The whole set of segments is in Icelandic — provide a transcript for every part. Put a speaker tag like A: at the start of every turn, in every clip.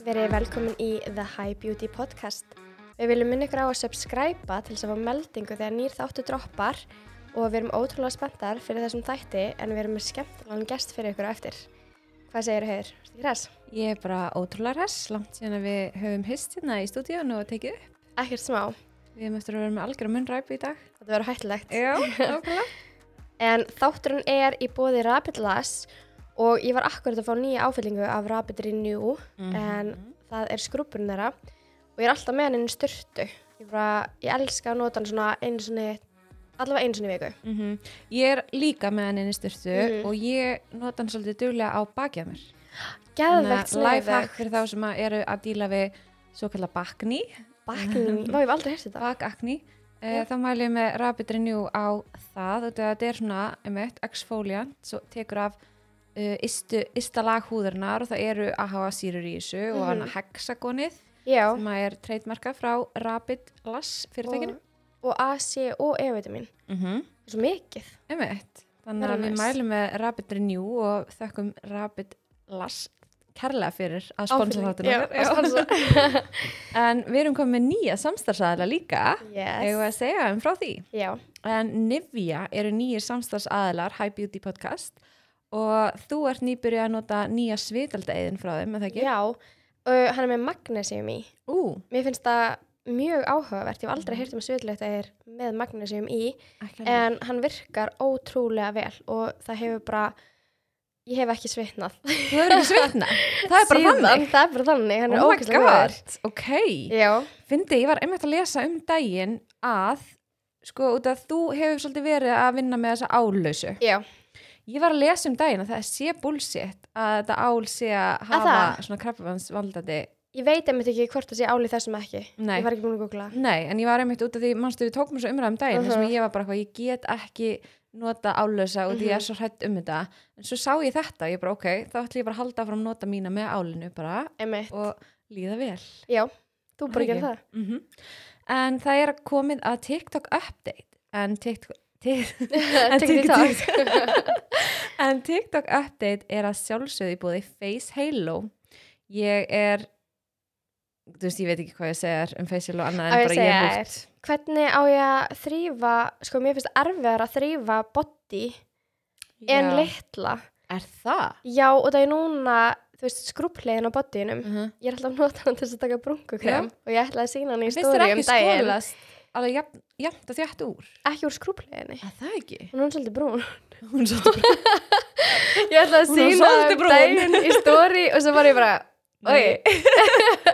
A: velkomin í The High Beauty Podcast. Við viljum minna ykkur á að subscriba til þess að fá meldingu þegar nýr þáttu droppar og við erum ótrúlega spenntar fyrir þessum þætti en við erum með skemmtilegan gest fyrir ykkur á eftir. Hvað segir þau höður? Ertu ekki ræs?
B: Ég er bara ótrúlega ræs, langt síðan að við höfum hyst hérna í stúdíun og tekið upp.
A: Ekkert smá.
B: Við höfum eftir að vera með algjör munnræp í dag.
A: Þetta verður hættilegt.
B: Já, okkurlega.
A: En þátturinn er í bóði Rapid Lass og ég var akkurat að fá nýja áfyllingu af Rapid Renew en
B: Mhm.
A: það er skrúpurinn þeirra og ég er alltaf með hann inn í styrtu. Ég, bara, ég elska að nota hann svona einu sinni, allavega einu sinni í viku.
B: Mhm. Ég er líka með hann inn í styrtu
A: Mhm.
B: og ég nota hann svolítið duglega á bakið á mér.
A: Geðvegt
B: lifehack fyrir þá sem að eru að díla við svo kallar bakni,
A: Bakning, vá ég hef aldrei hérst þetta.
B: bakakni. Uh, þá mælum ég með Rapid Renew á það og þetta er svona, einmitt, exfoliant, svo tekur af uh, ystu, ysta lag húðurnar og það eru AHA-sýrur í þessu og hann hexagonið
A: Já,
B: sem að er treytmarka frá Rapid Lass fyrirtækinu.
A: og, og AC og E-vitamin.
B: Mm -hmm.
A: Það er Svo mikið.
B: Þannig að
A: Very
B: við
A: nice.
B: mælum með Rapid Renew og þökkum Rapid Lass kærlega fyrir að sponsa þáttina.
A: Já,
B: okkar.
A: að sponsa.
B: En við erum komið með nýja samstarfsaðila líka. Yes. Eða
A: Yes.
B: að segja um frá því.
A: Já,
B: En Nivea eru nýjir samstarfsaðilar High Beauty Podcast og þú ert nýbyrjuð að nota nýja svitaldeiðin frá þeim, er það ekki?
A: já. Uh, hann er með magnesium í.
B: Ú,
A: Mér finnst það mjög áhugavert. Ég hef
B: Mhm.
A: aldrei heyrt um svitulegt að er með magnesium í.
B: ekki alveg.
A: En hann virkar ótrúlega vel og það hefur bara, ég hef ekki svitnað.
B: Þú hefur ekki svitna. Það er bara
A: Síðan,
B: þannig.
A: Það er bara þannig, hann er
B: Oh my
A: ógeðslega
B: god,
A: góður.
B: ok.
A: Já,
B: Fyndi, ég var einmitt að lesa um daginn að, sko, út að þú hefur svolítið verið að vinna með þessa állausu.
A: já,
B: Ég var að lesa um daginn að það sé bullshit að þetta ál sé að hafa
A: það?
B: svona krabbabansvaldandi.
A: ég veit einmitt ekki hvort það sé álið þessum ekki.
B: Nei.
A: Ég var ekki búin að googla.
B: Nei, en ég var einmitt út af því, mannstu, við tókum svo umræðum daginn, uh þessum
A: Mhm.
B: að ég var bara eitthvað, ég get ekki nota állausa og því ég er svo hrætt um þetta. En svo sá ég þetta, ég bara, ok, þá ætlum ég bara að halda áfram að nota mína með álinu bara
A: Einmitt,
B: og líða vel.
A: já, þú bara
B: Það
A: gerir það.
B: Mm En það er komið að TikTok update en TikTok, ti-
A: Tekið
B: TikTok.
A: því takt.
B: en TikTok update er að sjálfsögðu í búði Face Halo Ég er þú veist, ég veit ekki hvað ég segja þér um Face Halo annað
A: Á
B: en
A: ég
B: bara
A: að
B: ég
A: segja
B: er hútt
A: Hvernig á ég að þrýfa, sko mér finnst erfiðar að þrýfa body en litla.
B: Er það?
A: Já, og það er núna, þú veist, skrúplegin á bodyinum.
B: Uh -huh.
A: Ég er alltaf að nota hann til þess að taka brúnkukrem
B: Já.
A: og ég ætlaði að sína hann í
B: Finnst þér
A: stóri um
B: ekki
A: daginn.
B: skólast alveg jafn, jafnt og þjætt úr?
A: Ekki úr skrúpleginni.
B: Er það ekki?
A: Hún er orðin svolítið brún.
B: Hún er svolítið
A: Ég ætlaði að
B: Hún var
A: sína
B: svolítið
A: um
B: brún.
A: daginn í stóri og svo var ég bara, oi.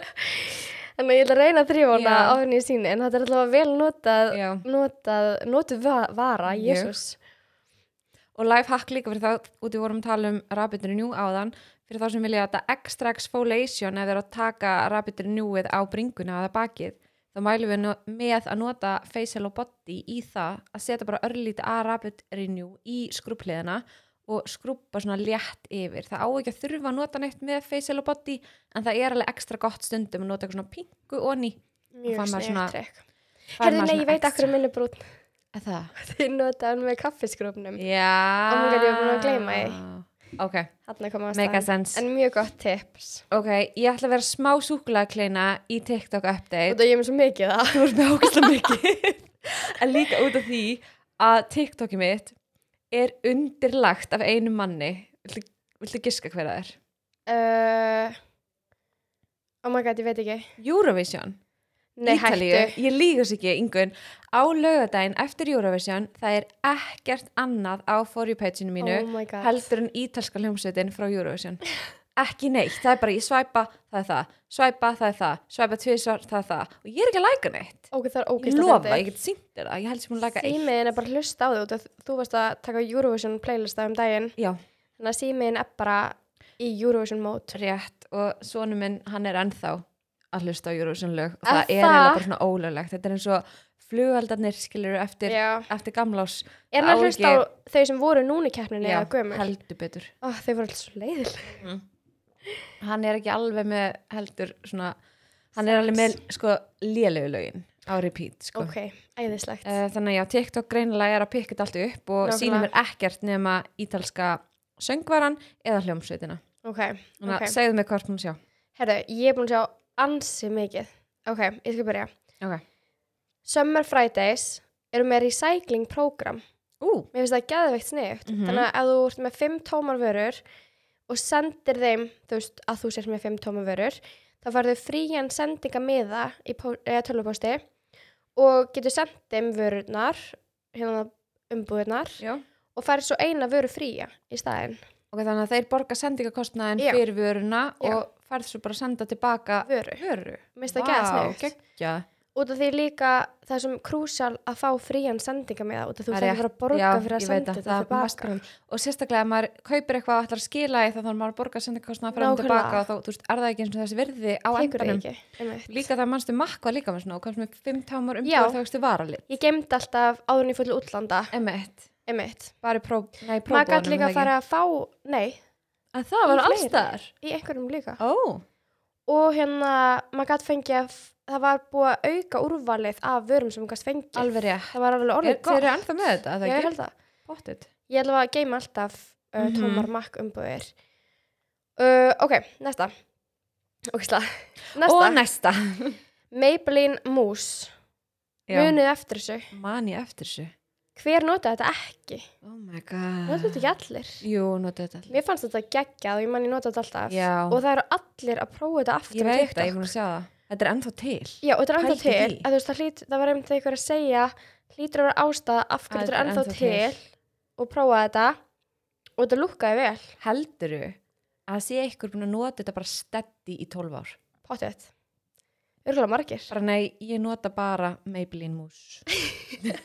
A: Þannig að ég ætla að reyna að þrýfa hana
B: Já.
A: á henni í síni en þetta er alltaf vel notað,
B: Já
A: notað, notuð va- vara,
B: Mjög.
A: jésús.
B: Og lifehack líka fyrir þá, út við vorum að tala um Rapid Renew áðan, fyrir þá sem vilja þetta extra exfoliation ef þeir eru að taka Rapid Renewið á bringuna eða bakið, þá mælum við no- með að nota facial og body í það að setja bara örlítið að Rapid Renew í skrúpliðina og skrúpa svona létt yfir. Það á ekki að þurfa að nota neitt með facial og body en það er alveg ekstra gott stundum að nota eitthvað svona pingu og ný.
A: Mjög
B: fær maður svona-
A: snyggt trekk. Herði, nei, ég veit akkur minni brún.
B: Það?
A: Þið notaði hann með kaffiskrúpnum.
B: Já.
A: Oh my God, ég var búin að gleyma
B: Ok,
A: Þarna kom að
B: make a sense.
A: En mjög gott tips.
B: Ok, ég ætla að vera smá súkulegakleina í TikTok
A: Og
B: update.
A: það ég er með svo mikið það.
B: Þú ert með ógæsla mikið. en líka út af því að TikTokið mitt er undirlagt af einu manni. Viltu, viltu giska hver það er?
A: Uh, oh my god, ég veit ekki.
B: Eurovision.
A: Nei,
B: Ítalíu.
A: hættu.
B: Ég líkast ekki, yngun. Á laugadaginn eftir Eurovision, það er ekkert annað á For You page-inu mínu
A: Oh my god.
B: heldur en ítalska hljómsveitin frá Eurovision. Ekki neitt, það er bara ég svæpa, það er það, svæpa, það er það, svæpa tvisar, það er það. Og ég er ekki að læka neitt.
A: Ok, það er
B: Ég
A: ógæst
B: lofa, ég get sýnt þér það, ég held sem hún laga eitt.
A: Símiðin er bara að hlusta á því út af þú varst að taka Eurovision playlista um daginn.
B: Já,
A: Þannig að símiðin er bara í Eurovision mót.
B: rétt og sonu minn, hann er ennþá að hlusta á Eurovision lög og
A: Er
B: það er
A: það?
B: eiginlega bara svona ólöglegt. Þetta er eins og flugaldarnir skilur eftir,
A: Já.
B: eftir gamlás.
A: Er hann
B: Á
A: að hlusta á þau sem voru núna í keppninu
B: Já,
A: eða gömur?
B: heldur betur.
A: Ó, þau voru alltaf svo leiðilega.
B: Hann er ekki alveg með heldur svona, hann er alveg með sko lélegu lögin á repeat sko.
A: Ok, æðislegt.
B: Eh, Þannig að já, TikTok greinilega er að pikka þetta allt upp og
A: Nákvæmlega.
B: sýnir mér ekkert nema ítalska söngvaran eða hljómsveitina.
A: ok,
B: Þannig að
A: ok.
B: segðu mig hvort hún sjá.
A: Herru, ég er búin að sjá ansi mikið. Ok, ég skal byrja.
B: Ok.
A: Summer Fridays eru með recycling program.
B: Ú,
A: Mér finnst það geðveikt sniðugt.
B: Mhm.
A: Þannig að ef þú ert með fimm tómar vörur og sendir þeim, þú veist, að þú sért með fimm tómar vörur, þá færðu frían sendingamiða í pó- eh, tölvupósti og getur sendt þeim vörurnar, hérna umbúðurnar
B: já.
A: og færðu svo eina vöru fría í staðinn.
B: Ok, þannig að þeir borga sendingakostnaðin
A: Já.
B: fyrir vöruna
A: Já.
B: og færð svo bara að senda tilbaka
A: Vöru.
B: vöru.
A: Mér finnst það geðveikt sniðugt.
B: geggjað.
A: út af því líka það er sem krúsjál að fá frían sendinga með það út af þú
B: Það er
A: þarf að fara að borga
B: Já,
A: fyrir að
B: ég veit
A: senda
B: að
A: þetta
B: það er
A: tilbaka
B: maskrand. Og sérstaklega ef maður kaupir eitthvað og ætlar að skila í það þannig að maður borga sendingakostnaðin fyrir að
A: Nákvæmlega.
B: tilbaka og þá, þú veist, er það ekki eins og þessi virði á
A: tekur það
B: endanum.
A: ekki einmitt.
B: Líka það mannstu makka líka með svona og komst með fimm támar
A: Já.
B: umbúður þá vextu varalit.
A: ég gemd alltaf áður en ég fór til útlanda
B: Emmett,
A: einmitt.
B: bara í pró, nei,
A: maður gæti
B: próbóðunum
A: líka að fara að fá nei,
B: Að það
A: í
B: var
A: fleiri.
B: allstar.
A: í einhverjum líka
B: Ó,
A: og hérna maður gæti fengið að f- það var búið að auka úrvalið af vörum sem maður gæti fengið
B: alveg rétt.
A: það var alveg
B: Er,
A: orðið
B: þeir eru
A: gott
B: ennþá með þetta, er
A: Já,
B: það
A: ég
B: ekki?
A: held það
B: Bóttið.
A: Ég ætla að geima alltaf uh,
B: Mhm.
A: tómar makk umbúðir. Uh, ok, næsta. Ógisla. Næsta.
B: Og næsta.
A: Maybelline Mousse.
B: Já.
A: Munið eftir þessu.
B: Man ég eftir þessu.
A: Hver notaði þetta ekki?
B: Oh my god.
A: Notaði þetta ekki allir?
B: Jú, nota þetta allir.
A: Mér fannst þetta geggjað og ég man ég notaði þetta alltaf.
B: Já.
A: Og það eru allir að prófa þetta aftur á
B: Ég veit
A: TikTok.
B: það, ég er búin að sjá það. Þetta er ennþá til.
A: Já, og þetta er ennþá
B: Pældu
A: til.
B: því.
A: Að, þú veist, það, hlýt, það var einmitt einhver að segja, hlýtur að vera ástæða af hverju þetta er ennþá til og prófa þetta og þetta lúkkaði vel.
B: Helduru að sé ykkur búin að nota þetta bara steddi í 12 ár?
A: Pottið. Örgulega margir.
B: Bara nei, ég nota bara Maybelline Mousse.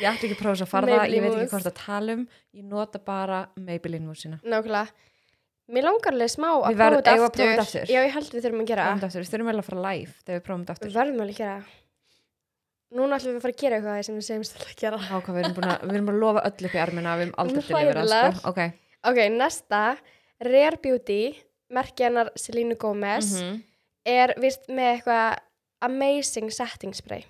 B: ég ætti ekki að prófa þess að fara það, ég
A: Maybelline
B: veit ekki
A: mousse.
B: hvort að tala um. Ég nota bara Maybelline Mousse-ina.
A: Nákvæmlega. Mér langar alveg smá að
B: Við
A: prófa
B: verð-
A: þetta
B: eigum að
A: aftur.
B: prófa þetta aftur.
A: Já, ég held við þurfum að gera.
B: Prófum þetta aftur, Við þurfum vel að fara live þegar við prófum þetta
A: Við
B: aftur.
A: verðum alveg að gera. það. Núna ætlum við að fara að gera eitthvað af því sem við segjumst alltaf að gera.
B: Á, hvað, við, erum búin að, við erum að lofa öll upp í armina, við erum aldrei til yfir það.
A: Hræðilegar.
B: Sko. Okay.
A: Ok, næsta. Rare Beauty, merkið hennar Selínu Gómez,
B: Mhm.
A: er vist með eitthvað amazing setting spray.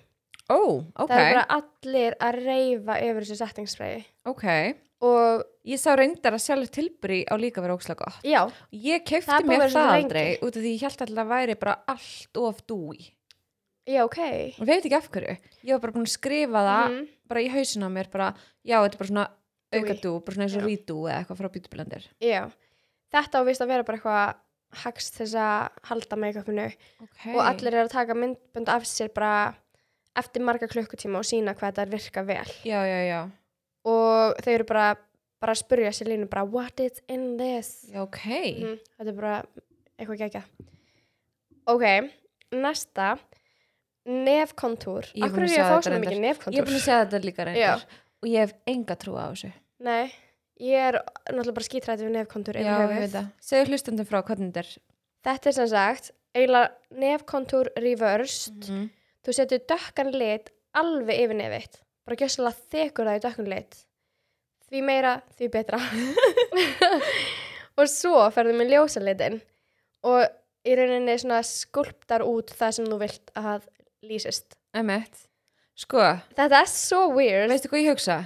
B: Ó,
A: Það er
B: ok,
A: bara allir að reyfa yfir þessu setting sprayi.
B: ok.
A: Og
B: Ég sá reyndar að sjálfur tilbyrji á líka verið ókslega gott.
A: já,
B: Ég
A: Það
B: kefti
A: er búið að
B: mér
A: vera
B: það
A: svo lengi.
B: aldrei út af því ég held alltaf að væri bara allt of dúi.
A: já, ok.
B: Og veit ekki af hverju. Ég var bara búin að skrifa það
A: Mhm.
B: bara í hausin á mér bara, já, þetta er bara svona auka
A: Dúi.
B: dú, bara svona eins og
A: Já.
B: rídú eða eitthvað frá bjútublendir.
A: Já. Þetta á vist að vera bara eitthvað hagst þess að halda make-upinu.
B: Okay.
A: og allir eru að taka myndbönd af sér bara eftir marga klukkutíma og sína hvað þetta virka vel
B: Já, já, já.
A: og þau eru bara, bara að spurja sér línu bara what is in this
B: Já, ok.
A: mm, þetta er bara eitthvað gegja ok, næsta nefkontúr
B: Ég
A: af
B: er búin að
A: hverju er
B: sjá
A: ég að fá
B: þetta
A: svona
B: reyndar.
A: mikið
B: Ég er
A: nefkontúr
B: búin að segja þetta líka reyndar. Og ég hef enga trú á þessu.
A: nei, ég er náttúrulega bara skítræði við nefkontúr
B: Já,
A: yfir
B: ég
A: höfuð.
B: veit það. Segðu hlustandum frá hvernig þetta er.
A: þetta er sem sagt eiginlega nefkontúr reversed
B: Mm.
A: þú setur dökkan lit alveg yfir nefitt bara gjössalega þekur það í dökkan lit því meira, því betra og svo ferðu með ljósa litin og í rauninni svona skulptar út það sem þú vilt að lýsist
B: Emmett. Sko,
A: þetta er svo weird
B: veistu hvað ég hugsa?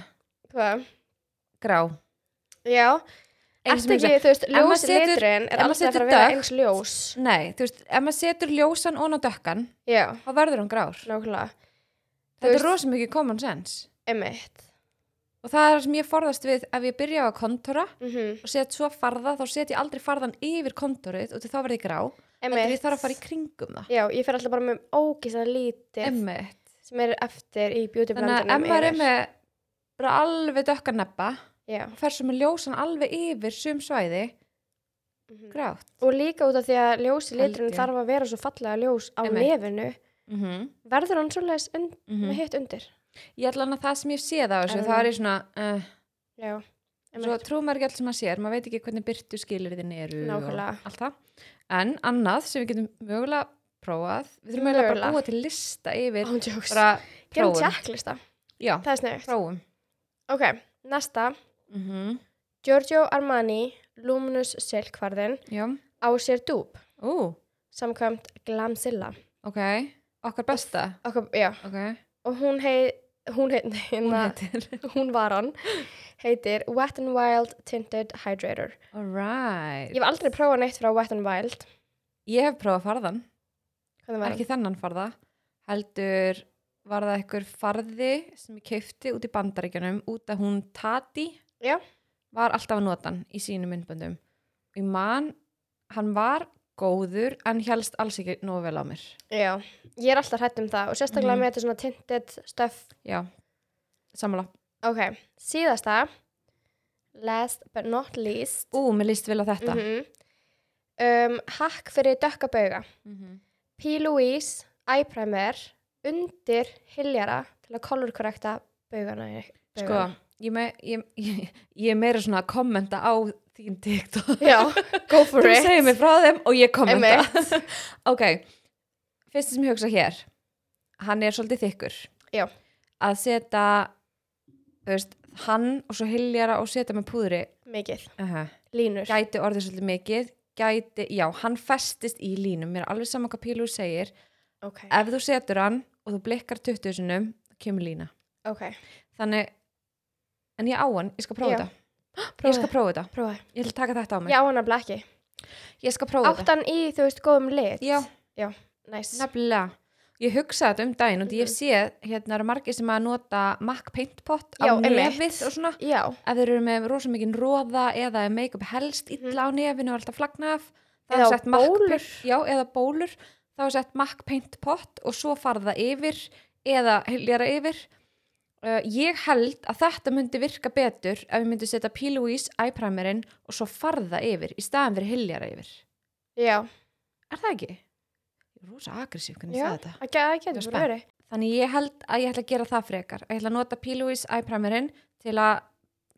A: hvað,
B: Grá.
A: já
B: Eins
A: Ertu
B: og ég
A: ekki, þú veist,
B: maður
A: ljósi
B: setur-
A: liturinn
B: ef
A: er
B: maður
A: alltaf að
B: setur
A: fara að vera
B: dökkt-
A: eins ljós
B: Nei, þú veist, ef maður setur ljósan ón á dökkan,
A: já,
B: þá verður hann grár.
A: nákvæmlega
B: Þetta
A: veist-
B: er rosa mikið common sense.
A: emitt
B: Og það er það sem ég forðast við ef ég byrja á að kontora
A: mm
B: og set svo farða, þá set ég aldrei farðan yfir kontorið og til þá verði ég grá. Þetta ég þarf að fara í kringum það.
A: já, ég fer alltaf bara með ógist að lítið
B: Emmett.
A: sem er eftir í beauty
B: Þannig að
A: blendinum
B: ef maður er
A: yfir.
B: með bara alveg dökkan neppa,
A: Já.
B: fer svo með ljósan alveg yfir sum svæði,
A: Mhm.
B: grátt.
A: Og líka út af því að ljósi liturinn
B: Held ég.
A: þarf að vera svo fallega ljós á
B: Einmitt.
A: nefinu,
B: Mm
A: Mhm.
B: -hmm.
A: verður hann svolítið und
B: Mm
A: með hitt undir.
B: Ég ætla hann að það sem ég séð á þessu,
A: Er
B: þá
A: það-
B: er ég svona... Uh,
A: Já,
B: Svo
A: einmitt.
B: trúum maður ekki allt sem maður sér, maður veit ekki hvernig byrtu skilirðin eru
A: Nákvæmlega.
B: og allt það. En annað sem við getum mögulega prófað, við þurfum mögulega bara
A: Mögulega.
B: að búa til lista yfir
A: án jokes.
B: bara
A: Gerum
B: prófum.
A: tjekklista,
B: Já,
A: það er snögt.
B: prófum.
A: Ok, næsta.
B: Mm -hmm.
A: Giorgio Armani Luminous Silk varðin
B: Já,
A: á sér dúb,
B: ú,
A: samkvæmt Glamzilla.
B: ok, okkar besta,
A: Ok, já,
B: ok,
A: og hún heit, hún heit, nei,
B: hún
A: hérna,
B: heitir.
A: hún var hann, heitir Wet n Wild Tinted Hydrator.
B: Alright.
A: Ég hef aldrei prófað neitt frá Wet n Wild.
B: Ég hef prófað farðan.
A: Hvernig var
B: ekki þennan farða heldur var það einhver farði sem ég keifti út í bandaríkjunum út að hún Tati
A: hann? Já.
B: var alltaf að nota hann í sínum myndböndum og ég man, hann var góður en helst alls ekki nógu vel á mér
A: Já. Ég er alltaf hrætt um það og sérstaklega
B: Mhm.
A: með þetta svona tinted stuff.
B: já, samanlá
A: Ok, síðasta, last but not least.
B: ú, mér líst vel á þetta mm
A: Mhm. um, hakk fyrir dökka bauga. P. Louise Eyeprimmer undir hiljara til að kolorkorrekta baugana. í-
B: sko,
A: baugana.
B: ég, me, ég, ég, ég er meira svona að kommenta á þín TikTok
A: Já, go for
B: þú
A: it.
B: segir mér frá þeim og ég kommenta
A: Einmitt.
B: ok, fyrst sem ég hugsa hér hann er svolítið þykkur
A: Já.
B: að setja þú veist, hann og svo hiljara og setja með púðri
A: Mikið.
B: uh
A: Línur.
B: gæti orðið svolítið mikið gæti, já, hann festist í línum mér er alveg sama hvað Pílu segir
A: Ok,
B: ef þú setur hann og þú blikkar 20 sinum, þá kemur lína
A: ok.
B: þannig, en ég á hann ég skal prófa
A: Já.
B: þetta,
A: Prófa
B: ég skal prófa þetta
A: Prófaði.
B: ég ætla að taka þetta á mig,
A: Ég á hann að blaki.
B: ég skal prófa þetta
A: Áttan í, þú veist, góðum lit.
B: já,
A: Næs.
B: nefnilega ég hugsaði þetta um daginn og því ég
A: Mhm.
B: sé hérna eru margir sem að nota Mac Paint Pot
A: Já,
B: á
A: einmitt.
B: nefið og svona
A: Já,
B: ef þeir eru með rosa mikinn róða eða er make-up helst illa á nefinu og er alltaf flagna af þá er
A: Mhm. Eða á
B: sett Mac Paint-
A: bólur.
B: já, eða bólur þá er sett Mac Paint Pot og svo farða yfir eða hyljara yfir uh, ég held að þetta myndi virka betur ef ég myndi setja P. Louise eyeprimерinn og svo farða yfir í staðan fyrir hyljara yfir
A: já.
B: er það ekki? Ég er rosa agressív hvernig ég
A: Já,
B: sagði þetta
A: það ge- það
B: Ég
A: getur
B: er
A: bara verið.
B: Þannig ég held að ég ætla að gera það frekar. Ég ætla að nota P. Louise eyeprimерinn til að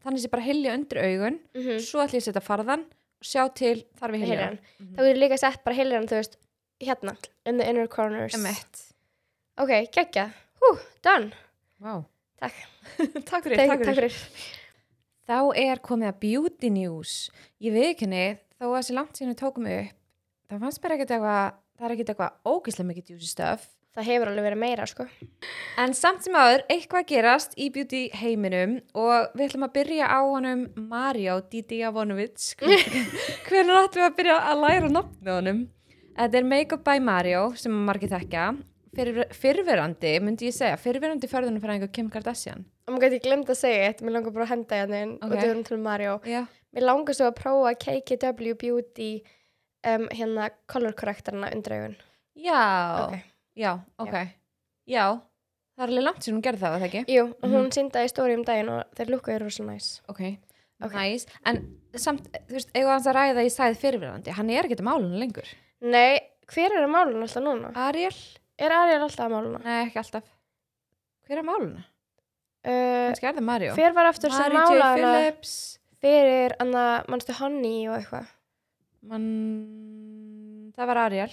B: þannig sé bara hylja undir augun,
A: Mm
B: svo ætla ég að setja farðan og sjá til þar við hylja.
A: Heiljaran. Mhm. Þá getur líka sett bara heiljaran, þú veist, hérna, in the inner corners.
B: Emmett.
A: Ok, geggja. Hú, done.
B: Vá.
A: Takk.
B: takk fyrir,
A: Takk,
B: takk fyrir.
A: fyrir.
B: Þá er komið að beauty news. Ég viðkynni þó að þessi langt síðan við tókum upp, það fannst mér ekkert eitthvað, það er ekkert eitthvað ógislega mikið juicy stuff.
A: Það hefur alveg verið meira, sko.
B: En samt sem áður, eitthvað gerast í beauty heiminum og við ætlum að byrja á honum Mario Didi Avonovic. Mm. Hvernig ætlum við að byrja að læra nafnið honum? Þetta er Make Up by Mario sem margir þekka. Fyrir, fyrverandi, myndi ég segja, fyrverandi förðunum fyrir einhver Kim Kardashian.
A: Og maður gæti glemt að segja eitt, mér langar bara að henda hérna inn og
B: Ok.
A: þú erum til Mario.
B: Já.
A: Mér langar svo að prófa KKW Beauty um, hérna color correctorna undir augun.
B: Já.
A: Ok.
B: Já, ok. Já. Það er alveg langt sem hún gerði það, var það ekki?
A: Jú, og hún mm. síndaði stóri um daginn og þeir lukkaði rosa næs.
B: Ok,
A: Ok.
B: næs. En samt, þú veist, eigum hans að ræða að ég sagði fyrverandi, hann er ekkert að málunum lengur.
A: Nei, hver er að málun alltaf núna?
B: Ariel?
A: Er Ariel alltaf að máluna?
B: Nei, ekki alltaf. Hver er máluna?
A: Uh,
B: Kannski er það Mario.
A: hver var aftur sem
B: Mary J.
A: mála hana
B: Phillips.
A: fyrir, anna, mannstu Honey og eitthvað?
B: Man... Það var Ariel,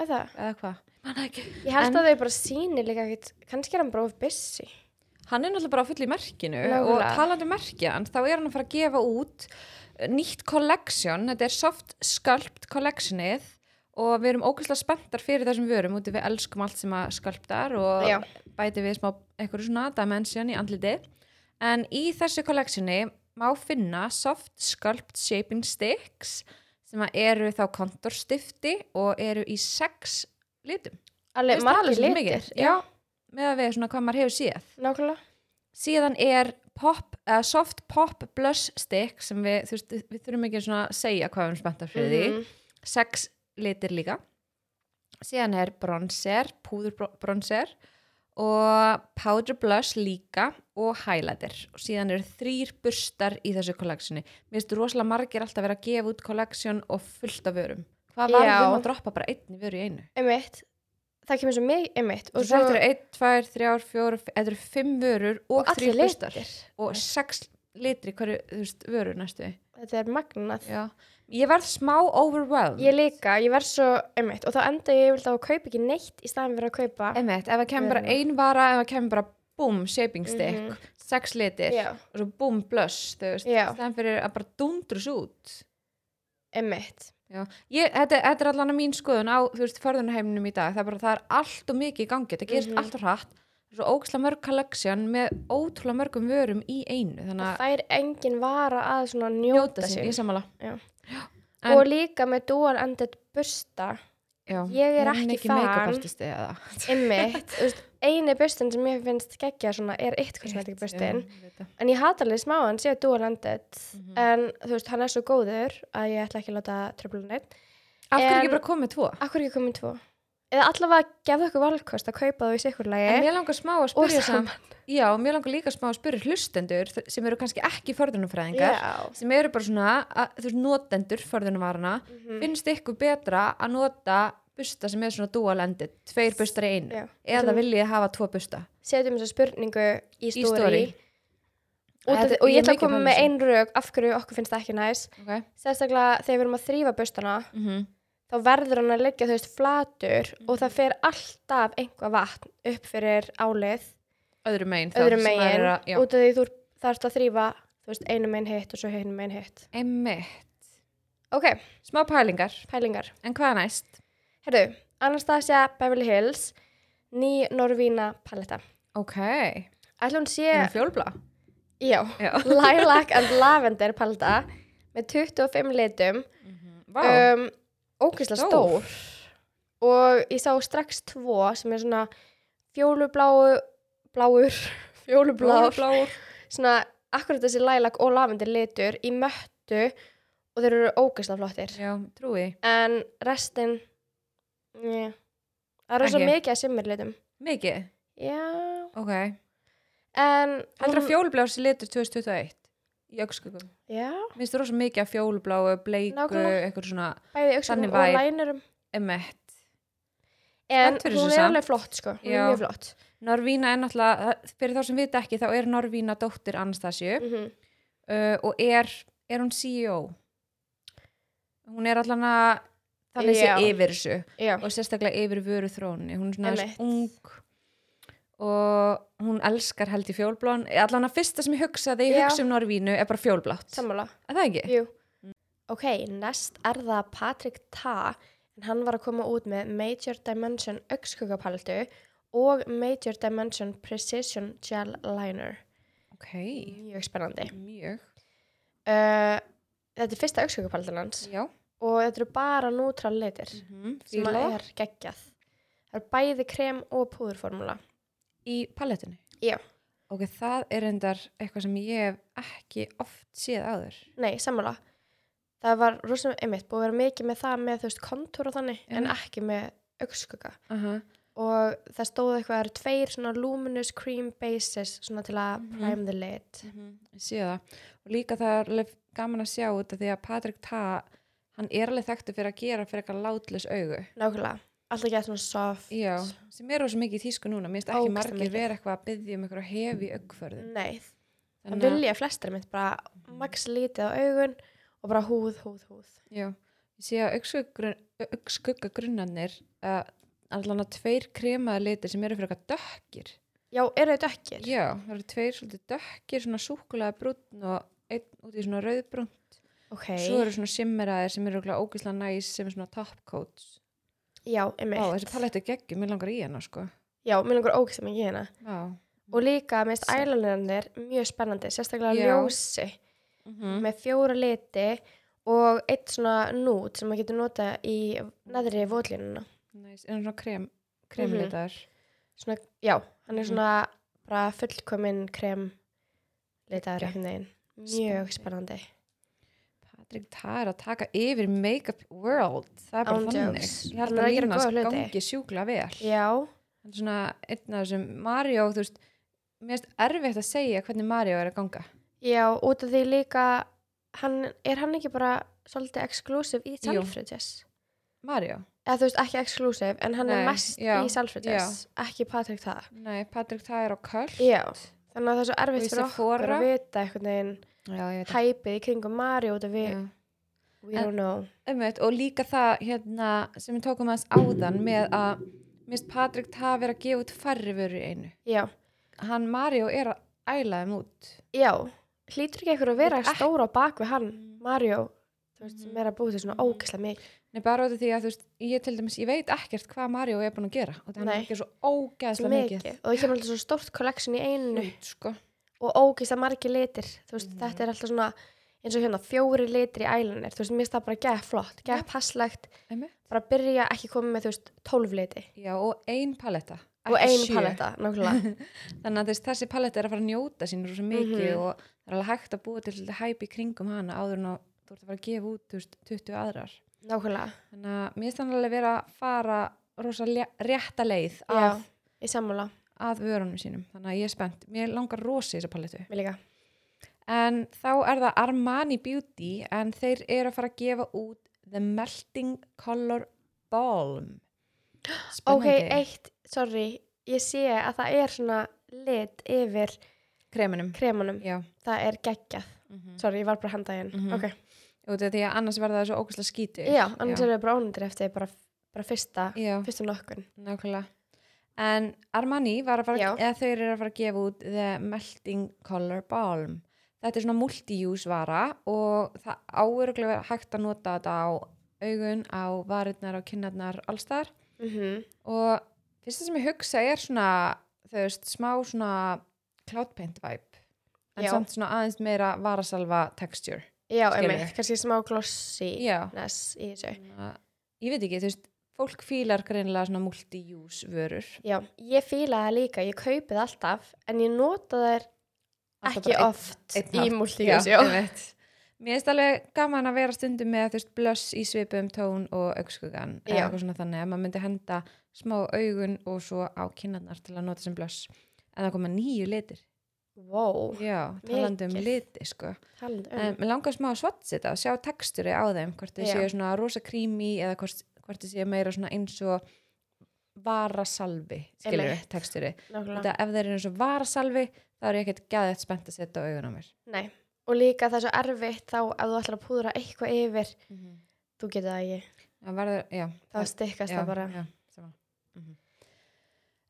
A: Er það?
B: eða hvað? Man ekki.
A: Ég held
B: En-
A: að þau bara síni líka ekkert, kannski er hann bara of busy.
B: Hann er náttúrulega bara full í merkinu
A: Mögulega.
B: og talandi um merkjan, þá er hann að fara að gefa út eh, nýtt collection, þetta er Soft Sculpt collectionið og við erum ógæslega spenntar fyrir þessum vörum út af við elskum allt sem að skulptar og
A: Já.
B: bæti við smá einhverju svona dimension í andliti en í þessu collectioni má finna Soft Sculpt Shaping Sticks sem að eru þá kontorstifti og eru í sex litum
A: Alveg
B: Finnst það alveg
A: margir
B: svolítið
A: litir.
B: mikið? Já, með að við svona hvað maður hefur séð
A: Nákvæmlega.
B: síðan er pop, uh, soft pop blush stick sem við, þú veist, við þurfum ekki svona að segja hvað við erum spenntar fyrir
A: Mhm.
B: því sex litir líka síðan er bronzer, púður bro- bronzer og powder blush líka og highlighter og síðan eru þrýr burstar í þessu kolleksjoni mér finnst rosalega margir alltaf vera að gefa út kolleksjón og fullt af vörum hvað var
A: Já.
B: um að droppa bara einni vöru í einu
A: Einmitt. Það kemur svo mikið, einmitt.
B: og svo þetta eru einn, tvær, þrjár, fjórar f- þetta eru fimm vörur og, og
A: allir
B: þrýr burstar
A: litir.
B: og sex litri hverju, þú veist, vöru næstu því.
A: Þetta er magnað.
B: Já. Ég verð smá overwhelmed.
A: Ég líka, ég verð svo, einmitt, og þá enda ég vilt á að kaupa ekki neitt í staðan fyrir að kaupa.
B: Einmitt, ef það kemur bara
A: Vöruna.
B: ein vara, ef það kemur bara búm, shaping stick,
A: Mhm.
B: sex litir
A: Já,
B: og svo búm, blush, þú veist,
A: Já.
B: þannig fyrir að bara dundrus út.
A: einmitt.
B: Já. Ég, þetta, þetta er allan að mín skoðun á, þú veist, förðunaheiminum í dag, það er bara, það er allt og mikið í gangi, þetta gerist
A: Mhm.
B: allt og hratt, svo ógæsla mörg collection með ótrúlega mörgum vörum í einu, þannig
A: Það
B: að
A: fær engin vara að svona njóta,
B: Hérna- njóta sér,
A: sín.
B: ég samanlega.
A: Já.
B: En-
A: Og líka með dual ended bursta
B: já.
A: Ég er ekki
B: ekki
A: fan.
B: make-up artisti eða
A: Einmitt, þú veist, eini bustin sem ég finnst geggja svona er eitt kosmetik bustin. En ég hata alveg smá hann, séu dual ended.
B: Mhm.
A: En þú veist, hann er svo góður að ég ætla ekki að láta tröflun neitt.
B: Af hverju
A: En-
B: ekki bara komið tvo?
A: Akkur ekki komin tvo? Eða allavega gefðu okkur valkost að kaupa þú í sikurlegi.
B: En mér langar smá að
A: Og
B: spyrja saman Já, mér langar líka smá að spyrja hlustendur þ- sem eru kannski ekki förðunumfræðingar
A: Já.
B: sem eru bara svona, að, þú veist, notendur förðunumvarana,
A: Mhm.
B: finnst ykkur betra að nota busta sem er svona dual ended, tveir bustar í einu
A: Já.
B: eða viljið þið hafa tvo busta
A: setjum þessa spurningu í
B: í stóri
A: stóri og,
B: Þetta-
A: og
B: ég
A: ég
B: er
A: ætla
B: mikið
A: að koma
B: pæla í
A: með
B: þessu.
A: ein rauk af hverju okkur finnst það ekki næs
B: okay.
A: sérstaklega þegar við erum að þrýfa bustana
B: mm
A: þá verður hann að leggja þú veist flatur
B: Mhm.
A: og það fer alltaf einhvað vatn upp fyrir álið
B: Öðru megin þá,
A: öðrum
B: sem maður
A: megin
B: er að- já.
A: út af því þú þarfst að þrýfa þú veist einu megin hitt og svo hinu megin hitt
B: Einmitt.
A: ok,
B: Smá pælingar,
A: pælingar
B: en hvað er næst?
A: herru, Anastasia Beverly Hills ný Norvína paletta
B: Ok,
A: ætla hún sé
B: yeah. fjólbla
A: já,
B: Já.
A: lilac and lavender paletta með 25 litum
B: Vá,
A: um, ógeðslega
B: Stór.
A: stór. og ég sá strax tvo sem er svona fjólubláu bláur, fjólublár
B: blár
A: svona akkurat þessi lælak og lavendur litur í möttu og þeir eru ógeðslega flottir
B: Já, trúi,
A: en restin njá. það er svo
B: Ekki.
A: mikið að simmir litum
B: mikið
A: já,
B: Ok,
A: en
B: heldur að fjólublá sé litur 2021 í augskugum
A: já,
B: Minnst þú rosa mikið af fjólubláu, bleiku,
A: Nákvæmlega.
B: eitthvað svona
A: bæði auksum
B: Þannig
A: og
B: væri.
A: lænurum
B: emett
A: en
B: Spennt fyrir
A: hún
B: þessu
A: er
B: samt.
A: alveg flott sko, hún
B: Já.
A: er mjög flott
B: Norvína er náttúrulega, fyrir þá sem við ekki þá er Norvína dóttir Anastasju
A: mm
B: uh, og er, er hún CEO? Hún er allan að þannig sé
A: Já.
B: yfir þessu
A: já,
B: og sérstaklega yfir vöru þróunni hún er svona aðeins
A: Einmitt.
B: ung og hún elskar held í fjólblón allan að fyrsta sem ég hugsaði ég
A: Já.
B: hugsa um Norvínu er bara fjólblátt er
A: sammála
B: það ekki?
A: Jú. Mm. Ok, næst er það Patrick Ta, en hann var að koma út með Major Dimension augskuggapalettu og Major Dimension Precision Gel Liner.
B: ok,
A: Mjög spennandi.
B: mjög
A: Uh, þetta er fyrsta augskuggapalettan hans
B: já,
A: og þetta eru bara nútral litir sem
B: fíla
A: er geggjað. Það er bæði krem og púðurformúla.
B: í palettunni
A: Já.
B: ok, það er endar eitthvað sem ég hef ekki oft séð áður
A: Nei, sammála. Það var rosalega einmitt búið að vera mikið með það með þú veist kontúr og þannig en
B: Einmitt.
A: ekki með augskugga.
B: uh -huh.
A: og það stóð eitthvað það eru tveir svona luminous cream bases svona til að
B: Mhm.
A: prime the lid
B: síða Mhm, það og líka það er alveg gaman að sjá þetta því að Patrik Ta hann er alveg þekktu fyrir að gera fyrir eitthvað látlis augu
A: nákvæmlega, alltaf gett svona soft
B: Já, sem er rosa mikið í tísku núna mér finnst ekki
A: Ógeðslega
B: margir
A: mikið. Mm.
B: vera eitthvað að byggja um eitthvað hefi augförðin
A: nei, það
B: Þannig að-
A: vilja flestir mitt bara max lítið á augun og bara húð, húð, húð
B: Já, ég sé að augskuggagrunarnir uh, allan að tveir kremaða litir sem eru fyrir eitthvað dökkir
A: já, eru þau dökkir?
B: Já, það eru tveir svolítið dökkir svona súkulega brúnn og einn út í svona rauðbrúnn
A: ok,
B: Svo eru svona simmeraðir sem eru örugglega ógeðslega næs sem er svona top coats
A: já,
B: Ó, þessi
A: einmitt
B: palettu geggjum, mér langar í hana sko
A: já, mér langar ógæst mikið í hérna
B: Já
A: og líka minnst
B: Sæt.
A: ælanirnir mjög spennandi, sérstaklega
B: Já.
A: ljósi
B: Mhm.
A: með fjóra liti og eitt svona nút sem maður getur nota í neðri vótlínuna
B: Næs, er hann svona
A: Mhm.
B: krem, kremlitaður
A: svona, já, hann er
B: Mhm.
A: svona bara fullkominn krem litaður
B: Geggjað.
A: einhvern veginn mjög spennandi
B: Patrik, það er að taka yfir make-up world, það er bara
A: Án
B: þannig
A: jokes.
B: ég held
A: Hann er
B: að
A: að gera
B: Línas
A: góða hluti.
B: gangi sjúkla vel hann
A: já,
B: er svona einn af þessum Mario, þú veist mér finnst erfitt að segja hvernig Mario er að ganga
A: já, út af því líka hann, er hann ekki bara svolítið exklusív í
B: Jú.
A: Selfridges
B: Mario,
A: eða þú veist, ekki exklusív, en hann
B: Nei,
A: er mest
B: já,
A: í Selfridges, ekki Patrik það
B: nei, Patrik, það er á köll
A: já, þannig að það er svo
B: Og í
A: erfitt fyrir okkur
B: Sephora.
A: að vita einhvern veginn
B: já, ég veit
A: hæpið í kringum Mari út af við,
B: það
A: we
B: Mm. En-
A: don't know
B: Einmitt, og líka það hérna, sem við tókum aðeins áðan með að mér finnst Patrik það vera að gefa út færri vöru í einu
A: já,
B: hann Mario er að æla þeim út
A: já, hlýtur ekki eitthvað að vera
B: Ég veit
A: stóra bak við hann, Mario þú veist,
B: Mhm.
A: sem er að búið til svona ógæslega mikið
B: Nei, bara út af því að þú veist, ég til dæmis, ég veit ekkert hvað Mario er búin að gera og þannig að
A: Nei.
B: hann er svo ógeðslega
A: mikið
B: mikið.
A: og það kemur alltaf svo stórt collection í einu
B: Nú, sko.
A: og ógist að margi litir þú veist,
B: Mhm.
A: þetta er alltaf svona eins og hérna fjóri litri ælunir, þú veist, mér finnst það bara gæð flott, gæð
B: Já.
A: passlegt,
B: Einmitt.
A: bara byrja ekki komið með, þú veist, 12 liti
B: Já, og ein paletta.
A: og
B: ekki
A: ein
B: sjö.
A: paletta, nákvæmlega.
B: Þannig að þess, þessi paletta er að fara að njóta sín svo mikið
A: Mhm.
B: og það er alveg hægt að búa til svolítið hæp í kringum hana áður en að þú ert að fara að gefa út þú veist, 20 aðrar.
A: nákvæmlega,
B: Þannig að mér finnst þannig alveg vera að fara rosa lé- rétta leið
A: já,
B: að,
A: í sammála,
B: að vörunum sínum. Þannig að ég er spennt. Mér langar rosa í þessa palettu.
A: mér líka.
B: En þá er það Armani Beauty en þeir eru að fara að gefa út The Melting Color Balm.
A: Ok,
B: Spennandi.
A: eitt, sorry, ég sé að það er svona lit yfir
B: Kreminum.
A: kremunum,
B: Já.
A: það er geggjað. Sorry, ég var bara að handa hérna.
B: Mm. Mhm.
A: Ok,
B: Út af því að annars verða það svo ógæslega skítið.
A: já, annars erum við bara ónundir eftir bara, bara fyrsta,
B: Já,
A: fyrsta nokkun.
B: nákvæmlega. En Armani var að fara,
A: Já.
B: eða þeir eru að fara að gefa út The Melting Color Balm. Þetta er svona multi-use vara og það áuruglega hægt að nota þetta á augun, á varirnar, á kinnarnar, allstar.
A: Mm
B: Mhm. og fyrsta sem ég hugsa er svona þau veist, smá svona cloud paint vibe en
A: Já.
B: samt svona aðeins meira varasalva texture
A: Já,
B: Skilur.
A: emmitt, kannski smá glossy
B: já
A: ness í þessu.
B: Svona- ég veit ekki, þú veist fólk fílar greinilega svona multi-use vörur
A: Já, ég fíla það líka, ég kaupi það alltaf, en ég nota þær
B: Alltaf
A: ekki
B: bara einn-
A: oft
B: einn
A: í
B: hátt.
A: multiljós, já.
B: einmitt. mér finnst alveg gaman að vera stundum með þú veist, blöss í svipum tón og augskugan
A: Já.
B: eða eitthvað svona þannig að maður myndi henda smá á augun og svo á kinnarnar til að nota sem blöss en það koma nýju litir
A: Vó,
B: já, talandi um
A: Mikið.
B: liti sko
A: talandi um.
B: Mér langar smá að svartsita að sjá texturi á þeim, hvort þau
A: Já.
B: séu svona rosa krími eða hvort, hvort þau séu meira svona eins og varasalvi, skilur við,
A: Einmitt.
B: texturi.
A: nákvæmlega.
B: Þetta ef þeir eru eins og varasalvi, þá er ég ekkert gæðið spennt að setja á augun á mér.
A: Nei, og líka það er svo erfitt þá að þú ætlar að púðra eitthvað yfir, þú getur það ekki.
B: Það verður, já.
A: Það stikkast það bara.
B: Já, sama. Mhm.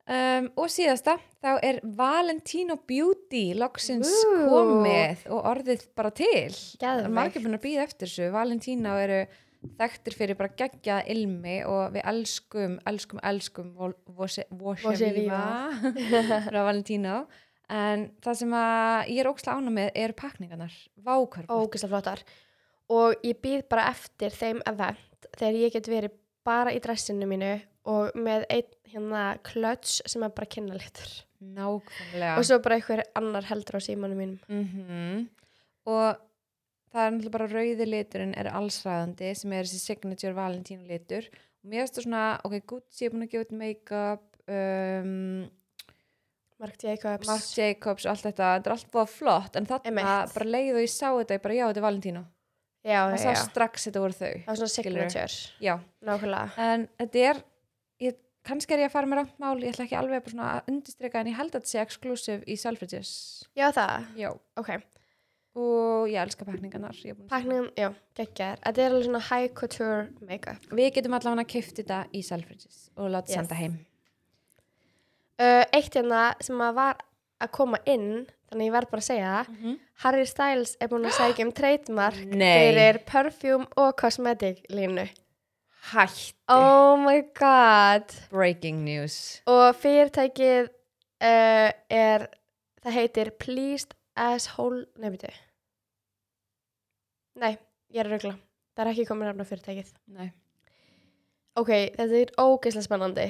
B: Um, og síðasta, þá er Valentino Beauty loksins
A: Ú.
B: komið og orðið bara til. Það er margir
A: Geðveikt.
B: búin að býða eftir þessu. Valentína eru þekktir fyrir bara geggjaða ilmi og við elskum, elskum, elskum Vosja
A: Voce
B: Viva frá Valentína. En það sem að ég er ókslega ána með eru pakningarnar. Vákörpa.
A: ógislega flottar og ég býð bara eftir þeim event þegar ég get verið bara í dressinu mínu og með einn hérna klöts sem er bara kynnalitur
B: Nákvæmlega.
A: og svo bara einhver annar heldur á símanu mínum
B: Mhm. Og það er náttúrulega bara rauði liturinn er allsræðandi sem er þessi signature Valentino litur. Og mér finnst það svona, ok, Gucci er búin að gefa út make-up, um,
A: Mark Jacobs
B: Marc Jacobs og allt þetta, þetta er allt búið flott en þarna
A: Einmitt.
B: bara leið og ég sá þetta ég bara já, þetta er Valentino,
A: já, já,
B: það sá
A: já.
B: strax þetta voru þau
A: það var svona
B: Skilurðu?
A: signature
B: já,
A: nákvæmlega
B: en þetta er ég, kannski er ég að fara með rátt mál ég ætla ekki alveg bara svona að undistreka en ég held að þetta sé exclusive í Selfridges
A: já það,
B: já,
A: ok
B: og ég elska pakningarnar ég er búin að-
A: pakningum, já, geggjar þetta er alveg svona high couture make-up
B: við getum allavega að kifta þetta í Selfridges og láta
A: Yes.
B: senda heim
A: uh, eitt hérna sem að var að koma inn þannig ég verð bara að segja það Harry Styles er búin að segja um trademark
B: nei,
A: fyrir perfume og cosmetic línu.
B: hætti
A: Oh my god.
B: breaking news
A: Og fyrirtækið uh, er, það heitir Pleased Asshole, nei byrju. Nei, ég er að rögla. Það er ekki komin nafn á fyrirtækið.
B: nei
A: Ok, þetta er ógeðslega spennandi.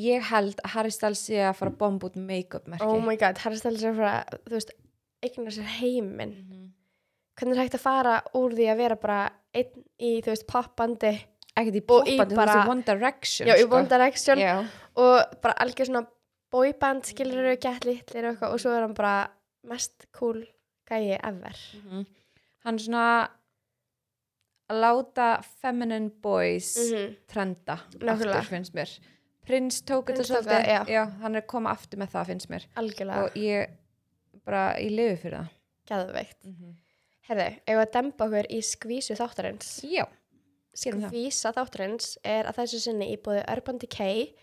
B: Ég held að Harry Styles sé að fara að bomba út make-up merki.
A: Oh my god, Harry Styles er frá, þú veist, eignar sér heiminn.
B: Mhm.
A: Hvernig er hægt að fara úr því að vera bara einn í, þú veist, poppandi,
B: ekkert
A: Og
B: í
A: í
B: popbandi, þú
A: bara-
B: veist í One Direction
A: já, í
B: sko.
A: One Direction.
B: Já.
A: og bara algjör svona boyband skilur þau gett litlir og eitthvað og svo er hann bara mest cool gæi ever
B: hann er svona að láta feminine boys trenda
A: Mhm. Nákvæmlega.
B: aftur finnst mér Prince tók þetta
A: Prince tók
B: svolítið
A: það, já.
B: hann er að koma aftur með það finnst mér
A: algjörlega og...
B: og ég bara, ég lifi fyrir það
A: gæðveikt herðu, ef að dempa okkur í skvísu þáttarins
B: já, gerum það.
A: skvísa þáttarins er að þessu sinni í bóði Urban Decay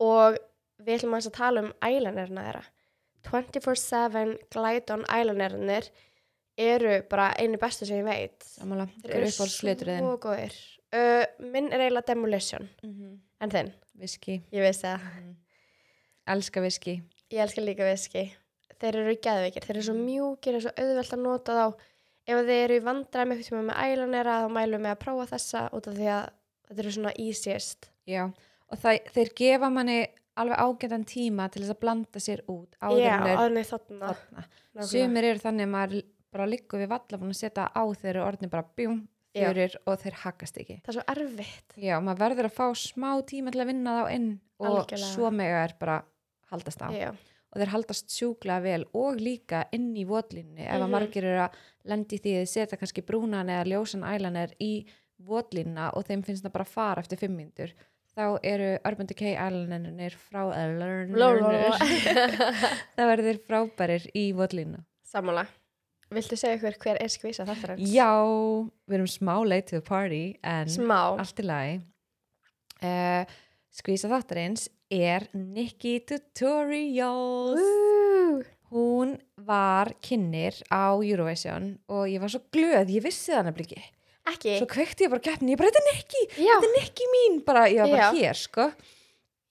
A: og við ætlum aðeins að tala um eyelinerna þeirra 24-7 Glidon eyelinerarnir eru bara einu bestu sem ég veit
B: samanlega,
A: Þeir
B: það er upp á sliturðin
A: svo góðir uh, minn er eiginlega Demolition en þinn,
B: viski,
A: ég veist það
B: elska viski
A: Ég elska líka veski. Þeir eru geðveikir, þeir eru svo mjúkir og svo auðvelt að nota þá ef þið eru í vandræmi eitthvað tíma með ælanera þá mælum við að prófa þessa út af því að þetta eru svona easiest
B: Já, og það, þeir gefa manni alveg ágætan tíma til þess að blanda sér út áður
A: Já,
B: en þeir
A: áðurinn er þarna
B: þarna.
A: nákvæmlega.
B: Sumir eru þannig að maður bara liggur við valla búin að setja á þeir eru orðin bara bjúm,
A: Já.
B: fjörir og þeir hakkast ekki.
A: Það er svo erfitt
B: Já, maður verður að fá smá tíma til að vinna þá inn og
A: Algjörlega.
B: svo mega er bara haldast á.
A: Já,
B: Og þeir haldast sjúklega vel og líka inn í votlinni ef að
A: Mhm.
B: margir eru að lendi því að setja kannski brúnan eða ljósan ælaner í votlinna og þeim finnst það bara fara eftir fimm mínútur. Þá eru Urban Decay ælanernir frá Mm. ælanernir. Það verður þeir frábærir í votlinna.
A: Sammála Viltu segja ykkur hver er skvísa þetta reyns?
B: Já, við erum smá late to the party en
A: Smá
B: allt í lagi. Uh, skvísa þáttarins er Nikki Tutorials.
A: Ú,
B: Hún var kynir á Eurovision og ég var svo glöð, ég vissi það nefnilega ekki.
A: Ekki
B: Svo kveikti ég bara keppni, ég bara, þetta er Nikki,
A: Já,
B: þetta er Nikki mín, bara, ég var bara
A: Já.
B: hér, sko.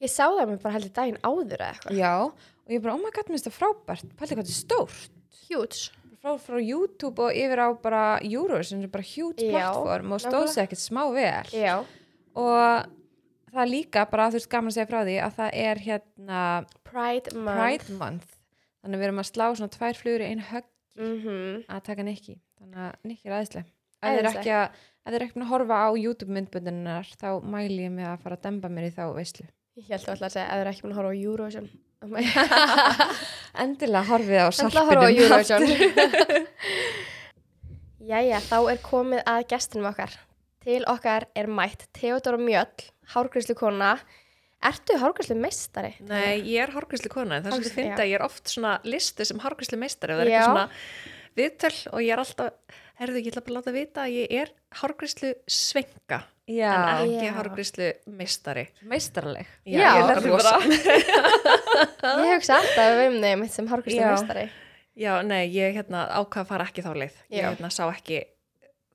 A: ég sá það mér bara heldur daginn áður eða eitthvað
B: Já, og ég bara, oh my god, minnst það frábært, pældi hvað þetta er stórt.
A: Huge
B: Frá, frá YouTube og yfir á bara Eurovision, sem er bara huge
A: Já,
B: platform og stóð sig ekkert smá vel.
A: Já,
B: og það er líka bara þú veist gaman að segja frá því að það er hérna
A: Pride Month
B: Pride Month þannig að við erum að slá svona tvær flugur í einu högg
A: Mhm.
B: að taka Nikki þannig að Nikki er aðeinslega ef þið er ekki að ef þið er ekki búin að horfa á YouTube myndböndunar þá mæli ég mig að fara að demba mér í þá veislu
A: Ég held alltaf að segja að það er ekki búin að horfa á Eurovision Oh my
B: endilega horfið á
A: Ætla að horfa á
B: sarpinum
A: Eurovision Jæja, þá er komið að gestinum okkar. Til okkar er mætt Theodora Mjöll, hárgríslu kona. Ertu hárgríslu meistari?
C: Nei, ég er hárgrislu kona, en það er svolítið
A: Hárgreiðslu-
C: fyndi að ég er oft svona listu sem hárgrislu meistari og það er
A: Já.
C: eitthvað svona viðtöl og ég er alltaf, herðu, ég ætla bara að láta vita að ég er hárgrislu svenga en
B: já,
C: ekki
A: Já.
C: hárgrislu meistari.
B: meistarleg
A: Já,
C: ég er
B: lærði
C: rosa-
A: Ég hugsa alltaf um þig mitt sem hárgríslu
B: Já.
A: meistari.
C: Já, nei, ég hérna ákvað að fara ekki þá leið. Ég
A: Já.
C: hérna sá ekki,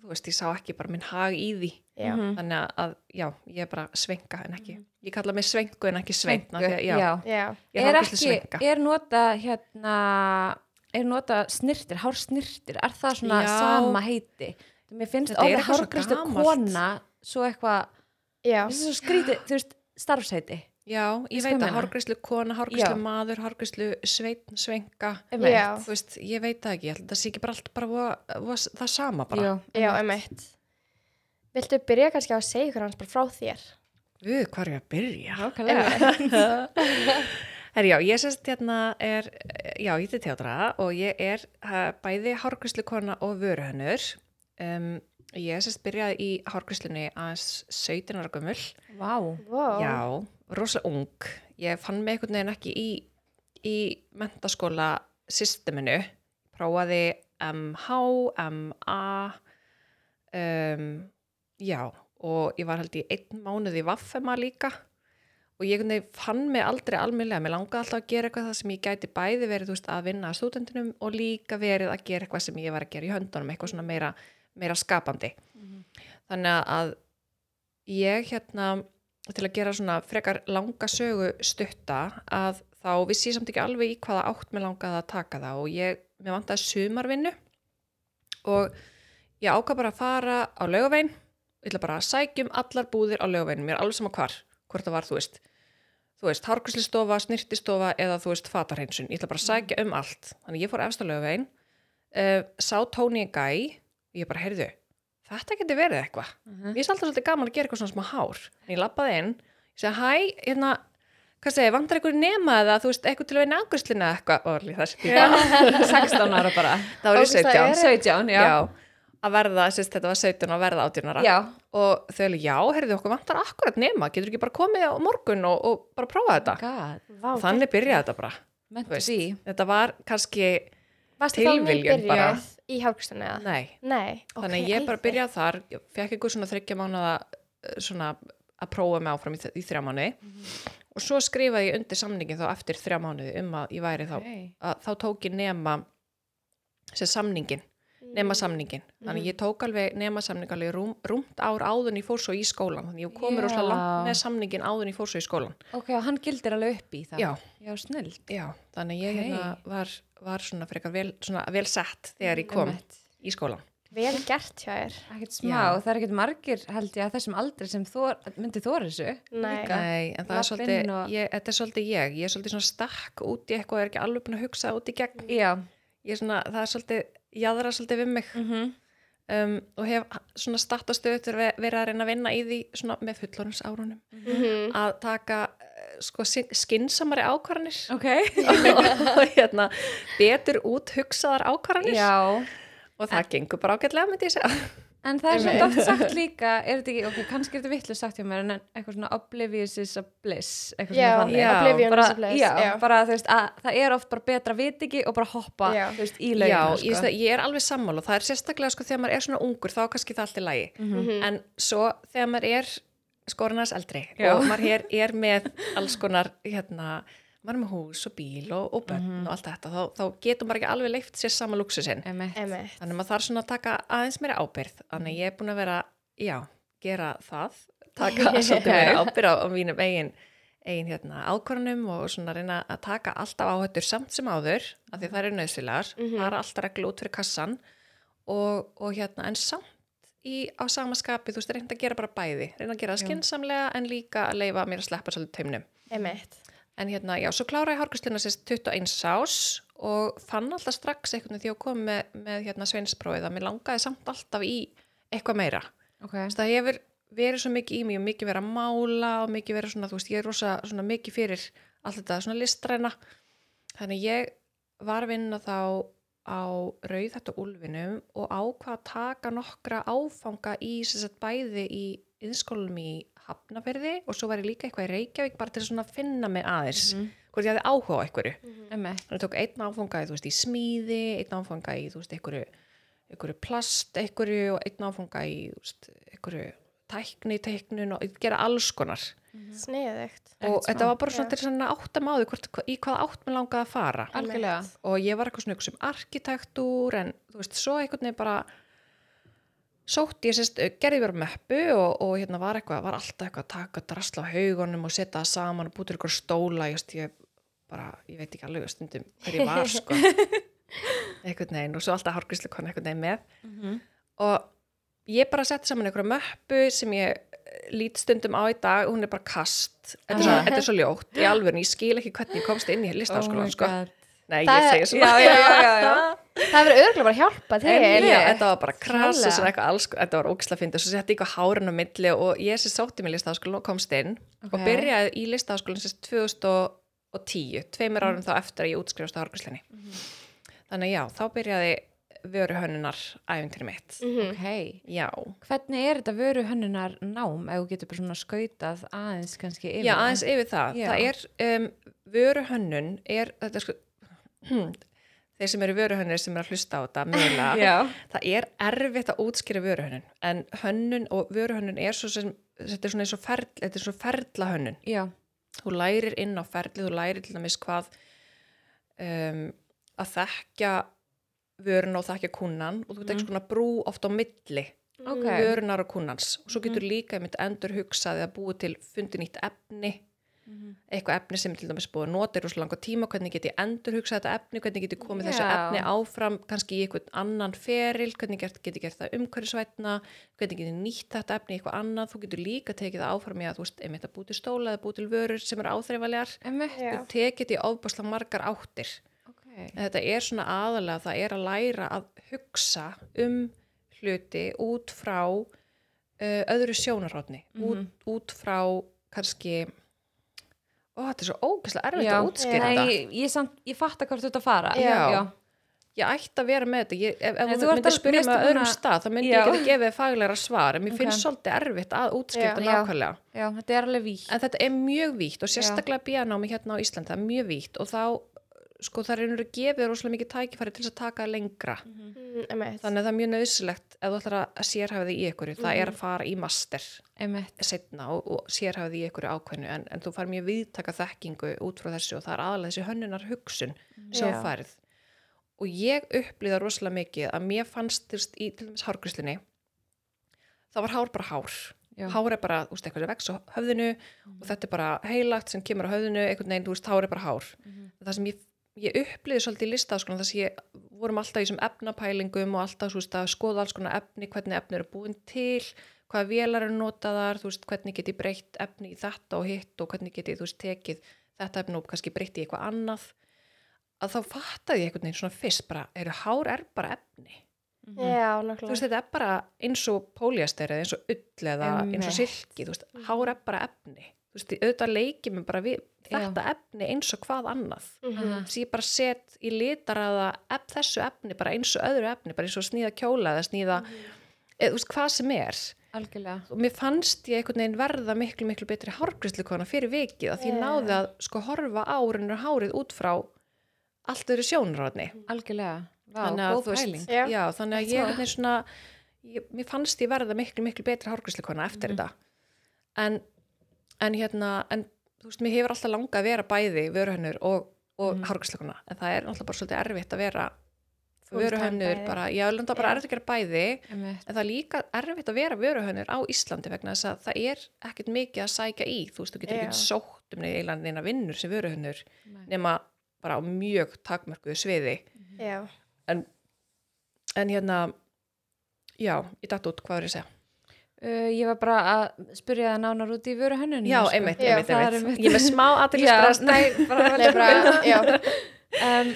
C: þú veist, ég sá ekki bara minn hag í því.
A: Já.
B: Mhm.
C: Þannig að, já, ég er bara svenga en ekki, ég kalla mig svengu en ekki sveitna.
B: Mm. Svengu,
C: Já,
B: já.
A: Já.
C: ég
B: er
C: er hárgrislu
B: ekki,
C: svenga.
B: er nota hérna er nota snirtir, hár snirtir er það svona
C: Já.
B: sama heiti mér finnst
C: Þetta
B: ofta
C: er eitthvað svo
B: hárgristu
C: gamalt.
B: kona svo eitthvað,
A: Já.
B: mér finnst það svo skrítið þú veist, starfsheiti
C: Já, ég
B: Veistu hvað
C: veit að
B: ég meina?
C: hárgrislu kona, hárgrislu maður, hárgrislu sveitn, svenga.
B: Einmitt.
A: Já.
C: þú veist, ég veit það ekki, ég held að það sé ekki bara allt bara voða, voða, það sama bara.
B: Já,
A: Já, emitt. Viltu byrja kannski á að segja ykkur hans bara frá þér?
C: Við, hvað er ég að byrja?
B: nákvæmlega
C: Herri, já, ég sérst hérna er, já, ég til teatra og ég er uh, bæði hárgríslukona og vöruhönnur. Um, ég sérst byrjaði í hárgríslunni aðeins 17 ára gömul.
B: Vá,
A: Wow.
C: Já, rosalega ung. Ég fann mig einhvern veginn ekki í, í mentaskóla systeminu. Prófaði MH, MA, um, já, og ég var held í einn mánuð í Vaffema líka. Og ég einhvern veginn fann mig aldrei almennlega, mér langaði alltaf að gera eitthvað það sem ég gæti bæði verið þú veist, að vinna að stúdendunum og líka verið að gera eitthvað sem ég var að gera í höndunum, eitthvað svona meira, meira skapandi. Þannig að ég hérna til að gera svona frekar langa sögu stutta að þá vissi ég samt ekki alveg í hvaða átt mér langaði að taka það og ég, mér vantaði sumarvinnu og ég ákvað bara að fara á laugavein ég ætla bara að sækjum allar búðir á laugavein mér er alveg sama hvar, hvort það var þú veist þú veist, hárkvæslistofa, snirtistofa eða þú veist, fatarheinsun, ég ætla bara að sækja um allt þannig ég fór efst á laugavein uh, sá Tony Guy og ég bara, heyrðu, þetta geti verið eitthvað
B: Mhm.
C: mér finnst alltaf svolítið gaman að gera eitthvað svona smá hár en ég lappaði inn, ég segi hæ hérna, hvað segi, vantar einhver nema eða þú veist, eitthvað til að vinna angurslina eitthvað og allir þessi tíma,
B: 16 ára bara
C: þá er ég
A: Ógeðslega
C: 17
A: er-
B: 17, já
C: já, að verða, sérst þetta var 17 að verða 18 ára
B: Já,
C: og þau alveg, já, heyrðu okkur vantar akkurat nema, getur ekki bara komið á morgun og, og bara prófa þetta
B: god,
A: Vá,
C: og þannig byrjaði þetta bara
B: meant
C: Þú
B: to
C: veist.
B: be
C: þetta var kannski,
A: Varstu þá
C: tilviljun
A: nýbyrjuð
C: bara.
A: Í hárgríslunni
B: Ah,
A: eða?
C: nei
A: Nei.
C: þannig
A: ok,
C: að ég bara
A: æði.
C: byrjaði þar fekk einhver svona þryggja mánuða eh, svona að prófa mig áfram í, þ- í þrjá mánuði
B: Mhm.
C: og svo skrifaði ég undir samningin þá eftir þrjá mánuði um að ég væri þá
B: Ok.
C: að þá tók ég nema sem samningin, nema samningin þannig að ég tók alveg nema samning alveg rúm, rúmt ár áðun ég fór svo í skólan þannig að ég komur yeah.
B: Já.
C: langt með samningin áðun ég fór svo í skólan
B: Ok, og hann gildir alveg upp í það
C: Já.
B: já snill
C: Já, þannig að ég
B: Ok.
C: hérna var, var svona frekar vel, svona vel sett þegar ég kom
B: Einmitt.
C: í skólan
A: vel gert hjá þér.
B: ekkert smá,
C: Já.
B: það er ekkert margir held ég að þessum aldri sem þor, myndi þóra þessu
A: Nei,
B: Líka.
C: Nei, en það er
B: Lapp
C: svolítið,
B: inn og-
C: ég, þetta er svolítið ég, ég er svolítið svona stakk út í eitthvað og er ekki alveg búin að hugsa út í gegn.
B: já,
C: Ég er svona, það er svolítið, jaðra svolítið við mig um, og hef svona starta stöður verið að reyna að vinna í því svona með fullorins árunum.
A: Mhm.
C: Að taka eh, sko sin- skinsamari ákvarðanir
B: ok
C: og hérna, betur út hugsaðar ákvarðanir
B: já,
C: og það gengur bara ágætlega myndi ég segja.
B: en það er
C: Einmitt.
B: svona oft sagt líka er þetta ekki, ok, kannski er þetta vitlu sagt hjá mér en eitthvað svona oblivious is a bliss eitthvað
A: Já,
B: svona þannig
C: já,
A: oblivion
B: bara,
A: is a bliss,
B: já,
A: já.
B: bara þú veist að það er oft bara betra vit ekki og bara hoppa
A: Já.
B: þú veist, í
C: Já,
B: laugina sko.
C: ég, veist það, ég er alveg sammála og það er sérstaklega sko þegar maður er svona ungur þá er kannski það allt í lagi.
B: Mm.
A: Mhm.
C: en svo þegar maður er skorunars eldri
B: Já.
C: og maður er, er með alls konar hérna, maður er með hús og bíl og, og bönn
B: Mhm.
C: og allt þetta, þá, þá getur maður ekki alveg leift sér sama luxusinn
B: Einmitt.
A: Einmitt.
C: þannig að maður þarf svona að taka aðeins meira ábyrð þannig að ég er búin að vera, já, gera það taka svolítið meira ábyrð á, á mínum eigin, eigin hérna, ákvarðanum og svona reyna að taka alltaf áhættur samt sem áður af því það eru nöðsilegar, mm
A: Mhm.
C: það er alltaf reglu út fyrir kassan og, og hérna, en samt í, á sama skapi, þú veist, reynda að gera bara bæði reynda að gera það
B: Já.
C: skinsamlega en líka að leifa mér að sleppa svolítið taumnum
A: Einmitt.
C: En hérna, já, svo kláraði hárgristluna sérst 21 sás og fann alltaf strax einhvern veginn því að kom með, með hérna sveinsprófið að mér langaði samt alltaf í eitthvað meira.
B: ok,
C: Þess, það hefur verið svo mikið í mig og mikið verið að mála og mikið verið svona, þú veist, ég er rosa svona mikið fyrir allt þetta svona listræna. Þannig að ég var að vinna þá á rauð þetta úlfinum og ákvað að taka nokkra áfanga í sem sagt bæði í yðskólum í Hafnaferði og svo var ég líka eitthvað í Reykjavík bara til að svona finna mig aðeins
B: Mhm.
C: hvort ég hafði áhuga á einhverju.
B: emmitt
C: Þannig að tók einn áfanga í, þú veist, í smíði, einn áfanga í, þú veist, einhverju, einhverju plast, einhverju og einn áfanga í, þú veist, einhverju tækni, teiknun og gera alls konar.
B: Mhm.
A: Sniðugt.
B: Ekkert
C: og
B: smá.
C: þetta var bara svona
A: Já.
C: til svona áttam á því hvort, í hvað átt mér langaði að fara.
B: algjörlega
C: Og ég var eitthvað svona ykkur sem arkitektúr en, þú veist, svo einhvern veginn bara sótt ég sérst, gerði verið möppu og, og hérna var eitthvað, var alltaf eitthvað að taka drasla á haugunum og setja það saman og búið til ykkur stóla, ég veist, ég bara, ég veit ekki alveg stundum hver ég var, sko einhvern veginn og svo alltaf hárgríslu konu einhvern veginn með
B: Mhm.
C: og ég bara setti saman einhverja möppu sem ég eh, lít stundum á í dag og hún er bara kast, þetta er, svo,
B: Ah.
C: þetta er svo ljótt í alveg, ég skil ekki hvernig ég komst inn í
B: Oh
C: listaskólan, sko, nei, ég
A: Það-
C: segi svona
B: já, já, já, já, já.
A: Það verður örgulega bara að hjálpa til.
C: En já,
B: Einmitt.
C: þetta var bara krass og
B: Klálega.
C: svona eitthvað alls, þetta var ógisla fyndið, svo setti ég eitthvað hárun á milli og ég sem sótti mig í listaháskólan og komst inn
B: Ok.
C: og byrjaði í listaháskólan sem sagt 2010, tveimur árum þá eftir að ég útskrifast á Harkurslinni.
B: Mhm.
C: Þannig að já, þá byrjaði vöruhönnunar æfintir mitt.
B: Mm.
A: Mhm.
B: ok
C: Já,
B: Hvernig er þetta vöru hönnunar nám ef þú getur bara svona skautað aðeins kannski yfir?
C: já,
B: það?
C: aðeins yfir það.
B: Já.
C: Það er, um, vöruhönnun er, þetta er sko, þeir sem eru vöruhönnir sem eru að hlusta á þetta, mögulega,
B: Já,
C: það er erfitt að útskýra vöruhönnun en hönnun og vöruhönnun er svo sem þetta er svona eins og ferl, þetta er svo ferla hönnun
B: já,
C: þú lærir inn á ferli, þú lærir til dæmis hvað um, að þekka vörun og þekka kunnan og þú
B: Mhm.
C: tekst svona brú oft á milli
A: Mhm.
B: ok.
C: vörunar og kunnans og svo
B: Mhm.
C: getur líka einmitt endur hugsaði að búa til fundi nýtt efni eitthvað efni sem er til dæmis búið að nota í rosa langa tíma, hvernig get ég endur hugsað þetta efni, hvernig get ég komið þessu
B: Já.
C: efni áfram, kannski í eitthvað annan feril, hvernig get, get ég gert það umhverfisvætna, hvernig get ég nýtt þetta efni í eitthvað annað, þú getur líka tekið það áfram í að þú veist, einmitt að búið til stóla eða búið til vörur sem eru áþreifalegar,
B: Emmett,
A: Já.
C: þú tekið þetta í ofbásla margar áttir.
B: ok.
C: En Þetta er svona aðalega, það er að læra að hugsa um hluti út frá uh, öðru sjónarhóttni,
B: Mhm.
C: út, út frá kannski, ó þetta er svo ógæslega erfitt
B: Já.
C: að útskýra
B: Nei,
C: þetta.
B: ég, ég, samt, ég fatta hvort þú ert að fara.
C: Já. Ég ætti að vera með þetta, ég, ef,
B: Nei,
C: ef
B: þú
C: þú
B: ert
C: myndir
B: alveg-
C: spyrja
B: mér
C: mig
B: finnst
C: að öðrum
B: búin að-
C: stað, þá myndi
B: Já.
C: ég geta gefið þið faglegra svar, en mér finnst
B: Ok.
C: svolítið erfitt að útskýra
A: Já.
C: þetta
B: Já.
C: nákvæmlega.
B: Já, þetta er alveg vík.
C: En þetta er mjög vítt og sérstaklega bíanámi hérna á Íslandi, það er mjög vítt og þá, sko, það er einhverju gefið rosalega mikið tækifæri til þess að taka lengra.
A: Mm, Einmitt.
C: Þannig að það er mjög nöðsilegt ef þú ætlar að sérhæfa þig í einhverju, það er að fara í master
B: Emmett,
C: setna og, og sérhæfa þig í einhverju ákveðnu en, en þú far mjög viðtaka þekkingu út frá þessu og það er aðalega þessi hönnunar hugsun sem
A: Já.
C: þú færð. Og ég upplýða rosalega mikið að mér fannst til, í til dæmis hárgrislinni, þá var hár bara hár.
B: Já.
C: Hár er bara, þú veist, eitthvað sem vex á höfðinu og þetta er bara heilagt sem kemur á höfðinu, einhvern veginn, þú veist, hár er bara hár. Það sem ég ég upplýði svolítið í listaháskólanum þess að ég vorum alltaf í þessum efnapælingum og alltaf þú veist, að skoða alls konar efni, hvernig efni eru búin til, hvaða vélar eru notaðar, þú veist, hvernig get ég breytt efni í þetta og hitt og hvernig get ég þú veist, tekið þetta efni og kannski breytt í eitthvað annað að þá fattaði ég einhvern veginn svona fyrst bara, eru hár er bara efni
A: Já,
B: Mhm.
C: þú veist,
A: nákvæmlega.
C: þetta er bara eins og póljaster eða eins og ull eða eins
B: Einmitt.
C: og silki, þú veist, hár er bara efni þú veist, auðvitað leikir mér bara við þetta efni eins og hvað annað
A: Mhm.
B: Mm.
C: þess að ég bara set í litaraða ef, þessu efni, bara eins og öðru efni bara eins og snýða kjóla eða snýða eða, þú veist, hvað sem er
B: algjörlega
C: og mér fannst ég einhvern veginn verða miklu, miklu betri hárgrislu kona fyrir vikið að því ég
A: Já.
C: náði að sko horfa árunur hárið út frá allt öðru sjónurotni
B: algjörlega, Vá,
C: þannig að,
B: góð
C: þú
B: pæling
C: veist,
A: Já.
C: já, þannig að ég einhvern veginn svona, ég, mér fannst ég verða miklu, miklu betri hárgrisleikona eftir þetta en, en hérna en, þú veist, mér hefur alltaf langað að vera bæði vöruhönnur og, og mm. en það er alltaf bara svolítið erfitt að vera
A: Full time
C: vöruhönnur
A: bæði.
C: bara, já, landa bara
A: Já.
C: erfitt að gera bæði
B: Einmitt.
C: en það er líka erfitt að vera vöruhönnur á Íslandi vegna þess að það er ekkert mikið að sækja í, þú veist, þú getur
A: Já.
C: ekki sótt um eilandina vinnur sem vöruhönnur
B: Nei.
C: nema bara á mjög takmörkuðu sviði
A: Já.
C: en hérna já, ég datt út, hvað er ég að segja
B: Uh, ég var bara að spurja það nánar út í vöru hönnun
C: já, einmitt,
A: Já,
C: einmitt,
B: sko- það er
C: einmitt.
B: einmitt.
C: ég er með smá aðtilsbrast
B: nei, bara,
A: Nei, bara, já.
B: um,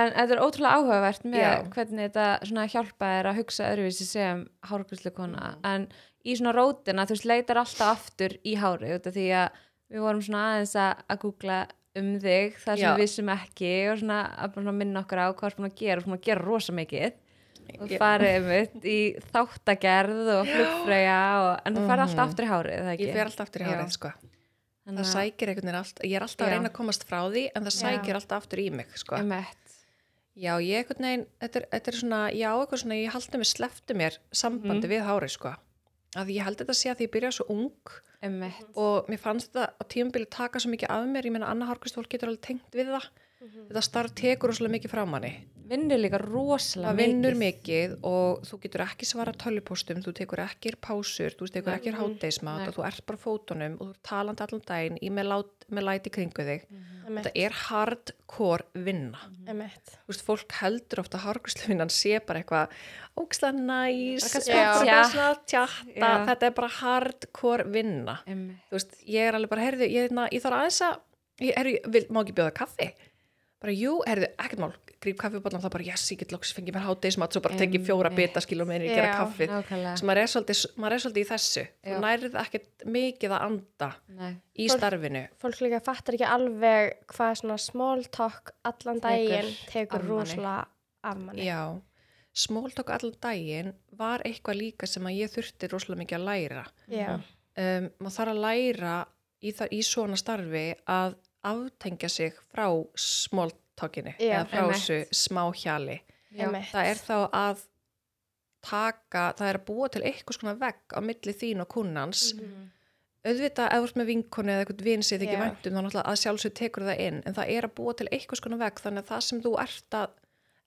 B: en þetta er ótrúlega áhugavert með
C: Já.
B: hvernig þetta svona hjálpa er að hugsa öðruvísi sem hárgrúslukona
C: Mm.
B: en í svona rótina þú veist leitar alltaf aftur í hári út af því að við vorum svona aðeins að, að googla um þig það sem
C: Já.
B: við vissum ekki og svona að bara svona minna okkur á hvað er búin að gera og búin að gera rosa mikið og
C: Já.
B: farið einmitt í þáttagerð og flugfreyja og, en þú farið alltaf
C: Mhm.
B: aftur í hárið, er það ekki?
C: ég fer alltaf aftur í
B: Já.
C: hárið, sko
B: Þannig
C: það
B: að-
C: sækir einhvern veginn alltaf, ég er alltaf að
B: Já.
C: reyna að komast frá því en það
A: Já.
C: sækir alltaf aftur í mig, sko
B: Einmitt.
C: já, ég einhvern veginn, þetta er, þetta er svona já, eitthvað svona, ég haldi mig, slefti mér
B: Mhm.
C: sambandi við hárið, sko að ég held þetta að sé að því ég byrja svo ung
B: Einmitt.
C: og mér fannst þetta á tímabili taka svo mikið af mér, ég menna annað hárkvistfólk getur alveg tengt við það,
B: Mhm.
C: þetta starf tekur rosalega mikið frá manni
B: vinnur líka rosalega
C: það
B: mikið
C: vinnur mikið og þú getur ekki svara tölvupóstum, þú tekur ekki pásur, þú tekur
B: Nei.
C: ekki háteismat
B: Nei.
C: og þú ert bara á fótunum og þú er talandi allan daginn í með, lát, með læti kringu þig.
B: Mhm.
A: Emmett.
C: Þetta er hardcore vinna.
A: Emmett.
C: Þú veist, fólk heldur ofta harkursluvinnan sé bara eitthvað óksla næs,
B: Bara
A: eitthvað
C: bara
B: tjatt.
C: svona tjatta,
B: Já.
C: þetta er bara hardcore vinna.
B: Einmitt.
C: Þú veist, ég er alveg bara, heyrðu, ég, na, ég þarf aðeins að, ég, heyrðu, ég vil, má ekki bjóða kaffi? Bara, jú, heyrðu, ekkert mál, gríp kaffibollan, þá bara, yes, ég get loksins fengið mér háteismat, svo bara tekið fjóra
B: Einmitt.
C: bita, skilum meðin ég
A: Mm,
C: gera
A: Já,
C: kaffið.
B: nákvæmlega
C: Svo maður er svolítið, maður er svolítið í þessu.
B: Já.
C: Þú nærið ekkert mikið að anda
B: Nei.
C: í
A: Fólk-
C: starfinu.
A: Fólk líka fattar ekki alveg hvað svona small talk allan daginn
B: af
A: tekur
B: manni.
A: rosalega af manni.
C: Já, smóltokk allan daginn var eitthvað líka sem að ég þurfti rosalega mikið að læra.
B: Mhm.
A: Já.
C: um, maður þarf að læra í, það, í svona starfi að aftengja sig frá smóltakinu
A: Já,
C: eða frá
B: einmitt.
C: þessu smáhjali
B: Já.
A: Emmett.
C: það er þá að taka, það er að búa til eitthvað svona vegg á milli þín og kunnans
A: Mhm.
C: auðvitað ef þú ert með vinkonu eða eitthvað vinn sér ekki
A: Já.
C: væntum þá náttúrulega að sjálfsög tekur það inn en það er að búa til eitthvað skona vekk þannig að það sem þú ert að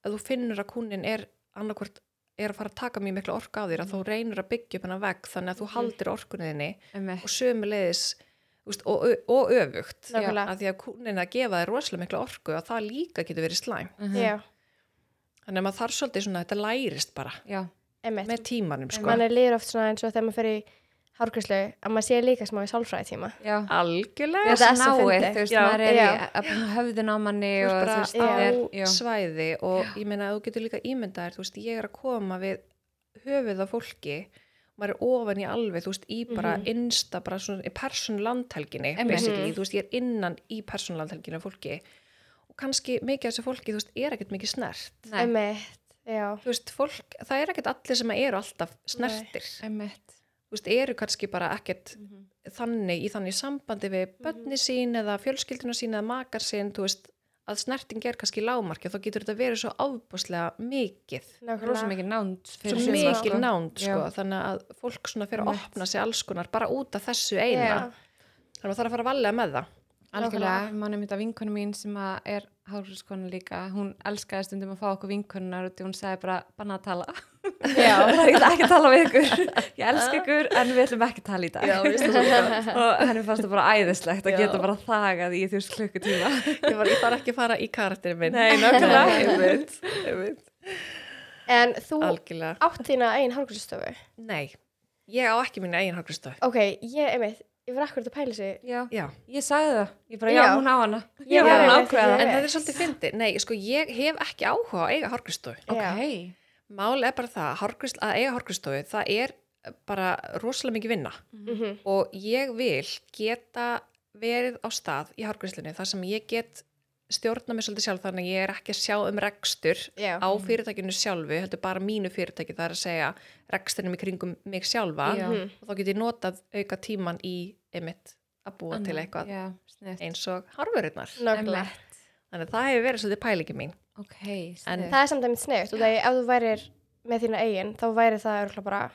C: ef þú finnur að kunin er annarkvort er að fara að taka mjög mikla orka á þér
A: Mm.
C: að þú reynir að byggja upp hennar vekk þannig að þú haldir orkunniðinni
B: Einmitt.
C: og sömulegis úst, og, og öfugt
A: Nákvæmlega.
C: að því að kunin að gefa þér rosalega mikla orku að það líka getur verið slæm
B: Mhm.
A: Já.
C: þannig að maður þarf svolítið svona þetta lærist bara
B: Já.
A: Emmett.
C: með tímanum sko
A: mann er líður oft svona eins og þegar maður fer í hárgræslu að maður sé líka smá í sálfræðitíma
B: Já.
C: Ah, algjörlega
A: Þetta
B: Þetta
A: er svo
B: náið,
A: fyndið.
B: þú veist,
C: Já.
B: maður er í
A: Já.
B: að- að höfðin á manni
C: Þú
B: og
C: ert
B: þú
C: bara
B: veist, það er,
C: á
B: já,
C: svæði og ég meina að þú getur líka ímyndaðir, þú veist, ég er að koma við höfuð af fólki maður er ofan í alveg, þú veist, í bara innsta, bara svona í persónulandhelginni
B: Einmitt.
C: basically, þú veist, ég er innan í persónulandhelginni af fólki og kannski mikið af þessu fólki, þú veist, er ekkert mikið snert
B: nei,
A: Emmett, já,
C: þú veist, fólk, það er ekkert allir sem eru alltaf snertir,
B: einmitt,
C: þú veist, eru kannski bara ekkert
B: Mhm.
C: þannig, í þannig sambandi við bönni sín eða fjölskylduna sín eða makar sín, þú veist, að snerting er kannski lágmarki og þá getur þetta verið svo ábúslega mikið,
B: rosa
A: nákvæmlega
B: mikið nánd fyrir
C: svo
A: suma,
B: suma,
C: mikið
B: sko.
C: nánd,
B: Já.
C: sko, þannig að fólk svona fyrir að
B: Einmitt.
C: opna sig alls konar bara út af þessu eina,
A: Já.
C: þannig að það þarf að fara að valega með það.
B: Algjörlega, mann er mitt að vinkonu mín sem að er hálfskona líka, hún elskaði stundum að fá okkur vinkonunar og hún sagði bara banna að tala,
A: Já,
B: ég ætla ekki að tala við ykkur ég elska ykkur en við ætlum ekki að tala í dag
C: Já, mér finnst það svo gott.
B: og henni fannst það bara æðislegt að
C: Já.
B: geta bara þagað í þús klukkutíma
C: Ég, var, ég þarf ekki að fara í karakterin minn.
B: Nei, nákvæmlega.
C: einmitt, einmitt.
A: en þú
C: Algjörlega.
A: átt þína einn hárgrunnstofu.
C: Nei, ég á ekki mín eigin hárgrunnstofu.
A: Ok, ég, einmitt, ég var akkurat að pæla þessu.
B: já,
C: Já.
B: ég sagði það, ég bara já,
A: Já.
B: hún á hana
A: Ég
B: var
C: var
B: að
A: einmitt-
B: ákveða
A: ég-
B: það
C: En það er svolítið fyndi. Nei, sko, ég hef ekki áhuga á að eiga hárgrunnstofu.
A: Já.
B: ok,
C: Mál er bara það, hárgrist, að eiga hárgrunnstofu, það er bara rosalega mikið vinna.
A: Mhm.
C: Og ég vil geta verið á stað í hárgrunnslunni þar sem ég get stjórna mig svolítið sjálf þannig að ég er ekki að sjá um rekstur
A: Já,
C: á
B: Mm.
C: fyrirtækinu sjálfu, heldur bara mínu fyrirtæki, það er að segja reksturinn í kringum mig sjálfa.
B: Já.
A: Mhm.
C: og þá get ég notað auka tíman í emitt að búa til
B: Annað.
C: eitthvað
B: já, snett
C: eins og hárvörurnar
A: nákvæmlega.
C: þannig að það hefur verið svolítið pælingi mín
B: ok,
C: En
B: snett
A: Það er samt að mitt snögt og það er ef þú værir með þína eigin þá væri það örgulega bara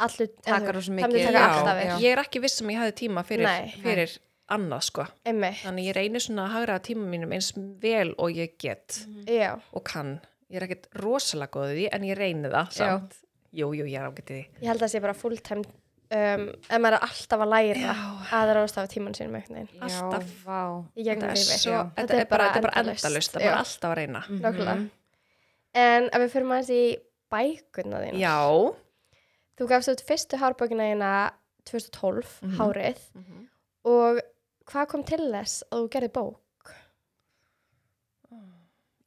A: allu
B: Taka rosa
A: Það myndi
B: mikið.
A: taka
B: Já,
A: allt af þér.
C: ég er ekki viss sem ég hafi tíma fyrir,
A: Nei.
C: fyrir annað sko
A: Einmitt,
C: þannig að ég reynir svona að hagra tíma mínum eins vel og ég get
A: já.
C: og kann ég er ekkert rosalega góð í því en ég reynir það samt jú, jú, ég er ágætið því
A: Ég held að það sé bara fulltime um, en maður er alltaf að læra að ráðstafa tíman sínum einhvern veginn.
C: alltaf.
B: já, vá
A: Í gegnum
C: þetta er,
A: lífið.
C: svo,
B: Já.
C: þetta er bara, þetta er bara
A: endalaust.
C: endalust það er
A: Já.
C: bara alltaf að reyna
B: Mhm.
A: Nákvæmlega. En ef við fyrir maður í bækunna þínu.
C: Mm-hmm. já
A: Þú gafst út fyrstu hárbókina þína 2012,
C: Mhm.
A: hárið og hvað kom til þess að þú gerði bók?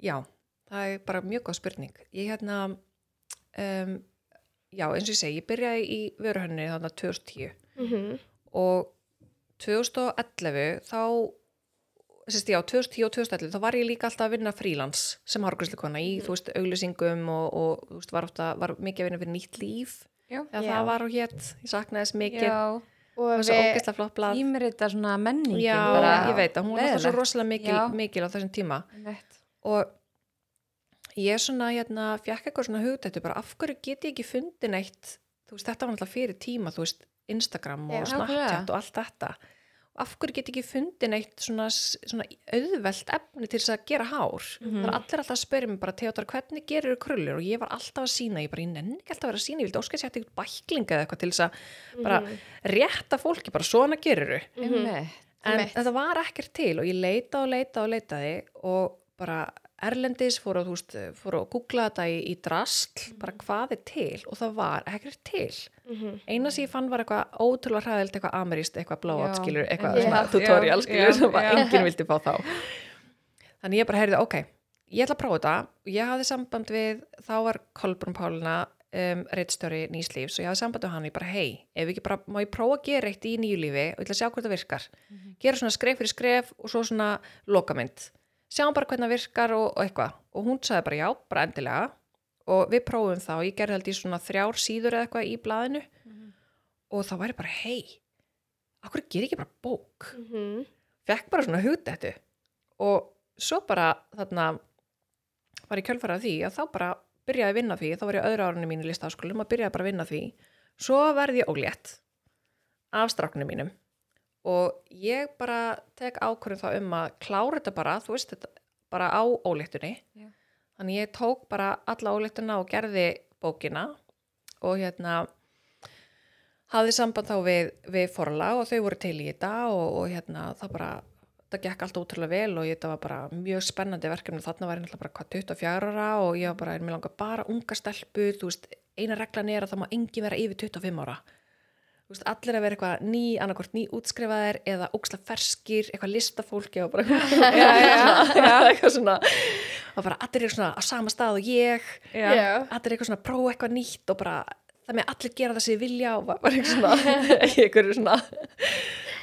C: Já, það er bara mjög góð spurning. Ég hérna, um, já eins og ég segi, ég byrjaði í vöruhönni þarna 2010
A: Mm
C: Mhm. og 2011 þá, sérst já, 2010 og 2011 þá var ég líka alltaf að vinna frílans sem harkurslikona í,
B: Mm.
C: þú veist, auglýsingum og, og þú veist, var, ofta, var mikið að vinna fyrir nýtt líf.
B: Já.
C: Eða
A: Já.
C: það var og hétt, ég saknaði þess mikið. Já.
B: já,
A: Og
C: Það var svo
A: við,
C: ógeðslega flott blað.
B: ímyrita svona menningin
C: Já,
B: bara,
C: ég veit að hún var alltaf svo rosalega mikil,
B: Já.
C: mikil á þessum tíma.
B: rosa
C: og ég svona hérna fjekk eitthvað svona hugdættu bara af hverju get ég ekki fundið neitt þú veist þetta var náttúrulega fyrir tíma þú veist Instagram og
A: Já,
C: Snapchat
B: nákvæmlega.
C: og allt þetta og af hverju get ég ekki fundið neitt svona, svona auðvelt efni til þess að gera hár
B: Mhm.
C: það var allir alltaf að spyrja mig bara Theodor hvernig gerir þú krullur og ég var alltaf að sína ég bara ég nenni ekki alltaf að vera að sína ég vildi óskast ég hætti eitthvað bæklinga eða eitthvað til þess að bara rétta fólki bara svona gerir þú
A: Mhm.
B: einmitt
C: en
A: Einmitt.
C: þetta var ekkert til og ég leita og leita og leitaði og bara erlendis fór að, þú veist, fór að googla þetta í, í drasl, bara hvað er til og það var ekkert til
A: Mhm.
C: eina sem ég fann var eitthvað ótrúlega hræðilt eitthvað ameríst, eitthvað blowout
B: Já,
C: skilur eitthvað
A: einmitt.
C: svona
B: Já,
C: tutorial
B: já,
C: skilur sem
B: já.
C: bara enginn vildi fá þá þannig ég bara heyrði, ok ég ætla að prófa þetta og ég hafði samband við, þá var Kolbrún Pálina um, reittstjóri nýslífs og ég hafði samband við hann og ég bara, hei, ef ekki bara má ég prófa að gera eitt í nýjulífi og ég ætla að sjá hvort það virkar
B: Mhm.
C: gera svona skref fyrir skref og svo svona lokamynd, sjáum bara hvernig það virkar og, og eitthvað, og hún sagði bara já bara endilega, og við prófum það og ég gerði held í svona þrjár síður eða eitthvað í blaðinu og það væri bara, hei, akkur ger ég ekki bara bók?
A: Mhm.
C: Fekk bara svona hugdættu og svo bara þarna var ég kjölfarað því að þá bara byrjaði að vinna því, þá var ég á öðru árunni mínu listaháskólum að byrjaði bara að vinna því. Svo verði ég ólétt af stráknum mínum og ég bara tek ákvörðum þá um að klára þetta bara, þú veist þetta, bara á óléttunni.
B: Já.
C: Þannig ég tók bara alla óléttuna og gerði bókina og hérna hafði samband þá við, við forla og þau voru til í þetta og, og hérna það bara, það gekk allt ótrúlega vel og þetta var bara mjög spennandi verkefni þarna var ég náttúrulega bara hvað 24 ára og ég var bara, mér langar bara unga stelpur þú veist, eina reglan er að það má engin vera yfir 25 ára þú veist, allir að vera eitthvað ný, annarkvort ný útskrifaðir eða óksla ferskir, eitthvað listafólki og bara
B: já, já,
C: eitthvað svona og bara allir eru svona á sama stað og ég
B: já, já.
C: allir eitthvað svona að prófa eitthvað nýtt og bara það með allir gera það sem þið vilja og var eitthvað svona eitthvað svona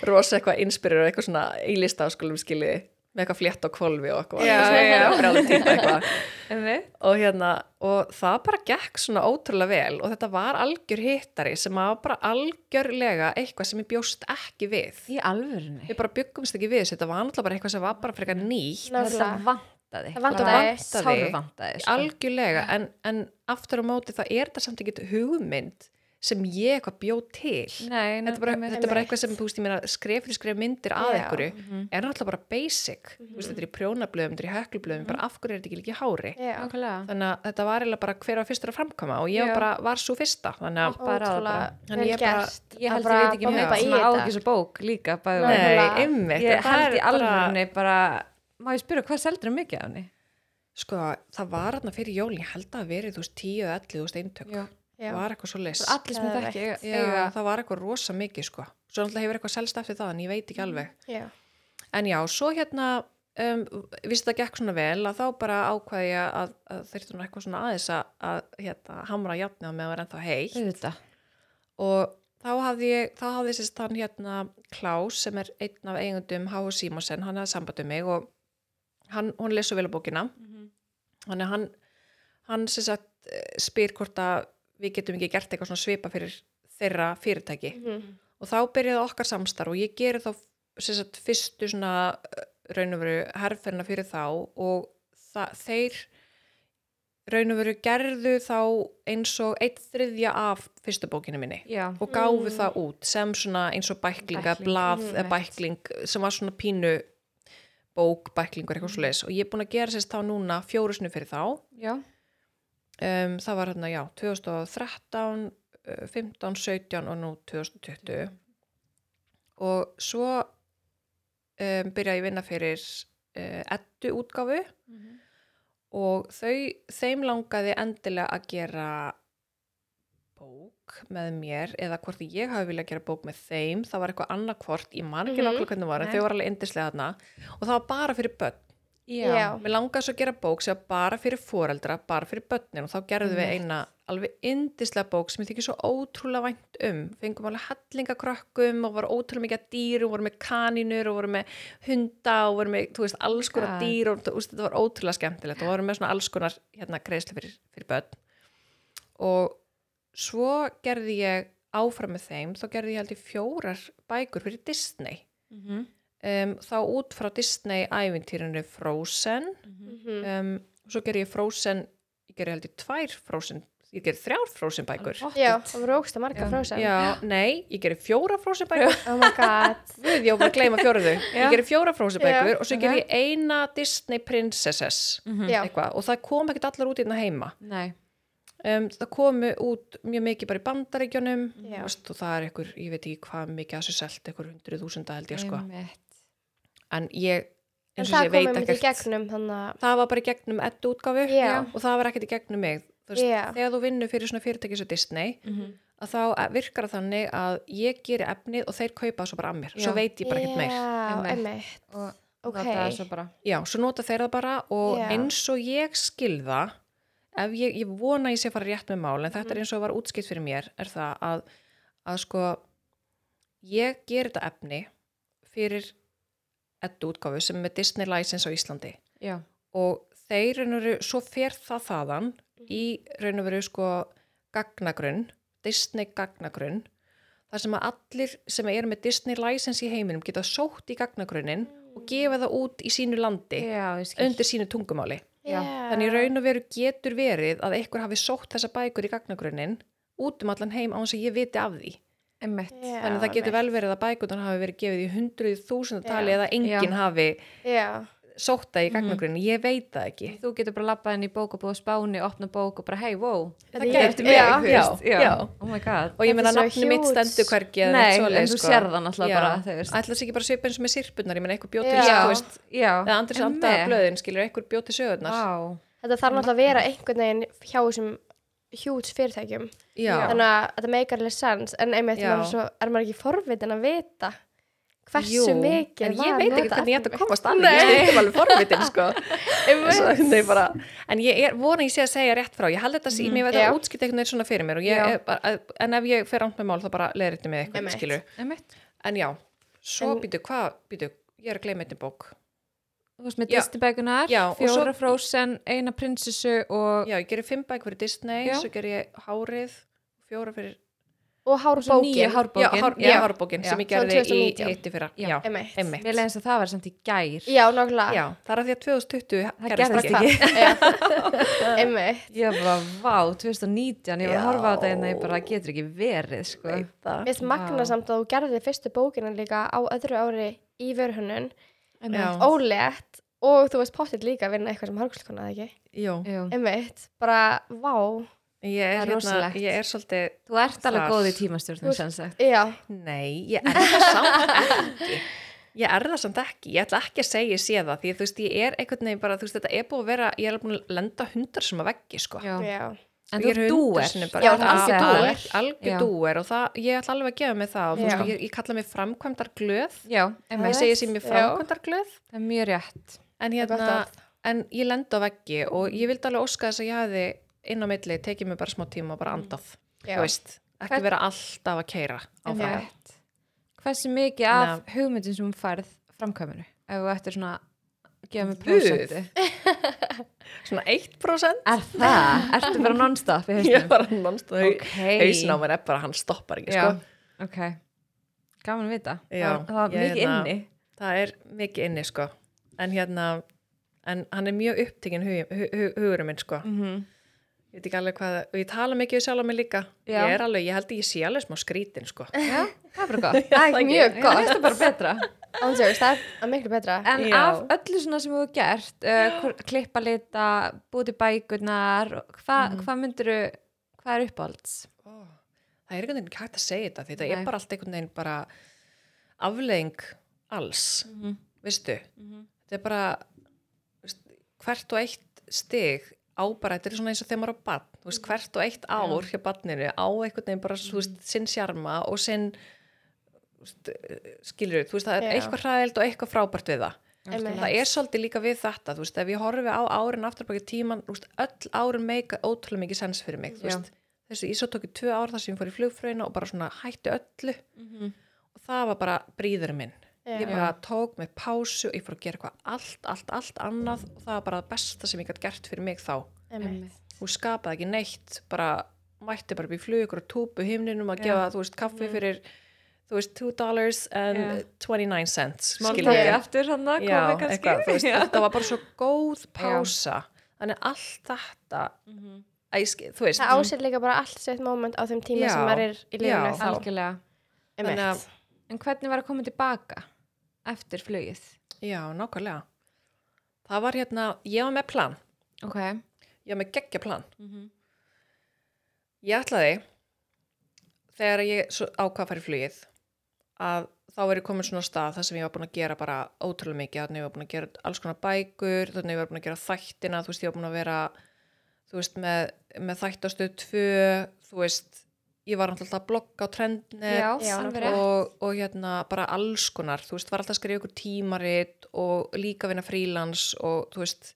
C: rosa eitthvað inspirir og eitthvað svona í listaháskólum skilji með eitthvað flétt á kvolfi og eitthvað,
B: Já,
C: svona,
B: já.
C: eitthvað, brjáltýpa eitthvað.
B: einmitt
C: og hérna og það bara gekk svona ótrúlega vel og þetta var algjör hittari sem að var bara algjörlega eitthvað sem ég bjóst ekki við
B: í alvörunni
C: við bara byggumst ekki við þessu, þetta var náttúrulega bara eitthvað sem var bara frekar nýtt
B: þetta vantaði
A: Það vantaði.
B: sáru vantaði sko.
C: algjörlega en, en aftur á móti það er þetta samt ekki hugmynd sem ég eitthvað bjó til
B: Nei,
C: þetta er bara,
B: nákvæmlega.
C: þetta er bara eitthvað sem, þú veist, ég meina skref fyrir skref myndir að
A: Já.
C: einhverju
B: Mhm.
C: er náttúrulega bara basic mm veist, þetta er í prjónablöðum, þetta er í höklublöðum
B: Mhm.
C: bara af hverju er þetta ekki líka í hári
A: Já,
B: Nákvæmlega.
C: þannig að þetta var eiginlega bara hver var fyrstur að framkoma og ég
B: Já.
C: var bara var svo fyrsta þannig að
B: bara að
A: ótrúlega
B: bara-
C: Þannig
A: vel
C: ég bara-
A: gert.
B: Ég
A: Að
B: held
A: bara
B: ég veit ekki
A: bomba
B: mjög
A: í
B: sem á
A: þetta.
B: ekki svo bók líka bæði
A: Nei.
B: og-
C: nei,
A: Nákvæmlega.
C: ymmið
B: Ég held í alvörunni bara Má ég spyrja hvað seldur mikið af henni?
C: sko, það var þarna fyrir jólin ég held að hafi verið þú veist 10 eða 11 þú veist eintök
B: Já.
A: Já.
C: var eitthvað svo leys
B: Allir sem
A: Geðveikt.
B: þetta ekki eiga
C: það var eitthvað rosa mikið sko svo náttúrulega hefur eitthvað selst eftir það en ég veit ekki alveg
A: Já.
C: en já, svo hérna um, vissi það gekk svona vel að þá bara ákvaði ég að, að þurfti nú eitthvað svona aðeins að, að hérna, hamra játnið með að vera ennþá heitt
B: auðvitað.
C: og þá hafði ég, þá hafði sérst hann hérna Klaus sem er einn af eigundum H.H. Simonsen, hann hafði sambandum mig og hann, hún lesu vel á bókina þannig að hann, hann sérst sagt eh, spyr hvort að við getum ekki gert eitthvað svona svipa fyrir þeirra fyrirtæki
A: Mhm.
C: og þá byrjaði okkar samstarf og ég geri þá sem sagt, fyrstu svona raunumveru herrferna fyrir þá og það, þeir raunumveru gerðu þá eins og eitt þriðja af fyrstu bókinu minni
B: Já.
C: og gáfu
A: Mm.
C: það út sem svona eins og bæklinga,
B: Bækling,
C: blað
B: mm,
C: eða
B: mitt.
C: bækling sem var svona pínu bók, bæklingur, eitthvað svo leis og ég er búin að gera sérst þá núna fjórusnu fyrir þá
B: Já.
C: um, það var hérna, já, 2013 eh, 15, 17 og nú 2020 og svo um, byrjaði ég að vinna fyrir uh, ettu útgáfu
A: Mhm.
C: og þau, þeim langaði endilega að gera bók með mér eða hvort ég hafi viljað gera bók með þeim það var eitthvað annað hvort, ég man ekki
A: Mhm.
C: nákvæmlega hvernig það var en
B: Nei.
C: þau var alveg yndislega þarna og það var bara fyrir börn
A: Já.
C: Mér langaði svo að gera bók sem var bara fyrir foreldra, bara fyrir börnin og þá gerðum við
B: Einmitt.
C: eina alveg yndislega bók sem ég þykir svo ótrúlega vænt um. Fengum alveg hellingakrökkum og var ótrúlega mikið að dýrum, vorum með kanínur og vorum með hunda og vorum með, þú veist, alls konar
B: God.
C: dýr og þú veist, þetta var ótrúlega skemmtilegt og vorum með svona alls konar hérna greiðslu fyrir, fyrir börn. Og svo gerði ég áfram með þeim, þá gerði ég held ég fjórar bækur fyrir Disney.
B: Mhm.
C: Um, þá út frá Disney ævintýrinu Frozen
A: Mhm.
C: um, svo ger ég Frozen ég ger held ég tvær Frozen ég ger þrjár Frozen bækur
B: Alveg
A: Já,
B: pottet.
A: það voru ógsta marga
B: Já.
A: frósa
C: já, nei, ég ger fjóra Frozen bækur
A: Oh my god
C: Guð, ég var bara að gleyma fjóruðu
B: Já.
C: ég ger fjóra Frozen bækur
A: Já,
C: og svo
B: ok.
C: ger ég eina Disney Princesses
B: Mhm.
A: Já.
C: eitthvað, og það kom ekkert allar út hérna heima
B: Nei.
C: um, það komu út mjög mikið bara í bandaríkjunum
A: Já.
C: Vast, og það er einhver, ég veit ekki hvað mikið að þessu selt einhver hundruð þúsunda held ég sko
B: Einmitt.
C: en ég,
A: En
C: eins og
A: það komum
C: ég veit
A: við í
C: ekkert
A: gegnum þannig
C: það var bara í gegnum eddu útgáfu
A: Já.
C: og það var ekkert í gegnum mig Þú veist,
A: Já.
C: þegar þú vinnur fyrir svona fyrirtæki svo Disney
B: Mhm.
C: að þá eh, virkar það þannig að ég geri efnið og þeir kaupa það svo bara að mér svo
B: Já.
C: veit ég bara ekkert meir
A: Já,
B: Einmitt.
A: emmitt
B: Og
A: Ok.
B: nota það svo bara.
C: já, svo nota þeir það bara og
A: Já.
C: eins og ég skilða ef ég, ég vona að ég sé að fara rétt með mál en þetta
A: Mhm.
C: er eins og var útskipt fyrir mér er það að, að sko ég geri þetta efni fyrir eddu útgáfu sem er með Disney License á Íslandi
B: Já.
C: og þeir raun og veru, svo fer það þaðan
B: Mhm.
C: í raun og veru sko gagnagrunn, Disney gagnagrunn þar sem að allir sem eru með Disney license í heiminum geta sótt í gagnagrunnin og gefa það út í sínu landi
B: Já, Mhm. ég skil.
C: undir sínu tungumáli.
B: Já.
C: Þannig í raun og veru getur verið að einhver hafi sótt þessa bækur í gagnagrunnin út um allan heim á hans að ég viti af því.
B: Einmitt.
A: Já,
C: Þannig það getur vel verið að bækurnar hafi verið gefið í hundruð þúsunda tali
A: Já.
C: eða enginn hafi
A: Já,
B: Mhm.
C: sótt það í gagnagrunnin. Ég veit það ekki.
B: Þú getur bara labbað inn í bókabúð Spáni, opna bók og bara hey, wow.
C: Það
A: Þetta
C: gerði
A: er-
C: mig,
A: já.
C: þú veist, já.
B: Oh my god.
C: Og ég
A: Þetta
C: meina
A: er svo
C: nafni mitt
A: huge.
C: stendur hvergi eða
B: Nei,
C: neitt
B: en
C: svoleiðis, sko.
B: þú sérð það náttúrulega
C: Já.
B: bara, þú veist.
C: Ætli það sé ekki bara svipa eins og með sirpurnar, ég meina einhver bjóti
A: Já.
C: til þú veist,
B: Já.
C: eða Andris
B: Einmitt.
C: Amdaða blöðin, skilur einhver bjóti sögurnar.
B: Vá.
A: þetta þarf náttúrulega að vera einhvern veginn hjá þessum hjúts fyrirtækjum
C: Já.
A: þannig að þetta meikar alveg sens en einmitt
C: Já.
A: maður er svo, er maður ekki forvitin að vita hversu
C: Jú,
A: mikið
C: en ég
A: maður
C: veit ekki
A: notar
C: hvernig ég ætti
A: efnið?
C: að komast að því, ég stundum alveg forvitin, sko. Svo,
A: Einmitt.
C: nei, bara, en ég er vona ég sé að segja rétt frá, ég held þetta sími, ég veit
A: Já.
C: að útskipt einhvern veginn svona fyrir mér og ég,
B: Já.
C: er bara, en ef ég fer ánd með mál þá bara leðir þetta með eitthvað,
A: Einmitt.
C: skilur.
B: Einmitt.
C: En já, svo
A: En-
C: býtu, hvað, býtu, ég er að gleyma einnig bók.
B: Þú veist með
C: Já.
B: Disneybækunar,
C: Já, og svo-
B: fjóra frósen, eina prinsessu og
C: Já, ég gerir fimm bæk fyrir Disney,
B: Já.
C: svo gerir ég hárið, fjóra fyrir
A: og
B: Svo nýju
A: hárbókin
B: hárbókin.
C: Já, hár, já,
A: Já.
C: hárbókin sem ég
A: Frá
C: gerði í
A: 2019.
C: hitti fyrra.
B: Já.
C: Já,
A: Einmitt.
C: einmitt.
B: Mér leðist að það var samt í gær.
A: Já, nákvæmlega.
C: Já, það er að því að 2020
B: Það gerðist
C: ekki.
B: ekki.
A: Einmitt.
B: Ég bara, vá, 2019, ég var að
C: Já.
B: horfa á þetta en ég bara getur ekki verið, sko.
A: Mér finnst
B: Vá.
A: magna samt að þú gerði fyrstu bókina líka á öðru ári í vörhönnun,
C: Já.
A: ólétt og þú veist pottitt líka að vinna eitthvað sem hargslukona eða ekki.
C: Jó,
B: Jú.
A: Einmitt, bara vá.
C: ég
B: Það er
C: er, hérna,
B: rosalegt.
C: ég er svolítið,
B: Þú ert alveg
C: Þar.
B: góð í
A: Þú
B: tímastjórnum,
A: ert-
B: sem sagt.
A: Já,
C: nei, ég er það samt ekki. Ég er það samt ekki, ég ætla ekki að segja ég sé það, því þú veist, ég er einhvern veginn bara, þú veist, þetta er búið að vera, ég er alveg búin að lenda hundar sem að veggi, sko.
B: Já.
A: já.
B: En
C: Og
B: þú
C: ég er
B: dúer.
C: hundarsinni
A: Já, þú
C: bara,
A: ert algjör
B: það.
A: dúer.
B: Já.
C: algjör dúer og það, ég ætla alveg að gefa mig það og þú
A: Já.
C: veist, ég, ég kalla mig framkvæmdar glöð,
B: Já, en
A: Það
C: ég
A: er
C: segi sem ég
A: rétt, já.
C: framkvæmdar glöð,
B: það er mjög rétt.
C: en
A: er gott
C: hérna,
A: orð.
C: en ég lenda á veggi og ég vildi alveg óska þess að ég hafi inn á milli, tekið mig bara smá tíma og bara
B: Mm.
C: andað,
A: Já.
C: þú veist, ekki
B: Hvern-
C: vera alltaf að keira á
A: Já.
C: það. Hérna.
B: Rétt. Hversu mikið af hugmyndum sem hún færð framkvæminu? Ef þú ættir svona að gefa mig
C: Guð.
B: prósentu.
C: Svona 1%
B: Er það? Ertu bara non-stop í
C: ég
B: haustum?
C: var hann mannst að
B: Ok.
C: hausin á mér er bara hann stoppar ekki,
B: Já,
C: sko.
B: ok. Gaman að vita.
C: Já,
B: það, það var
C: ég
B: mikið
C: hérna-
B: inni.
C: Það er mikið inni, sko. En hérna, en hann er mjög upptekinn hug, hug, hug, hugurum minn, sko.
B: Mm
C: Ég veit ekki alveg hvað, og ég tala mikið við sjálf á mig líka.
B: Já.
C: Ég er alveg, ég held að ég sé alveg smá skrítin, sko.
B: Já, það er bara gott.
A: Það er mjög
B: Það
A: gott.
B: er bara betra.
A: Ánsjós, það er miklu betra.
B: En
C: Já.
B: af öllu svona sem þú hefur gert, uh, hvor- klippa lita, búti bækurnar, hvað
C: Mhm.
B: mm. hva myndiru, hvað er uppáhalds?
C: Ó, Það er einhvern veginn ekki hægt að segja þetta, því þetta
B: Nei.
C: er bara allt einhvern veginn bara afleðing alls,
B: Mhm.
C: veistu? Þetta er bara, veist, hvert og eitt stig á bara, þetta er svona eins og þegar maður á barn, þú
B: Mhm.
C: veist, hvert og eitt ár hjá barninu á einhvern veginn bara, þú veist, sinn sjarma og sinn, þú veist, skilur þú veist, það er
A: Já.
C: eitthvað hræðild og eitthvað frábært við það.
A: Einmitt.
C: Það er svolítið líka við þetta, þú veist, ef ég horfi á árin afturbaki tíman, þú veist, öll árin meika ótrúlega mikið sens fyrir mig, þú
B: Já.
C: veist, þessu, ég svo tók í tvö ár þar sem ég fór í flugfröðina og bara svona hætti öllu
B: Mhm.
C: og það var bara bríðurinn minn.
A: Já.
C: Ég bara tók með pásu og ég fór að gera eitthvað allt, allt, allt annað og það var bara það besta sem ég gætt gert fyrir mig þá.
A: Einmitt.
C: Hún skapaði ekki neitt, bara mætti bara upp í flugur og túpu himninum
B: Já.
C: að
B: Mhm.
C: gefa, þú veist, kaffi fyrir, þú veist, two dollars and
B: Já.
C: 29 cents. skilurðu.
B: Máltaki aftur hann að
C: Já,
B: koma kannski.
C: eitthvað, þú veist,
B: Já.
C: þetta var bara svo góð pása þannig að allt þetta
B: Mhm.
C: að ég skil, þú veist
A: Það ásett líka bara allt sitt moment á þeim tíma
C: Já.
A: sem maður er í
C: Já.
A: lífinu þá.
B: Algjörlega.
A: Einmitt.
C: Þannig að-
B: En hvernig var að koma tilbaka eftir flugið?
C: já, nákvæmlega það var hérna, ég var með plan
B: Ok.
C: ég var með geggja plan
B: Mhm.
C: ég ætlaði þegar ég svo ákvað að fara í flugið að þá er ég komin svona á stað þar sem ég var búin að gera bara ótrúlega mikið þannig að ég var búin að gera alls konar bækur þannig að ég var búin að gera þættina þú veist, ég var búin að vera þú veist, með, með þættastuð tvö þú veist, ég var alltaf að blogga á trendnet
B: Já,
A: Já,
B: alveg rétt.
C: og, og hérna bara alls konar þú veist, var alltaf að skrifa ykkur tímarit og líka vinna frílans og þú veist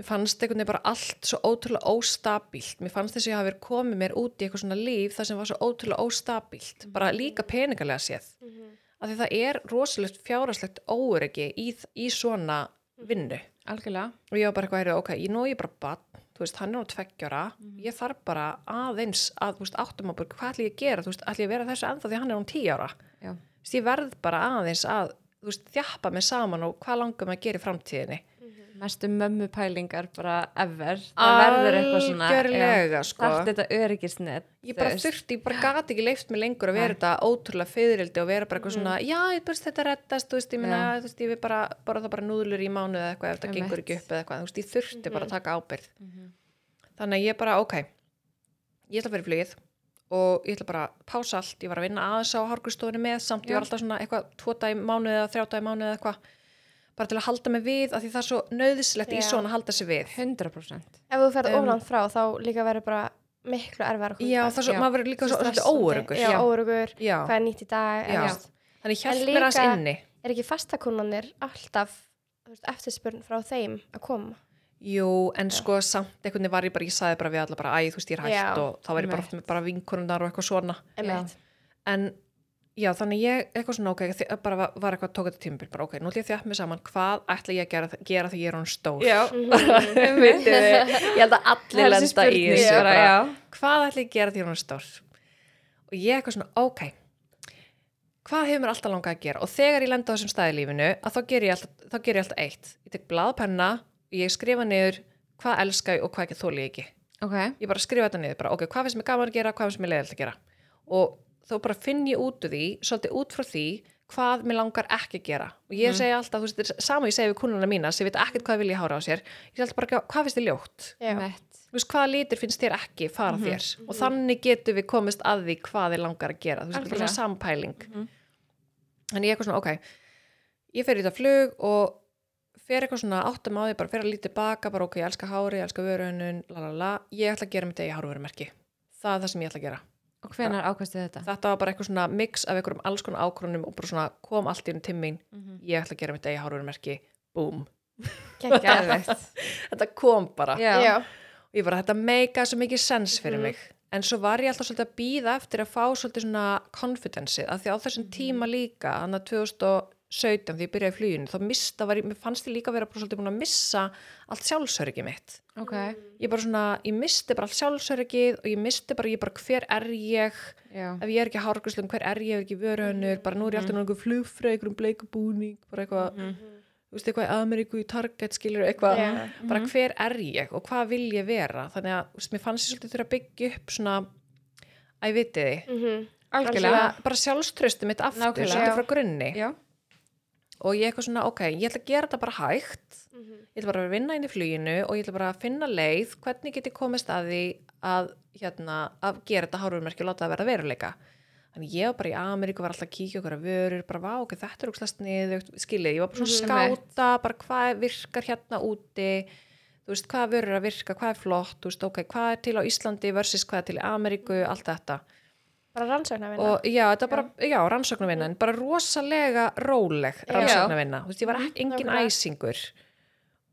C: mér fannst einhvern veginn bara allt svo ótrúlega óstabílt mér fannst þess að ég hafi verið komið mér út í eitthvað svona líf þar sem var svo ótrúlega óstabílt bara líka peningalega séð
A: Mhm.
C: af því það er rosalegt fjárhagslegt óöryggi í, í svona vinnu
B: Algjörlega.
C: og ég var bara eitthvað, heyrðu, ok, ég nú er ég bara bann, þú veist, hann er nú tveggjara ég þarf bara aðeins að, þú veist, áttum að bara, hvað ætlum ég að gera, þú veist, ætlum ég að vera þessu ennþá því að hann er nú tíu ára þú
B: Já.
C: veist, ég verð bara aðeins að, þú veist, þjappa mig saman og hvað langar mig að gera í framtíðinni
B: Mestu mömmu pælingar bara ever. Það verður eitthvað svona.
C: Algjörlega, sko.
B: Allt þetta öryggisnet.
C: ég bara þurfti, ég bara gati ekki leift mig lengur að vera þetta ótrúlega fyririldi og vera bara eitthvað svona, já, ég búist þetta reddast, þú veist, ég meina, þú veist, ég við bara, bara það bara núðlur í mánuð eða eitthvað, ef þetta gengur ekki upp eða eitthvað, þú veist, ég þurfti bara að taka ábyrð. Þannig að ég bara, ok, ég ætla að vera í flugið og ég ætla bara að pása allt, ég var að vinna aðeins á hárgrustofunni með, samt ég
B: Já.
C: var alltaf svona eitthvað tvo dag í mánuð eða þrjá dag í mánuð eða eitthvað, bara til að halda mig við, af því það er svo nöðislegt í
A: Já.
C: svona að halda sig við.
B: 100%.
A: Ef þú ferð
C: Um,
A: oflan frá þá líka verður bara miklu erfæra að koma
C: Já,
A: tilbaka.
C: það er svo,
B: Já.
C: maður verður líka svo, svo, svo, óörugur.
A: Já, óörugur,
C: Já.
A: hvað er nýtt í dag
C: Já.
A: en þú veist,
C: Þannig
A: En
C: hjælt mér aðeins
A: líka-
C: inni.
A: er ekki fastakunnanir alltaf þú veist, eftirspurn frá þeim að koma
C: Jú, en sko samt einhvern veginn var ég bara, ég sagði bara við alla bara, æ, þú veist, ég er hægt
A: Já,
C: og þá var ég
B: einmitt.
C: bara oft með bara vinkonundar og eitthvað svona.
A: Einmitt.
C: En já, þannig ég, eitthvað svona, ok, þi- bara var, var eitthvað tók þetta tímabil, bara ok, nú ætlum ég að þjátt mig saman, hvað ætla ég að gera, gera því ég er hún stór?
B: Já.
A: Mhm.
C: Vitið þið, ég held að allir lenda í þessu.
B: Bara,
C: bara,
B: já.
C: Hvað ætla ég að gera því ég er hún stór? og ég eitthvað svona, ok hvað hefur mér alltaf langað að gera og þegar ég lenda á þessum staði í lífinu að þá ger ég alltaf, þá ger ég alltaf eitt ég tek blaðpenna og ég skrifa niður hvað elska ég og hvað ekki þóli ég ekki
B: ok,
C: ég bara skrifa þetta niður, bara ok, hvað finnst mér gaman að gera hvað finnst mér leiðilegt að gera og þá bara finn ég út úr því, svolítið út frá því hvað mér langar ekki að gera og ég
B: Mm.
C: segi alltaf, þú veist, þetta er sama og ég segi við kúnuna mína sem veit ekkert hvað vilja hára á sér ég segi alltaf bara, hvað finnst þér ljótt
A: Já.
B: mett
C: þú veist, hvaða litur finnst þér ekki fara
B: Mhm.
C: þér og þannig getum við komist að því hvað þið langar að gera, þú veist, þetta er bara
B: Algjörlega.
C: svona sampæling
B: Mhm.
C: en ég er eitthvað svona, ok ég fer í þetta flug og fer eitthvað svona áttum á því, bara fer að lítið baka bara ok, ég elska hári, ég elska vöruhönnun la la la, ég ætla að gera mitt eigi hárvörumerki það er það sem ég ætla að gera
B: og hvenar ákvæmstu þetta?
C: þetta var bara eitthvað svona mix af einhverjum alls konar ákronum og bara svona kom allt í enn timmin
B: Mhm.
C: ég ætla að gera mitt eigi hárvörumerki, búm
B: Geðveikt.
C: þetta kom bara
B: Já.
A: Já.
C: og ég bara þetta meika svo mikið sens fyrir
A: Mhm.
C: mig en svo var ég alltaf svolítið að býða eftir að fá svolítið svona confidence af því á þessum tíma líka þannig að 2017 því ég byrjaði í fluginu þá mista var ég, mér fannst ég líka að vera bara svolítið búin að missa allt sjálfsöryggi mitt
B: ok,
C: ég bara svona, ég misti bara allt sjálfsöryggið og ég misti bara, ég bara hver er ég
B: já
C: ef ég er ekki hárgruslum, hver er ég, ef ég er ekki vöruhönnur bara nú er ég alltaf náttúrulega flugfröð, einhverjum bleikubúning bara eitthvað,
B: Mhm.
C: þú veist eitthvað í Ameríku í Target skilur eitthvað
A: Já.
C: bara hver er ég og hvað vil ég vera þannig að þú veist, mér fannst ég svolítið þurfa að byggja upp svona að ég viti því
A: Mhm.
B: algjörlega,
C: Svona bara sjálfströstu mitt aftur
B: Nákvæmlega.
C: svolítið
A: Já.
C: frá grunni
B: já
C: og ég eitthvað svona ok, ég ætla að gera þetta bara hægt
A: Mhm.
C: ég ætla bara að vinna inn í fluginu og ég ætla bara að finna leið hvernig get ég komist að því að, hérna, að gera þetta hárfurmerki og láta það verða veruleika þannig ég var bara í Ameríku var alltaf að kíkja okkur að vörur bara vá ok, þetta er ógslast niður skilið, ég var bara svona að
B: Mhm.
C: skáta bara hvað virkar hérna úti þú veist, hvað vörur að virka, hvað er flott þú veist, ok, hvað er til á Íslandi versus hvað er til í Ameríku, allt þetta
A: Bara rannsóknar vinna.
C: og já, þetta var bara, já, rannsóknarvinna en bara rosalega róleg
B: Já.
C: rannsóknarvinna, þú veist, ég var ekki engin
A: Nákvæmlega.
C: æsingur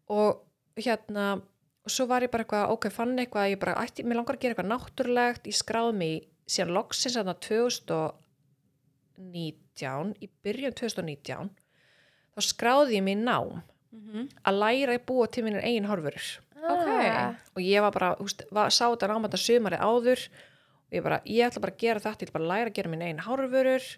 C: og hérna, og svo var ég bara eitthvað ok, fann eitthvað, að ég bara, ætti, mér langar að gera eitthvað náttúrulegt, ég skráði mig síðan loksins þarna 2019 í byrjun 2019 þá skráði ég mig í nám
B: Mhm.
C: að læra að búa til minni eigin horfurur
A: Ah.
C: og ég var bara, þú veist, var, sá þetta námönda sumarið áður og ég bara, ég ætla bara að gera þetta, ég ætla bara að læra að gera minn einn hárvörur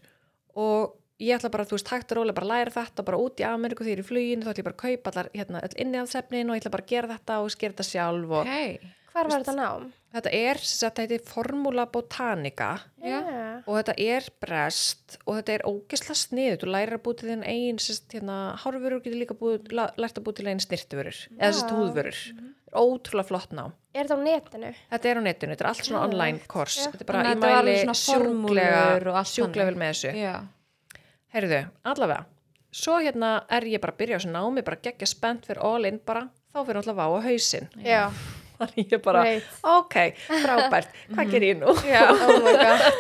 C: og ég ætla bara, þú veist, hægt og rólega bara að læra þetta bara út í Ameríku þegar ég er í fluginu, þá ætla ég bara að kaupa allar, hérna, öll innihaldsefnin og ég ætla bara að gera þetta og skera þetta sjálf og
B: ok,
A: Hvar var þetta nám?
C: þetta er, sem sagt, þetta heitir Formula Botanica
B: já
A: Já.
C: og þetta er brest og þetta er ógisla sniðu, þú lærir að búið til þinn einn sérst, hérna, hárvörur getur líka búið, la- lært að búið til einn snirtivörur eða sérst
A: Já.
C: húðvörur, ótrúlega flott nám
A: Er þetta á netinu?
C: Þetta er á netinu, þetta er allt svona
A: Geðveikt.
C: online kors
A: Já.
C: Þetta er bara,
B: Þannig að
C: ég
B: þetta var
C: mæli
B: alveg svona formúlur og
C: sjúklega
B: allt
C: sjúklega
B: þannig.
C: vel með þessu
B: já,
C: Heyrðu, allavega Svo hérna er ég bara að byrja á þessu námi bara geggja spennt fyrir all in bara þá fyrir alltaf á á hausinn
A: Já.
C: Þannig ég bara,
A: Right.
C: ok, frábært hvað ger ég nú?
A: Já. Oh my god.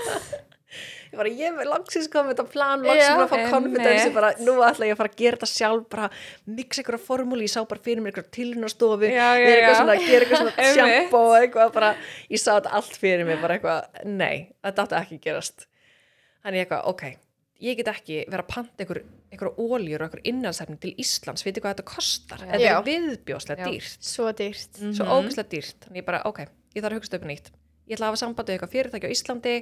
C: Ég bara, ég er langsins komið þetta plan, langsins
A: Já,
C: búin að fá
B: einmitt.
C: konfidensi bara, nú ætla ég að fara að gera þetta sjálf bara, mixa einhverja formúli, ég sá bara fyrir mér einhverja tilhjónastofi,
B: Já, já,
C: vera eitthvað
B: já.
C: svona, gera eitthvað svona
B: Einmitt.
C: sjampo og eitthvað bara, ég sá þetta allt fyrir mér bara eitthvað, nei, þetta átti ekki að gerast þannig ég eitthvað, ok ég get ekki vera að panta einhver einhver oljur og einhver innanstefni til Íslands veitir hvað þetta kostar,
B: Já.
C: þetta
A: Já.
C: er viðbjóslega
B: Já.
C: dýrt
A: Svo dýrt.
B: Mhm.
C: svo ógæslega dýrt, þannig ég bara, ok ég þarf að hugsa þetta upp á nýtt, ég ætla að hafa samband við eitthvað fyrirtæki á Íslandi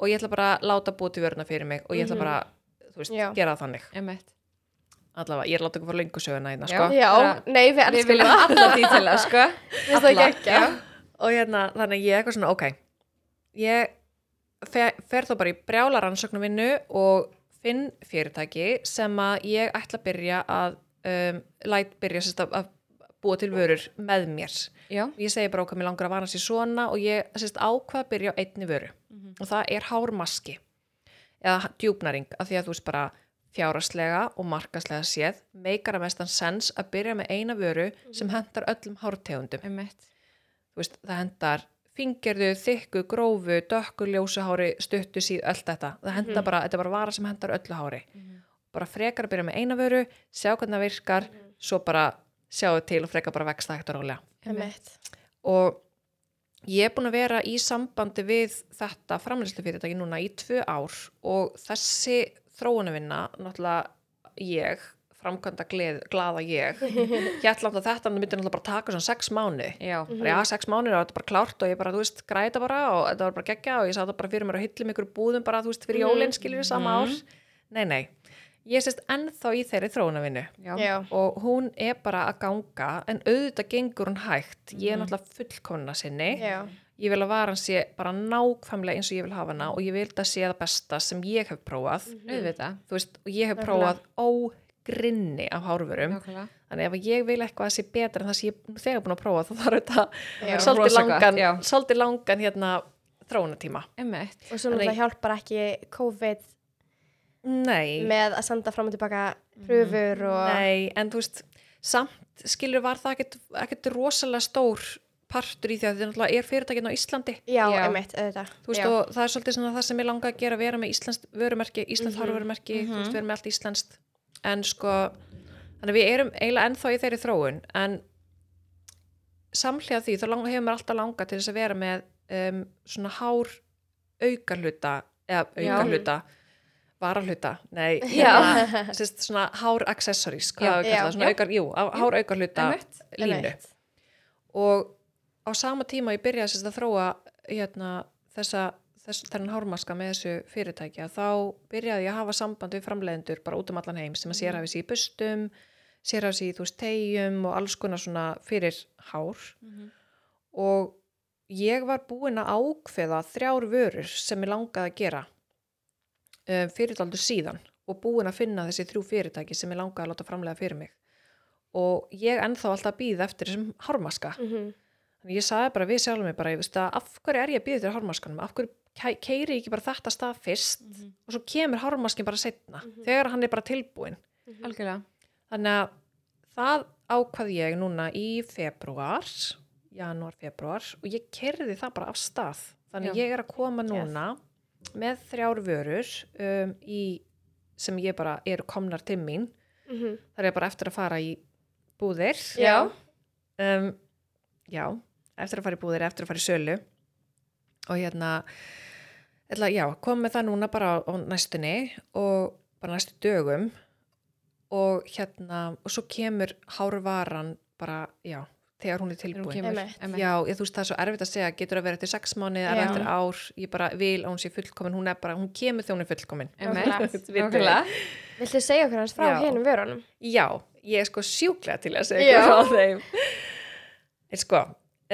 C: og ég ætla bara að láta búið til vöruna fyrir mig og ég ætla
A: Mhm.
C: bara, þú veist,
A: Já.
C: gera það þannig
B: emmett
C: allavega, ég er að láta ykkur fara löngu söguna hérna,
B: Já.
C: sko
A: Já.
B: Bara-
A: Nei, við
B: við
A: elskum
B: viljum
A: það.
B: alla dítila sko
A: Við finnst það
B: alla.
A: geggja.
C: og hérna, þannig að ég er eitthvað svona, ok ég fer, fer þá bara í brjála rannsóknarvinnu og finn fyrirtæki sem að ég ætla að byrja að um, læt byrja sérst að, að búa til vörur með mér
B: já,
C: ég segi bara okkar mér langar að vana sér svona og ég sérst ákvað að byrja á einni vöru
B: Mhm.
C: og það er hármaski eða djúpnaring, af því að þú veist bara fjáraslega og markaslega séð meikar að mestan sens að byrja með eina vöru sem hendar öllum hártegundum
B: emmett
C: þú veist, það hendar fingerðu, þykku, grófu, dökku, ljósu hári, stuttu síð, allt þetta. Það hendar bara, þetta er bara vara sem hendar öllu hári. Bara frekar að byrja með eina vöru, sjá hvernig það virkar, svo bara sjáu til og frekar bara vexta hægt og rólega.
A: Emmett.
C: Og ég er búin að vera í sambandi við þetta framlýslufyrirtæki núna í tvö ár og þessi þróunarvinna, náttúrulega ég, framkvæmda gleð, glaða ég hérna alltaf þetta en það myndi náttúrulega bara taka svona sex mánu
B: já,
C: bara já, sex mánu og þetta bara klárt og ég bara, þú veist, græta bara og þetta var bara geggja og ég sá þetta bara fyrir mér og hillum ykkur búðum bara, þú veist,
A: Mhm.
C: fyrir jólinn skilur við sama ár
B: Mhm.
C: nei, nei, ég sést ennþá í þeirri þróunavinu
B: já,
A: Já.
C: og hún er bara að ganga en auðvitað gengur hún hægt ég er
B: Mhm.
C: náttúrulega fullkomna sinni
A: Já.
C: ég vil að varan sé bara nákvæmlega eins og ég vil hafa hana og ég vil það sé það besta sem ég hef prófað
B: Mhm. auðvitað
C: þú veist, og ég hef
A: Nefnilega.
C: prófað ógrinni af hárvörum
B: nákvæmlega.
C: þannig ef ég vil eitthvað að sé betra en það sem ég er þegar búin að prófa þá þarf
A: Já.
C: þetta
B: Rosa
C: svolítið
B: gott,
C: langan,
B: já.
C: svolítið langan hérna, þróunatíma
B: Einmitt.
A: Og svona
C: Þannig-
A: það hjálpar ekki COVID
C: nei,
A: með að senda fram og tilbaka pröfur og...
C: nei, en þú veist samt skilur var það ekkert, ekkert rosalega stór partur í því að þetta náttúrulega er fyrirtækinn á Íslandi
A: Já,
B: Já.
A: einmitt, auðvitað.
C: þú veist
A: Já.
C: og það er svolítið svona það sem ég langa að gera vera með íslenskt vörumerki,
A: Mhm.
C: íslenskt mm þú veist
B: Mhm.
C: vera með allt íslenskt en sko, þannig að við erum eiginlega ennþá í þeirri þróun en samhlega því þá langa, hefur mér alltaf langa til þess að vera með um, svona hár aukarluta eða
B: Já.
C: aukarluta varahluta, nei
B: Já.
C: hérna, sérst, svona hár accessories hvað
B: Já.
C: á að kalla
A: Já.
C: það, svona
B: Já.
C: aukar, jú, hár aukarluta
B: Einmitt.
C: línu
A: Einmitt.
C: og á sama tíma ég byrjaði sérst að þróa hérna, þessa, þess, þennan hármaska með þessu fyrirtækja þá byrjaði ég að hafa samband við framleiðendur bara út um allan heim sem að sér hafi sér í bustum sér hafi sér í þú veist tegjum og alls konar svona fyrir hár
B: Mhm.
C: og ég var búin að ákveða þrjár vörur sem ég langaði að gera um, fyrirtaldur síðan og búin að finna þessi þrjú fyrirtæki sem ég langaði að láta framlega fyrir mig og ég ennþá alltaf að býða eftir þessum hármaska
A: Mhm.
C: Þannig ég sagði bara við sjálfum mig bara, ég veist að af hverju er ég að býða þér hármaskanum, af hverju kæ- keyri ég ekki bara þetta stað fyrst
B: Mhm.
C: og svo kemur hármaskin bara setna,
A: Mhm.
C: þegar hann er bara tilbúin.
B: algjörlega
C: Þannig að það ákvað ég núna í februar, janúar, februar og ég kerði það bara af stað. Þannig
B: Já.
C: ég er að koma núna með þrjár vörur um, í, sem ég bara eru komnar til mín.
A: Mhm.
C: Það er bara eftir að fara í búðir
A: Já.
C: um, já, eftir að fara í búðir eftir að fara í sölu og hérna ætla, já, kom með það núna bara á, á næstunni og bara næstu dögum og hérna og svo kemur hárvaran bara, já, þegar hún er
B: Þegar
C: tilbúin
B: hún kemur.
A: Einmitt.
B: Einmitt.
C: Já, ég, þú veist það er svo erfitt að segja, getur að vera eftir sex mánuði eða
A: Já.
C: eftir ár, ég bara vil að hún sé fullkomin, hún er bara, hún kemur þegar hún er fullkomin.
B: Einmitt.
A: Nákvæmlega.
C: Vitum við.
B: Nákvæmlega.
A: Viltu segja okkur hans frá
C: Já.
A: hinum vörunum?
C: Já, ég er sko sjúklega til að
A: Já.
C: segja eitthvað á þeim. En sko,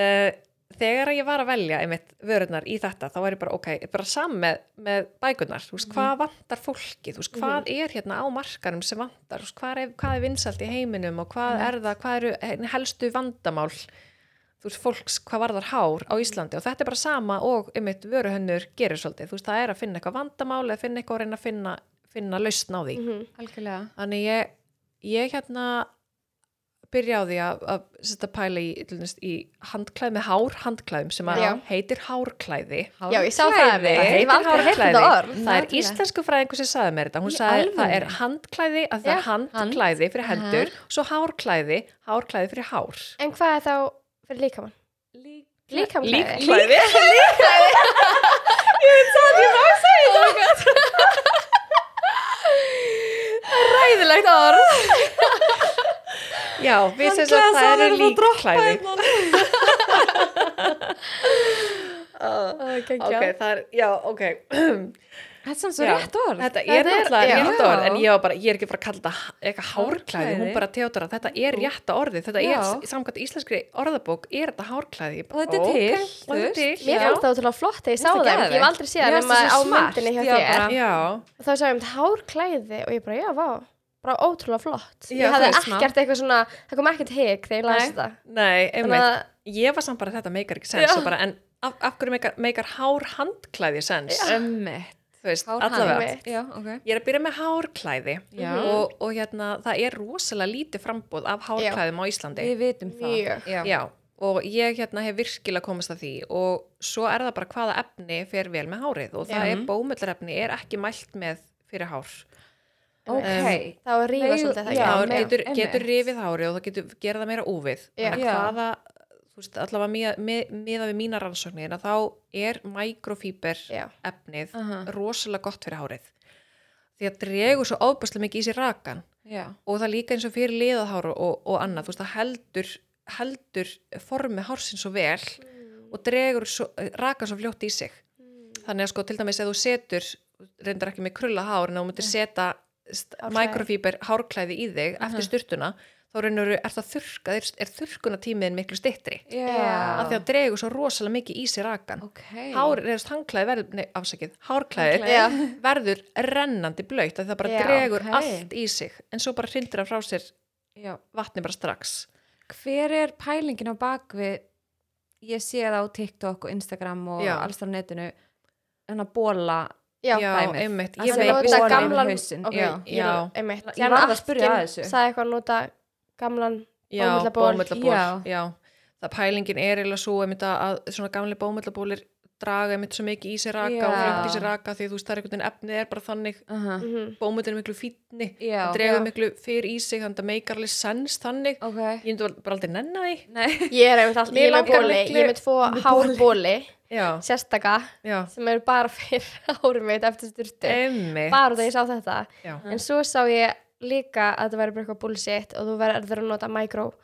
C: uh, þegar ég var að velja einmitt vörurnar í þetta, þá var ég bara, ok, ég er bara saman með, með bækurnar, þú veist, hvað vantar fólki, þú veist, hvað er hérna á markarum sem vantar, þú veist, hvað er, hvað er vinsalt í heiminum og hvað er það, hvað eru eh, helstu vandamál, þú veist, fólks, hvað varðar hár á Íslandi og þetta er bara sama og einmitt vöruhönnur gerir svolítið, þú veist, það er að finna eitthvað vandamál eða finna eitthvað og reyna að finna, finna lausn á því.
A: Mhm.
B: Algjörlega.
C: Þannig ég, ég hérna byrja á því að, að setja pæla í, til dæmis í handklæð með hár handklæðum sem að
A: Já.
C: heitir hárklæði.
A: Já, ég sá það
B: Hárklæði.
A: alveg. Ég hef aldrei heyrt
C: hárklæði.
A: þetta orð.
C: Það er
B: Nákvæmlega.
C: íslensku fræðingu sem saði mér þetta. Hún
B: Í
C: sagði það er
B: alvöru?
C: handklæði að það
B: Já,
C: er handklæði fyrir
B: hand.
C: hendur, svo hárklæði, hárklæði fyrir hár.
A: En hvað er þá fyrir líkamann? Líkamklæði?
C: Líkklæði.
B: Ræðilegt orð.
C: Já, við sem sagt
B: Handklæði,
C: það
B: það
C: eru
B: verður að droppa
C: líkklæði. Ok,
A: Líkamklæði.
C: það er, já, ok.
B: Þetta er samt svo
C: Já.
B: rétt orð.
C: Þetta
A: Þetta
C: er
A: er-
C: náttúrulega
A: já.
C: rétt orð en ég, var bara, ég er ekki að fara að kalla þetta eitthvað hárklæði,
B: Hárklæði.
C: hún bara teatur að þetta er rétta orðið, þetta
B: Já.
C: er samkvæmt íslenskri orðabók, er þetta hárklæði Ég
B: Og
C: bara,
B: þetta er
C: ok,
B: til,
C: og þetta er
B: þú veist.
C: til
A: Mér
C: já.
A: fannst það ótrúlega flott þegar ég sá
B: Mér finnst það
A: það, ég hef
B: geðveikt.
A: aldrei séð það
B: Mér
A: nema
B: finnst það
A: á
B: svo smart,
A: myndinni hjá
B: já,
A: þér.
B: bara-
C: já,
A: og þá sagði ég um þetta hárklæði og ég bara, já, vá, bara ótrúlega flott
C: Já,
A: ég hafði
B: það er smá.
A: ekkert eitthvað svona, það kom ekkert hik þegar ég
B: Nei.
A: las þetta
C: nei,
A: þannig
C: einmitt
A: að,
C: ég var samt bara þetta meikar ekki
A: Já.
C: sens og bara, en af, af hverju meikar, meikar hár handklæði sens,
B: Ömmit.
C: þú veist,
A: handklæði.
C: allavega
A: Einmitt.
B: Já, ok.
C: ég er að byrja með hárklæði
B: Já.
C: og, og hérna, það er rosalega lítið frambúð af hárklæðum á Íslandi
B: Við vitum það.
A: Mjög.
B: Já.
C: Já, og ég hérna hef virkilega komist að því og svo er það bara hvaða efni fer vel með hárið og
B: Já. Mhm.
C: það er bómullarefni er ekki mælt með fyrir hár.
B: Ok.
A: þá að rífa
B: Nei,
A: svolítið það
B: já,
A: ekki?
C: það
B: með-
C: getur,
B: einmitt.
C: getur rifið hárið og það getur gera það meira úfið.
A: Já.
C: Þannig
B: Já.
C: að Hvaða, þú veist, allavega miða- mið- miðað við mína rannsóknir að þá er mikrofíber
A: Já.
C: efnið
B: Aha.
C: rosalega gott fyrir hárið. Því að dregur svo ofbæslega mikið í sér rakan
B: já,
C: og það er líka eins og fyrir liðaðhár og, og annað, þú veist, það heldur heldur formið hársin svo vel og dregur svo, raka svo fljótt í sig þannig að sko til dæmis ef þú setur reyndar ekki með krulla hár en ef þú
B: Eh.
C: myndir setja
A: Hárklæði.
C: mikrofíber hárklæði í þig eftir styrtuna þá reynur, er það þurrka, er, er þurrkunatímiðin miklu styttri
B: já.
C: af því að dregur svo rosalega mikið í sig rakan
B: ok,
C: hár, reyðast hangklæði verður, nei afsakið hárklæðið
B: Hárklæðið. Já.
C: verður rennandi blöyt að það bara
A: Já,
C: dregur
B: ok.
C: allt í sig en svo bara hrindir það frá sér
B: já.
C: vatni bara strax
B: hver er pælingin á bakvið ég sé það á TikTok og Instagram og
C: Já.
B: alls þar á netinu en að bóla
A: Já,
C: já,
B: dæmið.
C: einmitt
B: Að sem
C: ég
A: Ég
C: veit
B: nota
C: víst
A: nota
C: ekki.
B: borin
A: gamlan
B: í hausinn,
A: ok,
C: já,
A: ég
C: já.
A: er- einmitt.
B: Ég varð að spyrja
A: Atkin
B: að þessu.
A: sagði eitthvað að nota gamlan
C: já,
A: bómullaból.
C: bómullaból
B: Já.
C: já. það pælingin er eiginlega svo einmitt að- að svona gamli bómullabólir draga einmitt svo mikið í sér raka og
B: Já.
C: fljótt í sér raka því þú veist það er einhvern veginn efnið er bara þannig
B: uh -huh.
A: mhm,
C: bómullin er miklu fínni
B: Já.
C: það dregur
A: Já.
C: miklu fyrir í sig þannig að það meikar alveg sens þannig
B: ok
C: ég myndi bara aldrei nenna því
B: Nei.
A: Ég er einmitt alltaf,
C: Mig
A: ég er með
C: langar
A: bóli,
C: miklu-
A: ég er með tvo hárbóli,
C: já,
A: sérstaka,
C: já,
A: sem eru bara fyrir hárið mitt eftir styrtu,
C: einmitt
A: bara þegar ég sá þetta.
C: já.
A: En svo sá ég líka að þetta væri bara eitthvað bullshit og þú verður að nota mikrofibra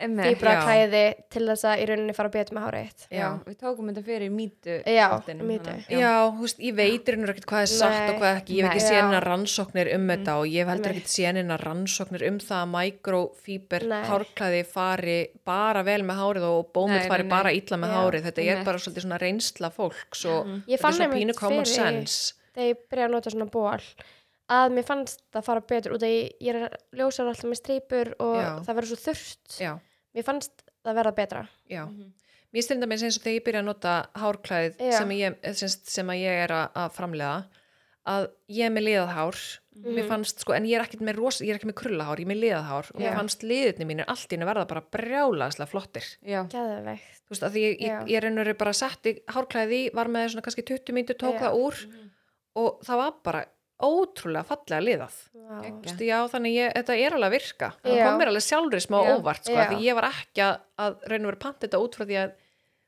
B: Einmitt.
C: Fíbra- Já.
A: klæði til þess að í rauninni fara betur með hárið þitt.
B: já, við tókum þetta fyrir mýtu
A: Já, mýtu.
C: Já, þú veist, ég veit reynur ekkert hvað er satt
A: Nei.
C: og hvað ekki, ég hef ekki
A: Nei.
C: séð
A: Já.
C: hennar rannsóknir um þetta og ég hef heldur
A: Nei.
C: ekkert séð hennar rannsóknir um það að mikrofíber
A: Nei.
C: hárklæði fari bara vel með hárið og
B: Nei,
C: bómull
B: nei,
C: fari
B: nei.
C: bara illa með
A: Já, Mhm.
C: hárið, þetta er
B: einmitt.
C: bara svolítið svona reynsla fólks og
A: Ég
C: þetta
A: fann
C: er svona
A: einmitt
C: pínu common
A: fyrir-
C: sense.
A: Þegar ég byrja að nota svona ból, að mér fannst það fara betur út af ég, ég er ljósar alltaf með strýpur og
C: Já.
A: það verður svo þurft.
C: Já,
A: Mér fannst það verða betra.
C: já. Mér styrir mér eins og þegar ég byrja að nota hárklæðið
A: Mhm. Já.
C: sem, ég, sem, sem að ég er að, að framlega að ég er með liðahár
A: Mhm.
C: mér fannst sko, en ég er ekkert með ros, ég er ekki með krullahár, ég er með liðahár og mér
A: Já.
C: fannst liðinni mínir allt í henni verða bara brjálaðslega flottir
B: já,
A: Gæðvegt.
C: þú veist, að því ég, ég,
A: Já.
C: ég raunur bara setti hárklæði í, var með svona kannski 20 mínútur tók
A: Já. Mhm.
C: það úr og það var bara ótrúlega fallega liðað
A: Vá.
C: Þú veist, já, þannig ég, þetta er alveg að virka það
A: Já.
C: kom mér alveg sjálfri smá
B: Já.
C: óvart sko, af
A: Já.
C: því ég var ekki að, að raunur panta þetta út frá því að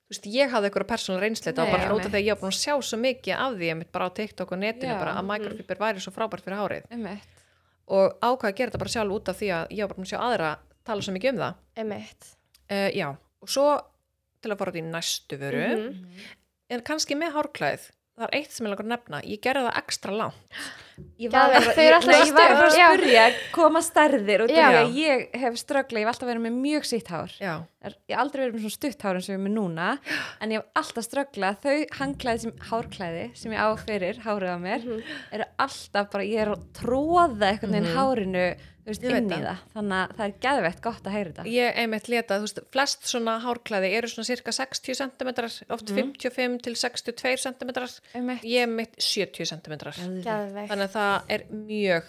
C: þú veist, ég hafði eitthvað persónulega reynsleita og
B: Nei,
C: bara
B: já,
C: nota
B: nei.
C: því að ég var búin að sjá svo mikið af því einmitt bara á TikTok og netinu
B: Já.
C: bara að microfiber væri svo frábært fyrir hárið
B: einmitt
C: og ákvað að gera þetta bara sjálf út af því að ég var bara búin að sjá aðra tala svo mikið um það
A: Emmett.
C: uh, já, og svo til að fara út í næstu vöru
A: Mhm.
C: en kannski með hárklæð það er eitt sem ég langar að nefna, ég gerði það ekstra langt
B: Ég var,
A: Geðveikt,
B: bara,
A: þau
B: ég,
A: eru alltaf
B: nei,
A: að
B: ég var bara að
A: stærðar.
B: spyrja koma stærðir og
A: Já.
B: því að ég hef ströggla, ég hef alltaf verið með mjög sítt hár
C: já,
B: er, ég hef aldrei verið með svona stutt hár eins og ég er með núna en ég hef alltaf strögglað þau hangklæði sem hárklæði sem ég á fyrir hárið á mér
C: Mhm.
B: eru alltaf bara, ég er að tróða einhvern veginn hárinu þú veist,
C: Ég veit
B: inn í
C: það.
B: það þannig að það er geðvegt gott að heyra þetta
C: ég einmitt leta þú veist, flest svona hárklæði eru svona cirka 60 cm, oft 55 til 62 cm
B: Einmitt.
C: ég er mitt 70 cm
B: Geðveikt.
A: Gæðvegt.
C: þannig að það er mjög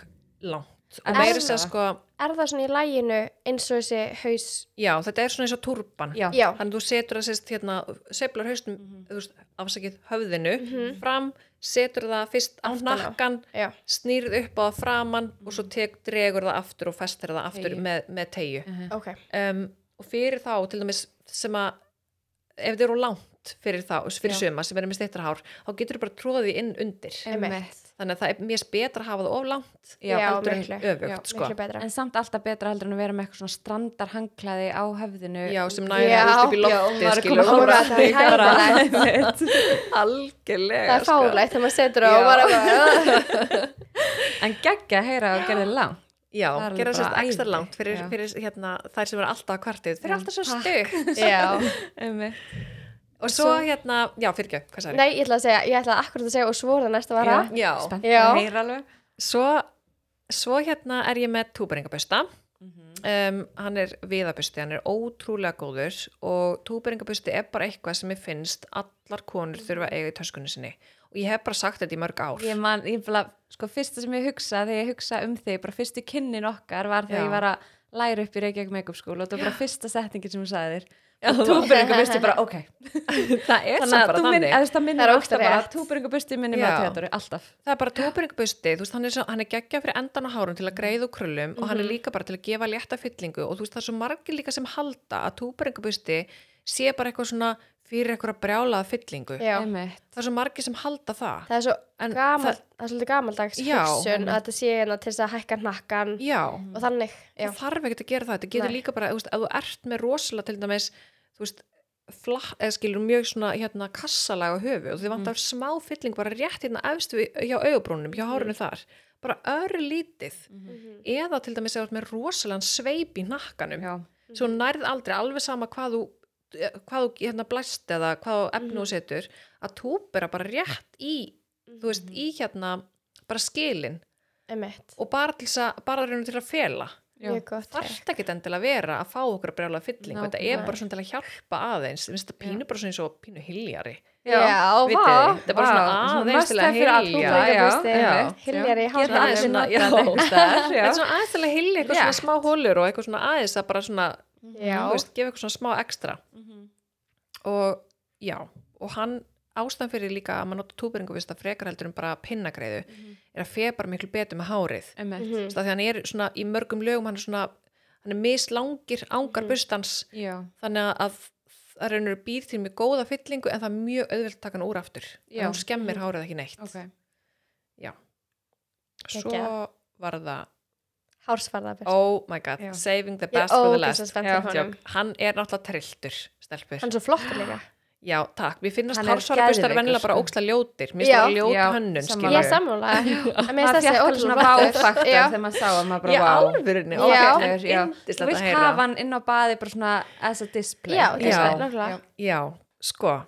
C: langt
B: En
C: og meira
A: er
C: sér
B: það?
C: sko,
A: Er það svona í læginu eins og þessi haus?
C: já, þetta er svona eins og turban
B: Já. Mhm.
A: Já.
C: þannig að þú setur það sérst hérna seiflar haustum, þú veist, afsakið höfðinu fram, setur það fyrst á
A: Aftan á.
C: nakkan,
A: Já.
C: snýrð upp á það framan og svo tek, dregur það aftur og festir það aftur
B: Teygju.
C: með, með tegju
A: Ok.
C: um, og fyrir þá til dæmis sem að ef þetta eru langt fyrir þá, fyrir
B: Já.
C: suma sem er með steyttarhár þá getur þú bara tróðið inn undir
A: Einmitt.
B: Einmitt.
C: þannig að það er mjög betra að hafa það of langt
A: Já,
C: heldur en
A: miklu.
C: öfugt
B: Já,
C: sko.
A: Miklu betra.
B: en samt alltaf betra heldur en að vera með eitthvað svona strandar hangklæði á höfðinu
C: já, sem
A: Já.
C: næður upp í
B: Já,
C: lofti
B: maður er
C: skilur,
B: komin
C: og
A: alveg að það er
C: bara- bara-
A: hræðilegt.
C: algjörlega
A: Það er
C: sko.
A: fálægt þegar maður setur á
C: Já.
A: og bara bara,
B: en geggja að heyra og gerði langt
C: Já,
B: Það er alveg
C: gera
B: bara
C: sérst ekstra
B: æði.
C: langt fyrir,
B: Já.
C: fyrir hérna, þær sem eru alltaf kvartið fyrir
B: Já,
C: alltaf svo
B: takk.
C: stutt
A: já.
B: Einmitt.
C: og svo hérna, já fyrir ekki, hvað sagði
A: Nei, ég ætla að segja, ég ætla að akkurat að segja og svo er það næsta vara.
B: Já.
C: Já,
B: spennt
A: Já.
B: að heyra alveg
C: svo, svo hérna er ég með túberingabösta um, hann er viðabusti, hann er ótrúlega góður og túberingabösti er bara eitthvað sem ég finnst allar konur þurfa að eiga í töskunni sinni og ég hef bara sagt þetta í mörg ár
B: Ég man, ég bara, sko, fyrsta sem ég hugsa þegar ég hugsa um þig, bara fyrstu kynnin okkar var þegar
C: Já.
B: ég var að læra upp í Reykjavík Makeup School og það var bara fyrsta setningin sem ég sagði þér og túberingabusti bara, ok
C: það er
B: þannig
C: samt
B: að
C: bara
B: þú minn,
C: þannig
B: eða það
A: Það
B: minnir
A: er
B: alltaf
A: ógeðslega
B: bara
A: rétt.
B: túberingabusti minnir mig
C: Já.
B: á teatru, alltaf
C: það er bara tóperingbusti, þú veist, hann er, svo, hann er geggja fyrir endan á hárun til að greiða úr krullum og
A: Mhm.
C: hann er líka bara til að gefa létta fyllingu og þú veist, það er svo margir líka sem halda að tóperingbusti sé bara eitthvað svona fyrir einhverja brjálaða fyllingu.
A: Já.
B: Einmitt.
C: Það er svo margir sem halda það.
A: Það er svo
C: En
A: gamal, það, er svolítið gamaldags
C: Já,
A: hugsun að þetta sé hérna til þess að hækka nakkan
C: Já,
A: og þannig. Já,
C: það þarf ekkert að gera það. Þetta getur
A: Nei.
C: líka bara, þú veist, ef þú ert með rosalega til dæmis, þú veist, flatt, eða skilur mjög svona hérna kassalaga höfu og þið
A: Mm.
C: vantar smá fylling bara rétt hérna efst við, hjá augabrúnum, hjá
A: Mm.
C: hárunum þar. Bara örlítið.
A: Mhm.
C: Eða til dæmis eða með rosalega sveip í nakkanum.
B: Já.
C: svo
A: Mm.
C: nærð aldrei alveg sama hvað þú hvað þú hérna blæst eða hvað þú efnu
A: Mm.
C: og setur að túbera bara rétt í þú veist,
A: Mm.
C: í hérna bara skilin
A: emitt.
C: og bara til þess að, bara raunum til að fela
B: Já.
A: Mjög gott. trick.
C: þarft ekki endilega að vera að fá okkur að brjála fylling, þetta er
B: Nákvæmlega.
C: bara svona til að hjálpa aðeins, Mér finnst þetta pínu bara svona eins og pínu hiljari
A: Já, vá.
C: vitið þið, þetta er bara svona
B: vá,
C: aðeins
B: must
C: til að
B: have fyrir alla, já,
C: hylja.
A: Húðleikabústi,
B: já.
A: hyljar í
B: Geta aðeins
A: hálfdanum.
B: svona-
C: já,
B: notað þetta einhvers staðar, já.
C: þetta er svona aðeins til að hilja eitthvað svona
B: Rétt.
C: smá holur og eitthvað svona aðeins að bara svona,
A: Já.
C: þú veist, gefa eitthvað svona smá ekstra
B: Mhm.
C: og já, og hann ástæðan fyrir líka að maður nota túberinguvista frekar heldur en bara pinnagreiðu er að feð bara miklu betur með hárið mm.
B: Einmitt.
A: Mhm.
C: því að hann er svona í mörgum lögum hann er svona, hann er mislangir ángar
A: Mhm.
C: bustans
B: Já.
C: þannig að það raunur býr til mjög góða fyllingu en það er mjög auðvelt að taka hann úr aftur
B: Já.
C: en hún skemmir hárið ekki neitt
B: Ok.
C: svo
A: Geggjað.
C: var það,
A: Hársfarðabur.
C: oh my god
B: Já.
C: saving the
A: Ég er
C: best for the
A: ógeðslega
C: last
A: spennt
B: Já,
A: fyrir honum.
C: Joke. hann er náttúrulega trilltur stelpur
A: Hann er svo flottur líka.
C: Já, takk. Mér finnast
B: Hann er
C: hársvarabustar
B: geðveikur,
C: vennilega bara
B: sko.
C: óksla ljótir. Mér finnst
A: Já.
C: það ljót
B: Já,
C: hönnun,
B: sammála.
C: skilur.
A: Ég
B: Alveg.
A: er sammála. En mér
B: Maður
A: finnst
B: fekk
A: þessi
B: alveg svona
A: ótrúlega flottur.
B: váfaktor
A: Já.
B: þegar maður sá að maður
C: Já,
B: bara vá.
C: alvörinni.
A: Já.
B: Ógeðlegur, já.
C: Þú
B: Þú vilt hafa hann inn á baði bara svona as a display.
A: Já,
C: Já.
A: display, nákvæmlega.
C: Já, sko.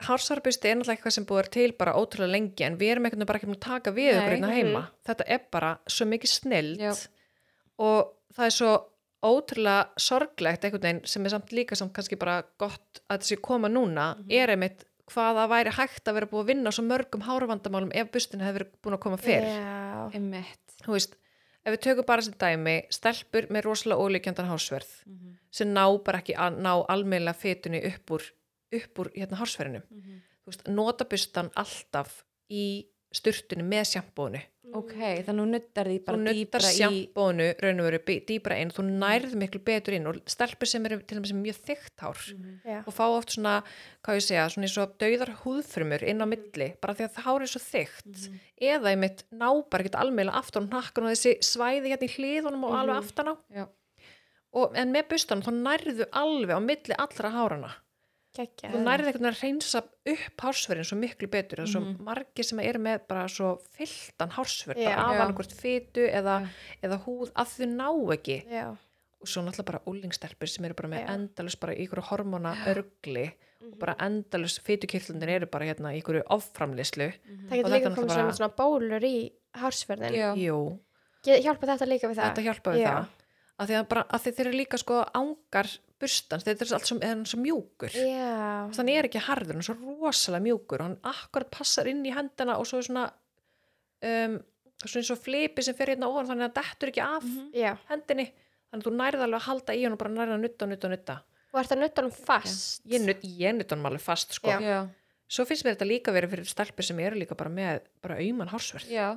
C: Hársvarabusti er náttúrulega eitthvað sem búið er til bara ótrúlega lengi en við erum einhvern veginn bara ekki búin að taka
B: Nei.
C: við
B: mhm.
C: okkur hérna heima. Þetta er bara svo mikið snild
B: Já.
C: og það er svo ótrúlega sorglegt einhvern veginn sem er samt líka samt kannski bara gott að þetta sé koma núna
B: Mhm.
C: er einmitt hvað það væri hægt að vera búið að vinna á svo mörgum hárvandamálum ef bustin hefur verið búin að koma fyrr.
A: Já.
B: Einmitt.
C: þú veist, ef við tökum bara sem dæmi stelpur með rosalega ólíkjandan hásverð
B: Mhm.
C: sem ná bara ekki að ná almeinlega fetunni upp úr, upp úr hérna hásverðinu, þú veist, nota bustan alltaf í sturtunni með sjampónu,
B: Ok,
A: Mhm.
B: þannig hún nuttar því
C: þú
B: bara
C: nuttar
B: dýbra í...
C: sjampónu raun og veru bí- dýpra inn, þú nærð miklu betur inn og stelpur sem eru til dæmis með mjög þykkt hár
B: Mhm.
A: Já.
C: og fá oft svona, hvað ég segja, svona eins og dauðar húðfrumur inn á milli, bara því að það hár er svo þykkt
B: Mhm.
C: eða einmitt ná bara ekkert almeinlega aftan á nakkan og þessi svæði hérna í hliðunum og
A: Mhm.
C: alveg aftan á
B: Já.
C: og, en með bustanum þá nærðu alveg á milli allra hárana
A: Gekkja.
C: þú nærðu einhvern veginn að reynsa upp hársverðin svo miklu betur, það er svo
B: Mhm.
C: margir sem eru með bara svo fylltan hársverð
A: Já.
C: bara af
B: Já.
C: hann hvort fytu eða, eða húð að þau ná ekki
A: Já.
C: og svo náttúrulega bara úlingstelpur sem eru bara með
A: Já.
C: endalus bara í ykkur hormona örgli
A: Mhm.
C: og bara endalus fytukirtlundir eru bara hérna í ykkur
A: Það
C: offramlislu Og
A: getur
C: þetta
A: líka
C: er
A: komið
C: náttúrulega
A: sem svona bólur í hársverðin.
B: Já.
C: jú,
A: Ge- Hjálpa þetta líka við það?
C: þetta hjálpa við
A: Já.
C: það að því, að bara, að því þeir eru líka sko ángar burstans, þetta er allt sem er hann svo mjúkur
A: Já.
C: þannig er ekki harður, hann er svo rosalega mjúkur og hann akkurat passar inn í hendina og svo er svona um, svona eins og flipi sem fer hérna ofan þannig að hann dettur ekki af
B: Mhm.
A: Já.
C: hendinni þannig að þú nærið alveg að halda í hann og bara nærið að nutta og nutta og nutta
A: Og ert að nutta hann fast.
C: ég, nut, ég nutta hann alveg fast sko
A: Já.
B: Já,
C: svo finnst mér þetta líka verið fyrir stelpur sem eru líka bara með bara auman hársverð
B: já,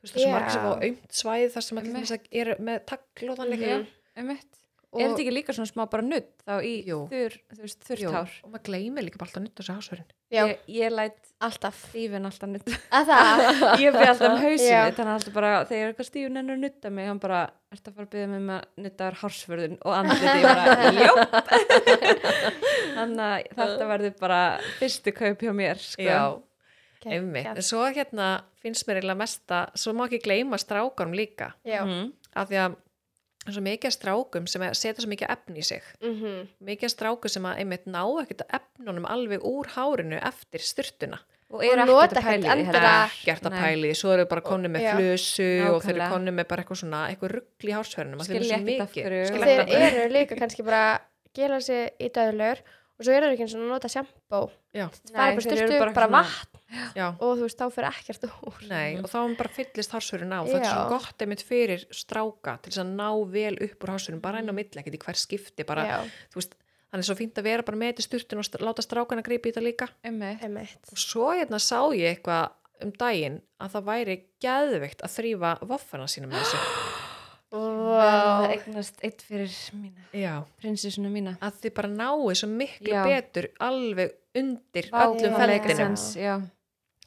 C: þú veist það sem
A: Já.
C: margir sem á aumt svæði þar sem að til
B: Einmitt.
C: dæmis að eru með tagl og þannig
A: Mhm.
B: já, einmitt. Er þetta ekki líka svona smá bara nutt þá í
C: Jú.
B: þurr, þú veist, þurrt
C: Jú,
B: hár?
C: og maður gleymir líka bara alltaf að nutta sér hásverðin
A: Já.
B: Ég, ég læt
A: Alltaf.
B: stífin alltaf nutt.
A: Að það?
B: ég byrði alltaf um
A: Já.
B: hausinu, þannig að alltaf bara, þegar eitthvað stífin ennur nutta mig, hann bara, ert að fara að byrja mig um að nutta þar hársförðun og andliti, ég bara, jóp. þannig að þetta verður bara fyrstu kaup hjá mér, sko.
C: einmitt en svo hérna finnst mér eiginlega mesta svo má ekki gleyma strákarum líka
A: Já.
B: Mhm.
C: af því að það er svo mikið af strákum sem að setja svo mikið efni í sig
A: Mhm.
C: mikið af strákum sem að einmitt ná ekkert efnunum alveg úr hárinu eftir styrtuna
B: Og eru
A: Og
B: ekkert
A: nota
B: að pæli
A: ekkert
B: í
A: endilega-
B: þetta.
C: gert að
B: Nei.
C: pæli, því, svo eru bara konu með
A: Já.
C: flösu og þeir eru
B: Nákvæmlega.
C: konu með bara eitthvað svona eitthvað ruggli í hásverðinum
B: Skilja ekkert af hverju.
A: Og
B: Skilja
A: þeir
B: ekkert af
A: eru líka kannski bara að gera sig í döðlur og svo eru þeir ekki eins og nota sjampó
C: Já,
A: bara bara
B: Nei, þeir eru
A: styrtu, bara,
B: bara svona-
A: vatn
C: já,
A: og þú veist, þá fyrir ekkert úr
C: nei, og þá er bara fyllist hásverðin á það er
A: Já.
C: svo gott einmitt fyrir stráka til þess að ná vel upp úr hásverðin bara einn á milli, ekkert í hver skipti bara,
A: Já,
C: þú veist, þannig er svo fínt að vera bara með þetta í sturtun og st- láta strákana greipi í þetta líka
B: Einmitt.
A: einmitt
C: og svo hérna sá ég eitthvað um daginn að það væri geðveikt að þrýfa voffana sína með þessu
B: Það
A: Vá.
B: eignast eitt fyrir mína,
C: já,
B: prinsessuna mína.
C: að þið bara náu svo miklu
B: Já.
C: betur alveg undir
B: Vá,
C: öllum
B: það make a
C: feldinum
B: sense, já.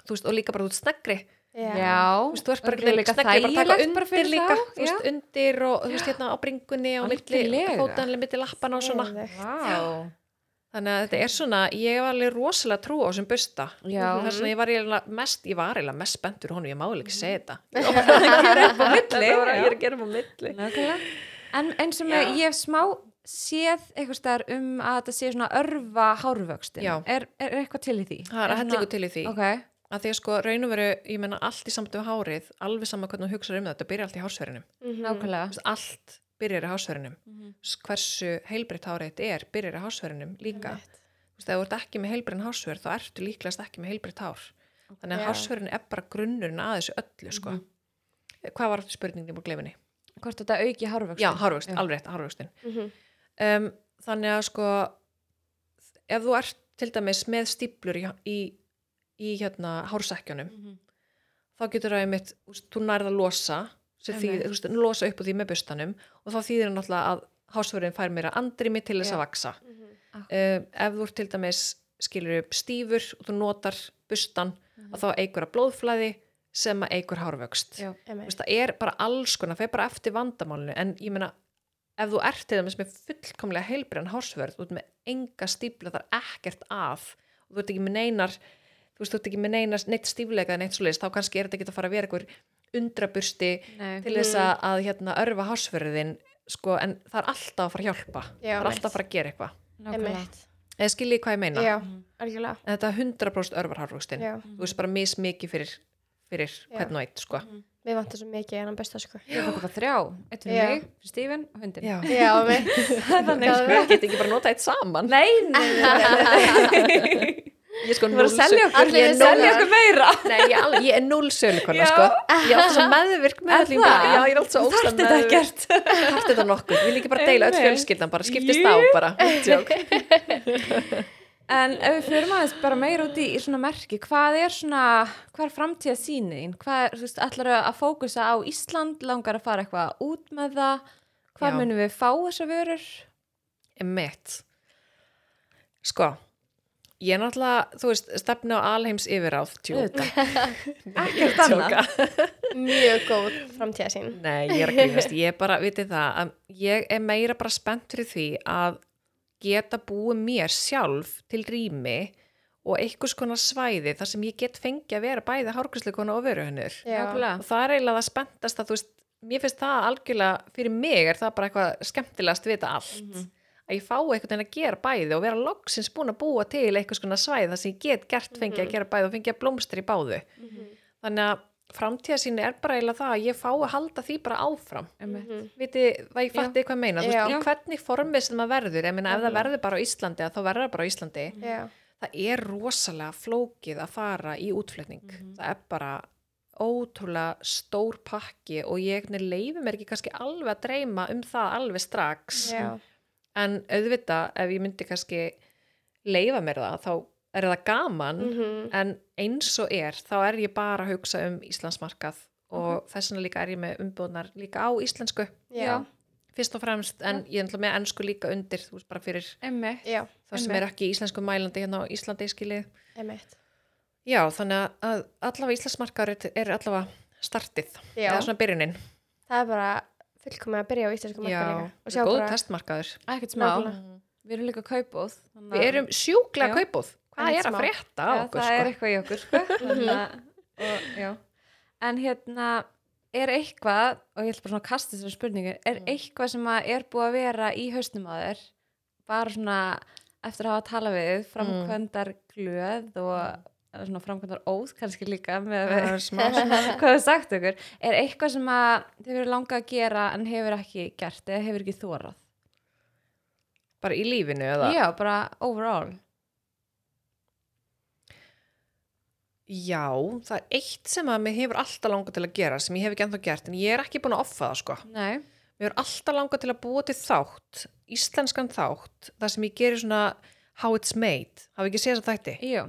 C: þú veist, og líka bara út snegri
A: Já.
B: Já,
C: þú veist, þú ert bara
B: Og líka
C: snegri bara að taka
B: þægilegt bara
C: undir
B: fyrir
C: líka
B: þá,
C: þú veist, undir og þú veist, hérna á bringunni og milli
B: Algjörlega.
C: fótanlega milli lappana og svona
A: Geðveikt.
B: Vá.
C: þannig að þetta er svona, ég var alveg rosalega trú á þessum busta
B: Já.
C: þess vegna ég var eiginlega mest, ég var eiginlega mest spenntur honum, ég má eiginlega ekki segja þetta
B: milli,
C: Þetta var
B: já.
C: að ég er að gera um á milli
B: Nákvæmlega. En eins og með, ég hef smá séð eitthvað staðar um að þetta sé svona örfa hárvöxtin.
C: Já.
B: Er, er eitthvað til í því?
C: það er að hellingu til í því
B: Ok,
C: að því að sko raun og veru, ég menna allt í samt um hárið alveg sama hvernig þú hugsaður um þetta, byrja allt í hársverðinum
A: Mhm.
B: nákvæmlega.
C: allt byrjar í hársverðinum
B: Mhm.
C: hversu heilbritt hárið þetta er byrjar í hársverðinum líka
A: Einmitt.
C: Þú veist, ef þú ert ekki með heilbrinn hársverð þá ertu líklegast ekki með heilbritt hár þannig að
A: Já.
C: hársverðin er bara grunnurinn að þessu öllu sko. hvað var þetta spurningin úr glefinni?
B: Hvort þetta auki hárvöxtin?
C: Já, hárvöxt,
B: Já.
C: alveg rétt, hárvöxtin
A: Mhm.
C: um, þannig að sko ef þú ert til dæmis með stíplur í, í, í hérna hársekkjunum
B: Mhm.
C: þá getur það einmitt, þú veist, þú nærð að losa sem því,
B: Einmitt.
C: þú veist, losa upp úr því með bustanum og þá þýðir það náttúrulega að hásverðin fær meira andrimi til þess
B: Já.
C: að vaksa
A: Mhm.
C: um, ef þú ert til dæmis skilur upp stífur og þú notar bustan
B: Mhm.
C: að þá eigur að blóðflæði sem að eigur hárvöxt
B: Já.
C: Þú
A: Einmitt.
C: veist, það er bara alls konar, það er bara eftir vandamálinu en ég meina, ef þú ert til dæmis með fullkomlega heilbrenn hársvörð út með enga stífla þar ekkert að og þú ert ekki með neinar þú veist, þú ert ekki með neinar neitt stífleika eða neitt svoleiðis, þá kannski er þetta ekki að fara að vera einhver undrabursti
B: Nei.
C: til
A: Mhm.
C: þess að, að hérna, örfa hársvörðin sko, en það er alltaf að fara að hjálpa
A: Já,
C: það
A: mitt.
C: er alltaf að fara að gera eitthvað
B: Nákvæmlega.
A: Einmitt.
C: eða skiljið hvað ég meina,
A: Já,
B: Mhm.
A: algjörlega.
C: en þetta 100% örfar hárvöxtin,
A: Já.
C: þú veist bara mismikið fyrir, fyrir
A: Já.
C: hvern og eitt sko.
A: Mér vantar svo mikið en hann besta sko.
B: Ég tók bara þrjá, eitt fyrir
A: Já.
B: mig, fyrir Stífin og hundin.
C: Já.
A: Já, mitt.
B: Þannig
A: Já,
B: sko.
A: við-
C: Ég get ekki bara nota eitt saman
B: Nei, nei,
C: Ég er sko
B: þú voru að selja okkur,
A: Allir
B: ég
A: eru
B: selja
A: núna.
B: okkur meira.
C: Nei, ég, al, ég er null sölukona
B: Já.
C: sko. Ég er alltaf svo meðvirk með
B: Er
C: öllum
B: það?
C: Já, ég er alltaf svo
B: Þarfti
C: óslæm
B: þetta ekkert.
C: Þarfti þetta nokkuð, við líka bara deila öll
B: Einmitt.
C: fjölskyldan bara skiptist
B: Jú.
C: á bara Joke.
B: En ef við fyrir maður bara meira út í, í svona merki, hvað er svona, hvað er framtíða sínin? Hvað er, þú veist, ætlar að fókusa á Ísland, langar að fara eitthvað út með það? Hvað
C: Já.
B: munum við fá þessa vörur?
C: Emmett Sko Ég er náttúrulega, þú veist, stefna á alheims yfiráð tjóka.
B: Ekkert annað.
A: Mjög góð framtíða sín.
C: Nei, ég er að grínast, ég er bara, vitið það að ég er meira bara spennt fyrir því að geta búið mér sjálf til rými og einhvers konar svæði þar sem ég get fengið að vera bæði hárgrísleikona og veru hennur
A: Já,
B: Nákvæmlega.
C: og það er eiginlega það spenntast að þú veist, mér finnst það algjörlega fyrir mig er það bara eitthvað skemmtilegast við þetta allt að ég fái einhvern veginn að gera bæði og vera loksins búin að búa til einhvers konar svæði þar sem ég get gert fengið að gera bæði og fengið að blómstra í báðu
A: Mhm.
C: þannig að framtíða sín er bara eiginlega það að ég fái að halda því bara áfram
B: Einmitt.
C: Viti, það ég fatti hvað ég meina, þú veist,
A: Já. Mhm.
C: í hvernig formið sem það verður, ég meina ef það verður bara á Íslandi að þá verður það bara á Íslandi,
A: já,
C: það er rosalega flókið að fara í útflutning,
A: Mhm.
C: það er bara ótrúlega stór pakki og ég leifi mér ekki kannski alveg að dreyma um það alveg strax,
A: já.
C: en auðvitað ef ég myndi kannski leifa mér það, þá er það gaman,
A: Mhm.
C: en eins og er, þá er ég bara að hugsa um Íslandsmarkað og þess vegna líka er ég með umbúðnar líka á íslensku
A: Já,
C: fyrst og fremst, en ég er náttúrulega með ennsku líka undir, þú veist, bara fyrir
B: Emmi.
A: já,
C: það sem
B: Einmitt.
C: er ekki í íslensku mælandi hérna á Íslandi skilið.
A: einmitt.
C: Já, þannig að allavega Íslandsmarkar er allavega startið,
A: Já.
C: eða svona byrjunin.
A: Það er bara fullkomið að byrja á íslensku
C: Já,
A: marka líka. Og
C: þetta
A: sjá
C: er góð
A: bara,
C: testmarkaður.
B: Ekkert smá.
A: Nákvæmlega.
B: Við erum líka kaupóð. þannig að-
C: Við erum sjúklega
B: Já.
C: kaupóð. Hvað
A: Ekkert
C: er að
A: smá.
C: frétta á
B: Já,
C: okkur,
B: það er
C: sko?
B: eitthvað í okkur sko. Þannig að- og, já. en hérna er eitthvað og ég ætla bara svona að kasta þessari spurningu er
C: Mm.
B: eitthvað sem að er búið að vera í haustum á þér bara svona eftir að hafa talað við framkvæmdar
A: Mm.
B: glöð og eða svona framkvæmdar óð kannski líka með
C: Það er smá,
B: hvað þau sagt okkur er eitthvað sem að þau verið langað að gera en hefur ekki gert eða hefur ekki þórað
C: bara í lífinu, eða?
B: já, bara overall
C: Já, það er eitt sem að mér hefur alltaf langað til að gera, sem ég hef ekki ennþá gert, en ég er ekki búin að offa það, sko.
B: nei,
C: Mér er alltaf langað til að búa til þátt, íslenskan þátt, það sem ég gerir svona How It's Made. Hafið ekki séð þess að þætti?
B: jú,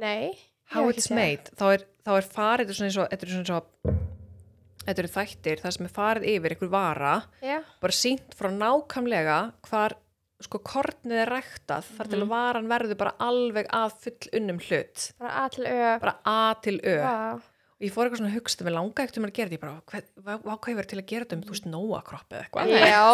A: nei. ég
C: How
A: hef ekki
C: It's
A: séð
C: Made, þá er, þá er farið þetta er svona eins og, þetta er svona eins og þetta eru þættir, það sem er farið yfir einhver vara,
A: það. Já,
C: bara sínt frá nákvæmlega hvar sko kornið er ræktað þar
A: Mhm.
C: til að varan verður bara alveg að full unnum hlut
A: bara A til Ö
C: bara A til Ö
A: Vá.
C: og ég fór eitthvað svona að hugsa mig langa ekkert um að gera þetta ég bara, hvað, hvað, hvað hefur til að gera þetta um þú veist nóakropp eða eitthvað
A: Já,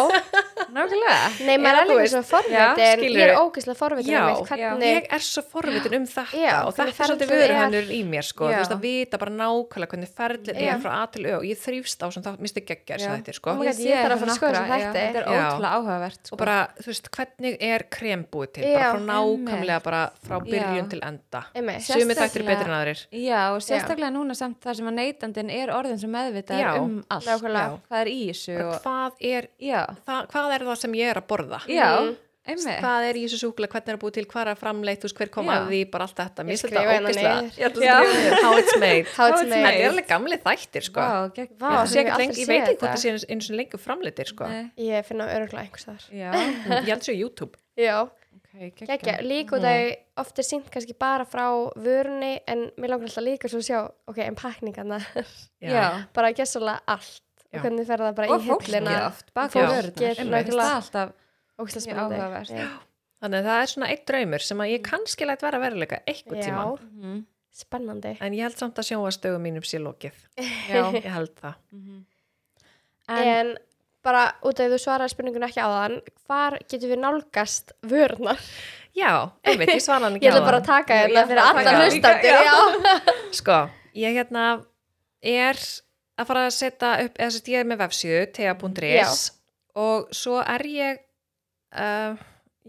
B: nákvæmlega
A: nei, maður er
C: Eða þú
A: alveg
C: veist,
A: svo forvitin
C: skilurðu.
A: Ég er ógeðslega forvitin
C: Já,
A: um eitt
B: já.
A: hvernig
C: ég er svo forvitin um þetta
A: Já,
C: og
A: hvernig
C: þetta er svolítið
A: ferlið
C: vöru
A: er.
C: hannur í mér sko,
B: Já.
C: þú veist að vita bara nákvæmlega hvernig ferlið
A: Já.
C: er frá A til Ö og ég þrýfst á sem það misti geggjær
B: Já.
C: sem þetta er sko
A: Oh my god, ég þarf að fara að skoða þessa
B: Já,
A: þætti.
B: Þetta er
C: Já.
B: ótrúlega áhugavert sko.
C: og bara, þú veist, hvernig er krem búið til
A: Já,
C: bara frá nákvæmlega
B: einmitt.
C: bara frá byrjun
B: Já.
C: til enda
A: Einmitt.
C: sumi þættir eru betri en aðrir
B: Já, og sérstaklega núna samt það sem að neytandin er orðin sem meðvitað
C: Já.
B: um allt
A: Nákvæmlega.
B: Já. Hvað er í þessu
C: Bara
B: og,
C: hvað er,
B: Já,
C: það, hvað er það sem ég er að borða
B: já,
A: Mhm.
B: einmitt
C: hvað er í þessu súkulega, hvernig er að búið til, hvað er að framleitt þú veist, hver kom
B: Já.
C: að því, bara allt þetta
A: Ég
C: mér finnst
A: skrifa
C: þetta
A: hérna
C: ógeðslega
A: niður.
C: Ég ætla að skrifa niður. how it's made
A: How it's
C: þetta
A: made.
C: er alveg gamli þættir sko.
B: Vá, gegn-
A: Vá, sem
C: Ég, sé
A: ég
C: ekki
A: aldrei
C: lengi, ég
A: sé
C: veit ekki hvort
A: þetta. Eh.
C: það sé eins- eins og lengur framleittir sko.
B: Nei.
A: Ég finna öruglega einhvers þar
B: Já,
C: ég held sér YouTube
A: Já,
B: ok, geggjað.
A: geggja, líka
C: Mm.
A: út að oft er sínt kannski bara frá vörunni en mér langar alltaf líka svo að sjá ok, en pakningarna,
B: Já.
A: bara að gessulega allt
C: Já.
A: og hvernig fer það bara
B: og
A: í
B: fólkið
A: hillina
B: oft baka
A: Já.
B: vörðnar
A: Fólkið,
B: það er
A: nákvæmlega.
B: alltaf
A: og það
B: Mjög áhugavert.
A: spennandi Já.
C: þannig að það er svona eitt draumur sem að ég kannski lætt vera að veruleika eitthvað tíma
A: Já,
B: Mhm,
A: spennandi
C: en ég held samt að sjóastögu mínum sé lokið
B: já
C: ég held það
B: mhm.
A: en, bara út af því þú svaraði spurningun ekki á þann hvar getum við nálgast vörnar
C: já, einmitt, ég svara hann
A: ég
C: ekki
A: ætla
C: áðan.
A: bara að taka
C: Ég-
A: hérna
C: ég
A: fyrir
C: ætla að
A: alla
C: taka
A: hlustandi
C: líka,
A: já.
C: já. sko, ég hérna er að fara að setja upp eða sett ég er með vefsíðu, tea.is og svo er ég uh,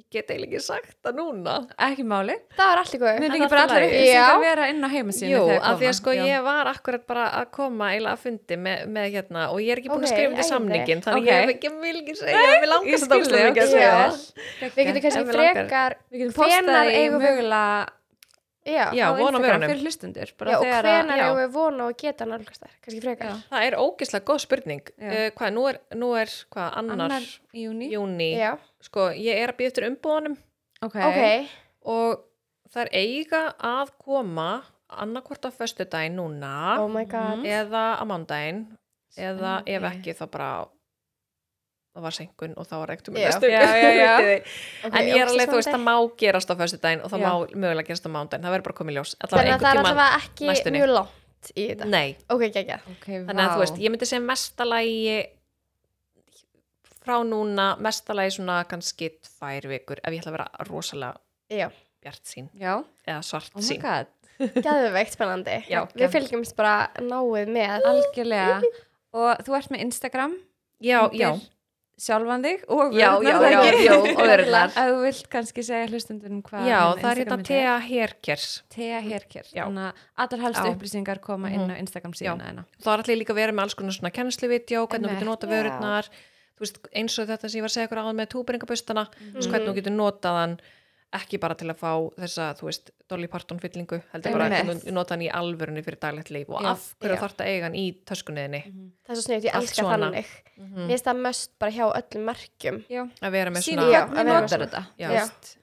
C: ég get eiginlega ekki sagt það núna
B: ekki máli
A: það var allt í góð
B: Mér
C: En
B: ekki
C: allt
B: bara
C: í
B: allar
C: lagi.
B: upplýsingar
A: Já.
B: vera inn á heimasíðinu
C: Jú,
B: þegar
C: af því að
B: koma.
C: sko
B: Já.
C: ég var akkurat bara að koma eiginlega að fundi með, með hérna og ég er ekki
A: Ok,
C: búin að skrifa undir
A: æði.
C: samningin þannig
B: Ok.
C: okay. ég, hef ekki- ég vil ekki segja, ég vil
B: Ég
C: langast
B: skil þig,
C: mikið að
A: ok.
C: segja
A: Já. við
C: þér.
A: getum
C: En
A: kannski
C: mig langar-
A: frekar
B: Við getum
A: hvenar
B: postað í
A: eigum við
B: mögulega
A: já.
C: Já,
A: Já,
B: á
C: von á
B: Instagram
C: vörunum.
B: fyrir hlustundur
A: og hvenar
C: já.
A: eigum við vona og geta nálgast þær kannski frekar
B: Já.
C: Það er ógeðslega góð spurning
B: Já.
C: uh, hvað, nú er, nú er hvað, annar,
B: annar í júni
C: júni
A: Já.
C: sko, ég er að býða eftir umbúðanum
B: ok,
A: ok,
C: og það er eiga að koma annarkvort á föstudaginn núna
A: oh my god
C: eða á mándaginn eða ef
B: Spennandi.
C: ekki þá bara það var senkun og þá var ekkert um
A: Já.
C: næstu
B: Já, já, já.
C: Vitið þið.
A: Ok,
C: en ég er
A: ógeðslega
C: alveg, þú veist, það
A: spennandi.
C: má gerast á föstudaginn og það
B: Já.
C: má mögulega gerast á mándaginn það verður bara komið ljós
A: þannig að það er
C: einhvern tímann-
A: alltaf ekki
C: næstunni.
A: mjög langt í þetta
C: Nei,
A: ok, geggja
B: okay
C: þannig
B: vá.
C: að þú veist, ég myndi segja mestalagi frá núna mestalagi svona kannski tvær vikur ef ég ætla að vera rosalega
A: já,
C: bjart sín
B: já,
C: eða svart
B: oh my
C: sín
B: god
A: geðveikt spennandi
C: Já,
A: við fylgjumst bara náið með
B: algjörlega og þú ert með Instagram
C: Já,
B: undir
C: já,
B: sjálfan þig og
C: Já,
B: vörurnar,
C: já,
B: það
C: já,
B: ekki?
C: já, og vörurnar.
B: ef þú vilt kannski segja hlustundunum hvað
C: já
B: hérna
C: það er hérna
B: Instagramið þitt
C: Thea Herkers
B: Thea Herker
C: Já.
B: þannig að allar helstu
C: Já. Mhm.
B: upplýsingar koma inn á Instagram síðan aðeina
C: þá er allir líka verið með alls konar svona kennsluvídeó, hvernig þú getur
B: Einmitt.
C: nota vörurnar þú veist, eins og þetta sem ég var að segja ykkur áðan með túbringabustana, mm.
B: Mhm.
C: hvernig þú getur notað hann ekki bara til að fá þessa, þú veist, Dolly Parton fyllingu heldur bara
B: Einmitt.
C: að þú nota hann í alvörunni fyrir daglegt líf og
B: Já.
C: af hverju
A: Já.
C: þarf þetta eiga hann í töskunniðinni
A: það er svo sniðut, ég
C: Allt
A: elska
C: svona. Mm.
A: þannig mér finnst það möst bara hjá öllum merkjum
B: já,
C: að vera með
B: síðan
C: svona
A: Já,
B: Mhm. hvernig
A: að vera með
B: notar
A: svona.
B: þetta
C: Já.
A: Já.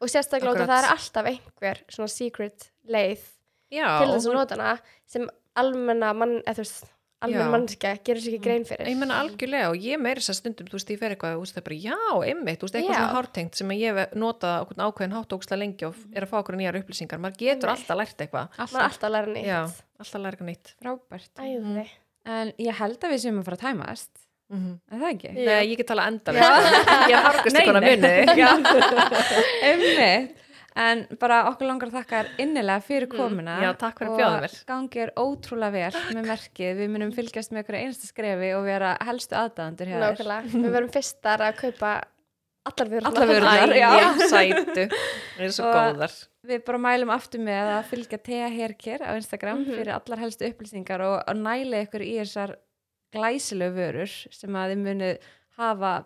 A: og sérstaklega út af
C: Akkurat.
A: það er alltaf einhver svona secret leið
C: já,
A: til þess að nota hana sem almenna mann, eða þú veist almenna
C: Já. Mm.
A: mannskja gerur sér ekki grein fyrir
C: ég menna algjörlega og ég meiri þess að stundum þú veist, ég fer eitthvað, þú veist, það er bara, já, einmitt þú veist, eitthvað
A: Já.
C: svona hártengt sem að ég hef notað okkur ákveðin hátt ókslega lengi og er að fá okkur nýjar upplýsingar, maður getur
A: Einmitt.
C: alltaf lært eitthvað
A: maður er alltaf að læra
C: já, Mm.
A: nýtt
C: alltaf lært nýtt
B: frábært
A: æði,
B: en ég held að við séum að fara að tæmast
C: mm -hmm.
B: er það ekki?
C: Nei, ég get talað endalega Ég er harkast
B: Mhm. Nei,
C: ykkur að
B: nei.
C: muni
B: Einmitt. En bara okkur langar að þakka þér innilega fyrir komuna.
C: Mm. Já, takk fyrir að bjóða mér.
B: Og gangir ótrúlega vel með merkið. Við munum fylgjast með okkur einsta skrefi og vera helstu aðdæðandur hér.
A: nákvæmlega við verum fyrstar að kaupa allar vörurnar
B: Allar vörurnar,
A: Æ,
B: já.
C: sætu Það er svo
B: Og-
C: góðar
B: Við bara mælum aftur með að fylgja Thea Herkir á Instagram fyrir allar helstu upplýsingar og, og næli ykkur í þessar glæsilegu vörur sem að þið munu hafa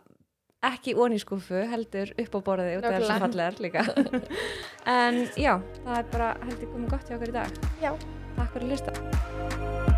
B: ekki onískúfu heldur upp á borðið út af þessu
A: Nákvæmlega.
B: fallegar líka. en já, það er bara heldur komið gott hjá okkur í dag.
A: já
B: Takk fyrir að hlusta.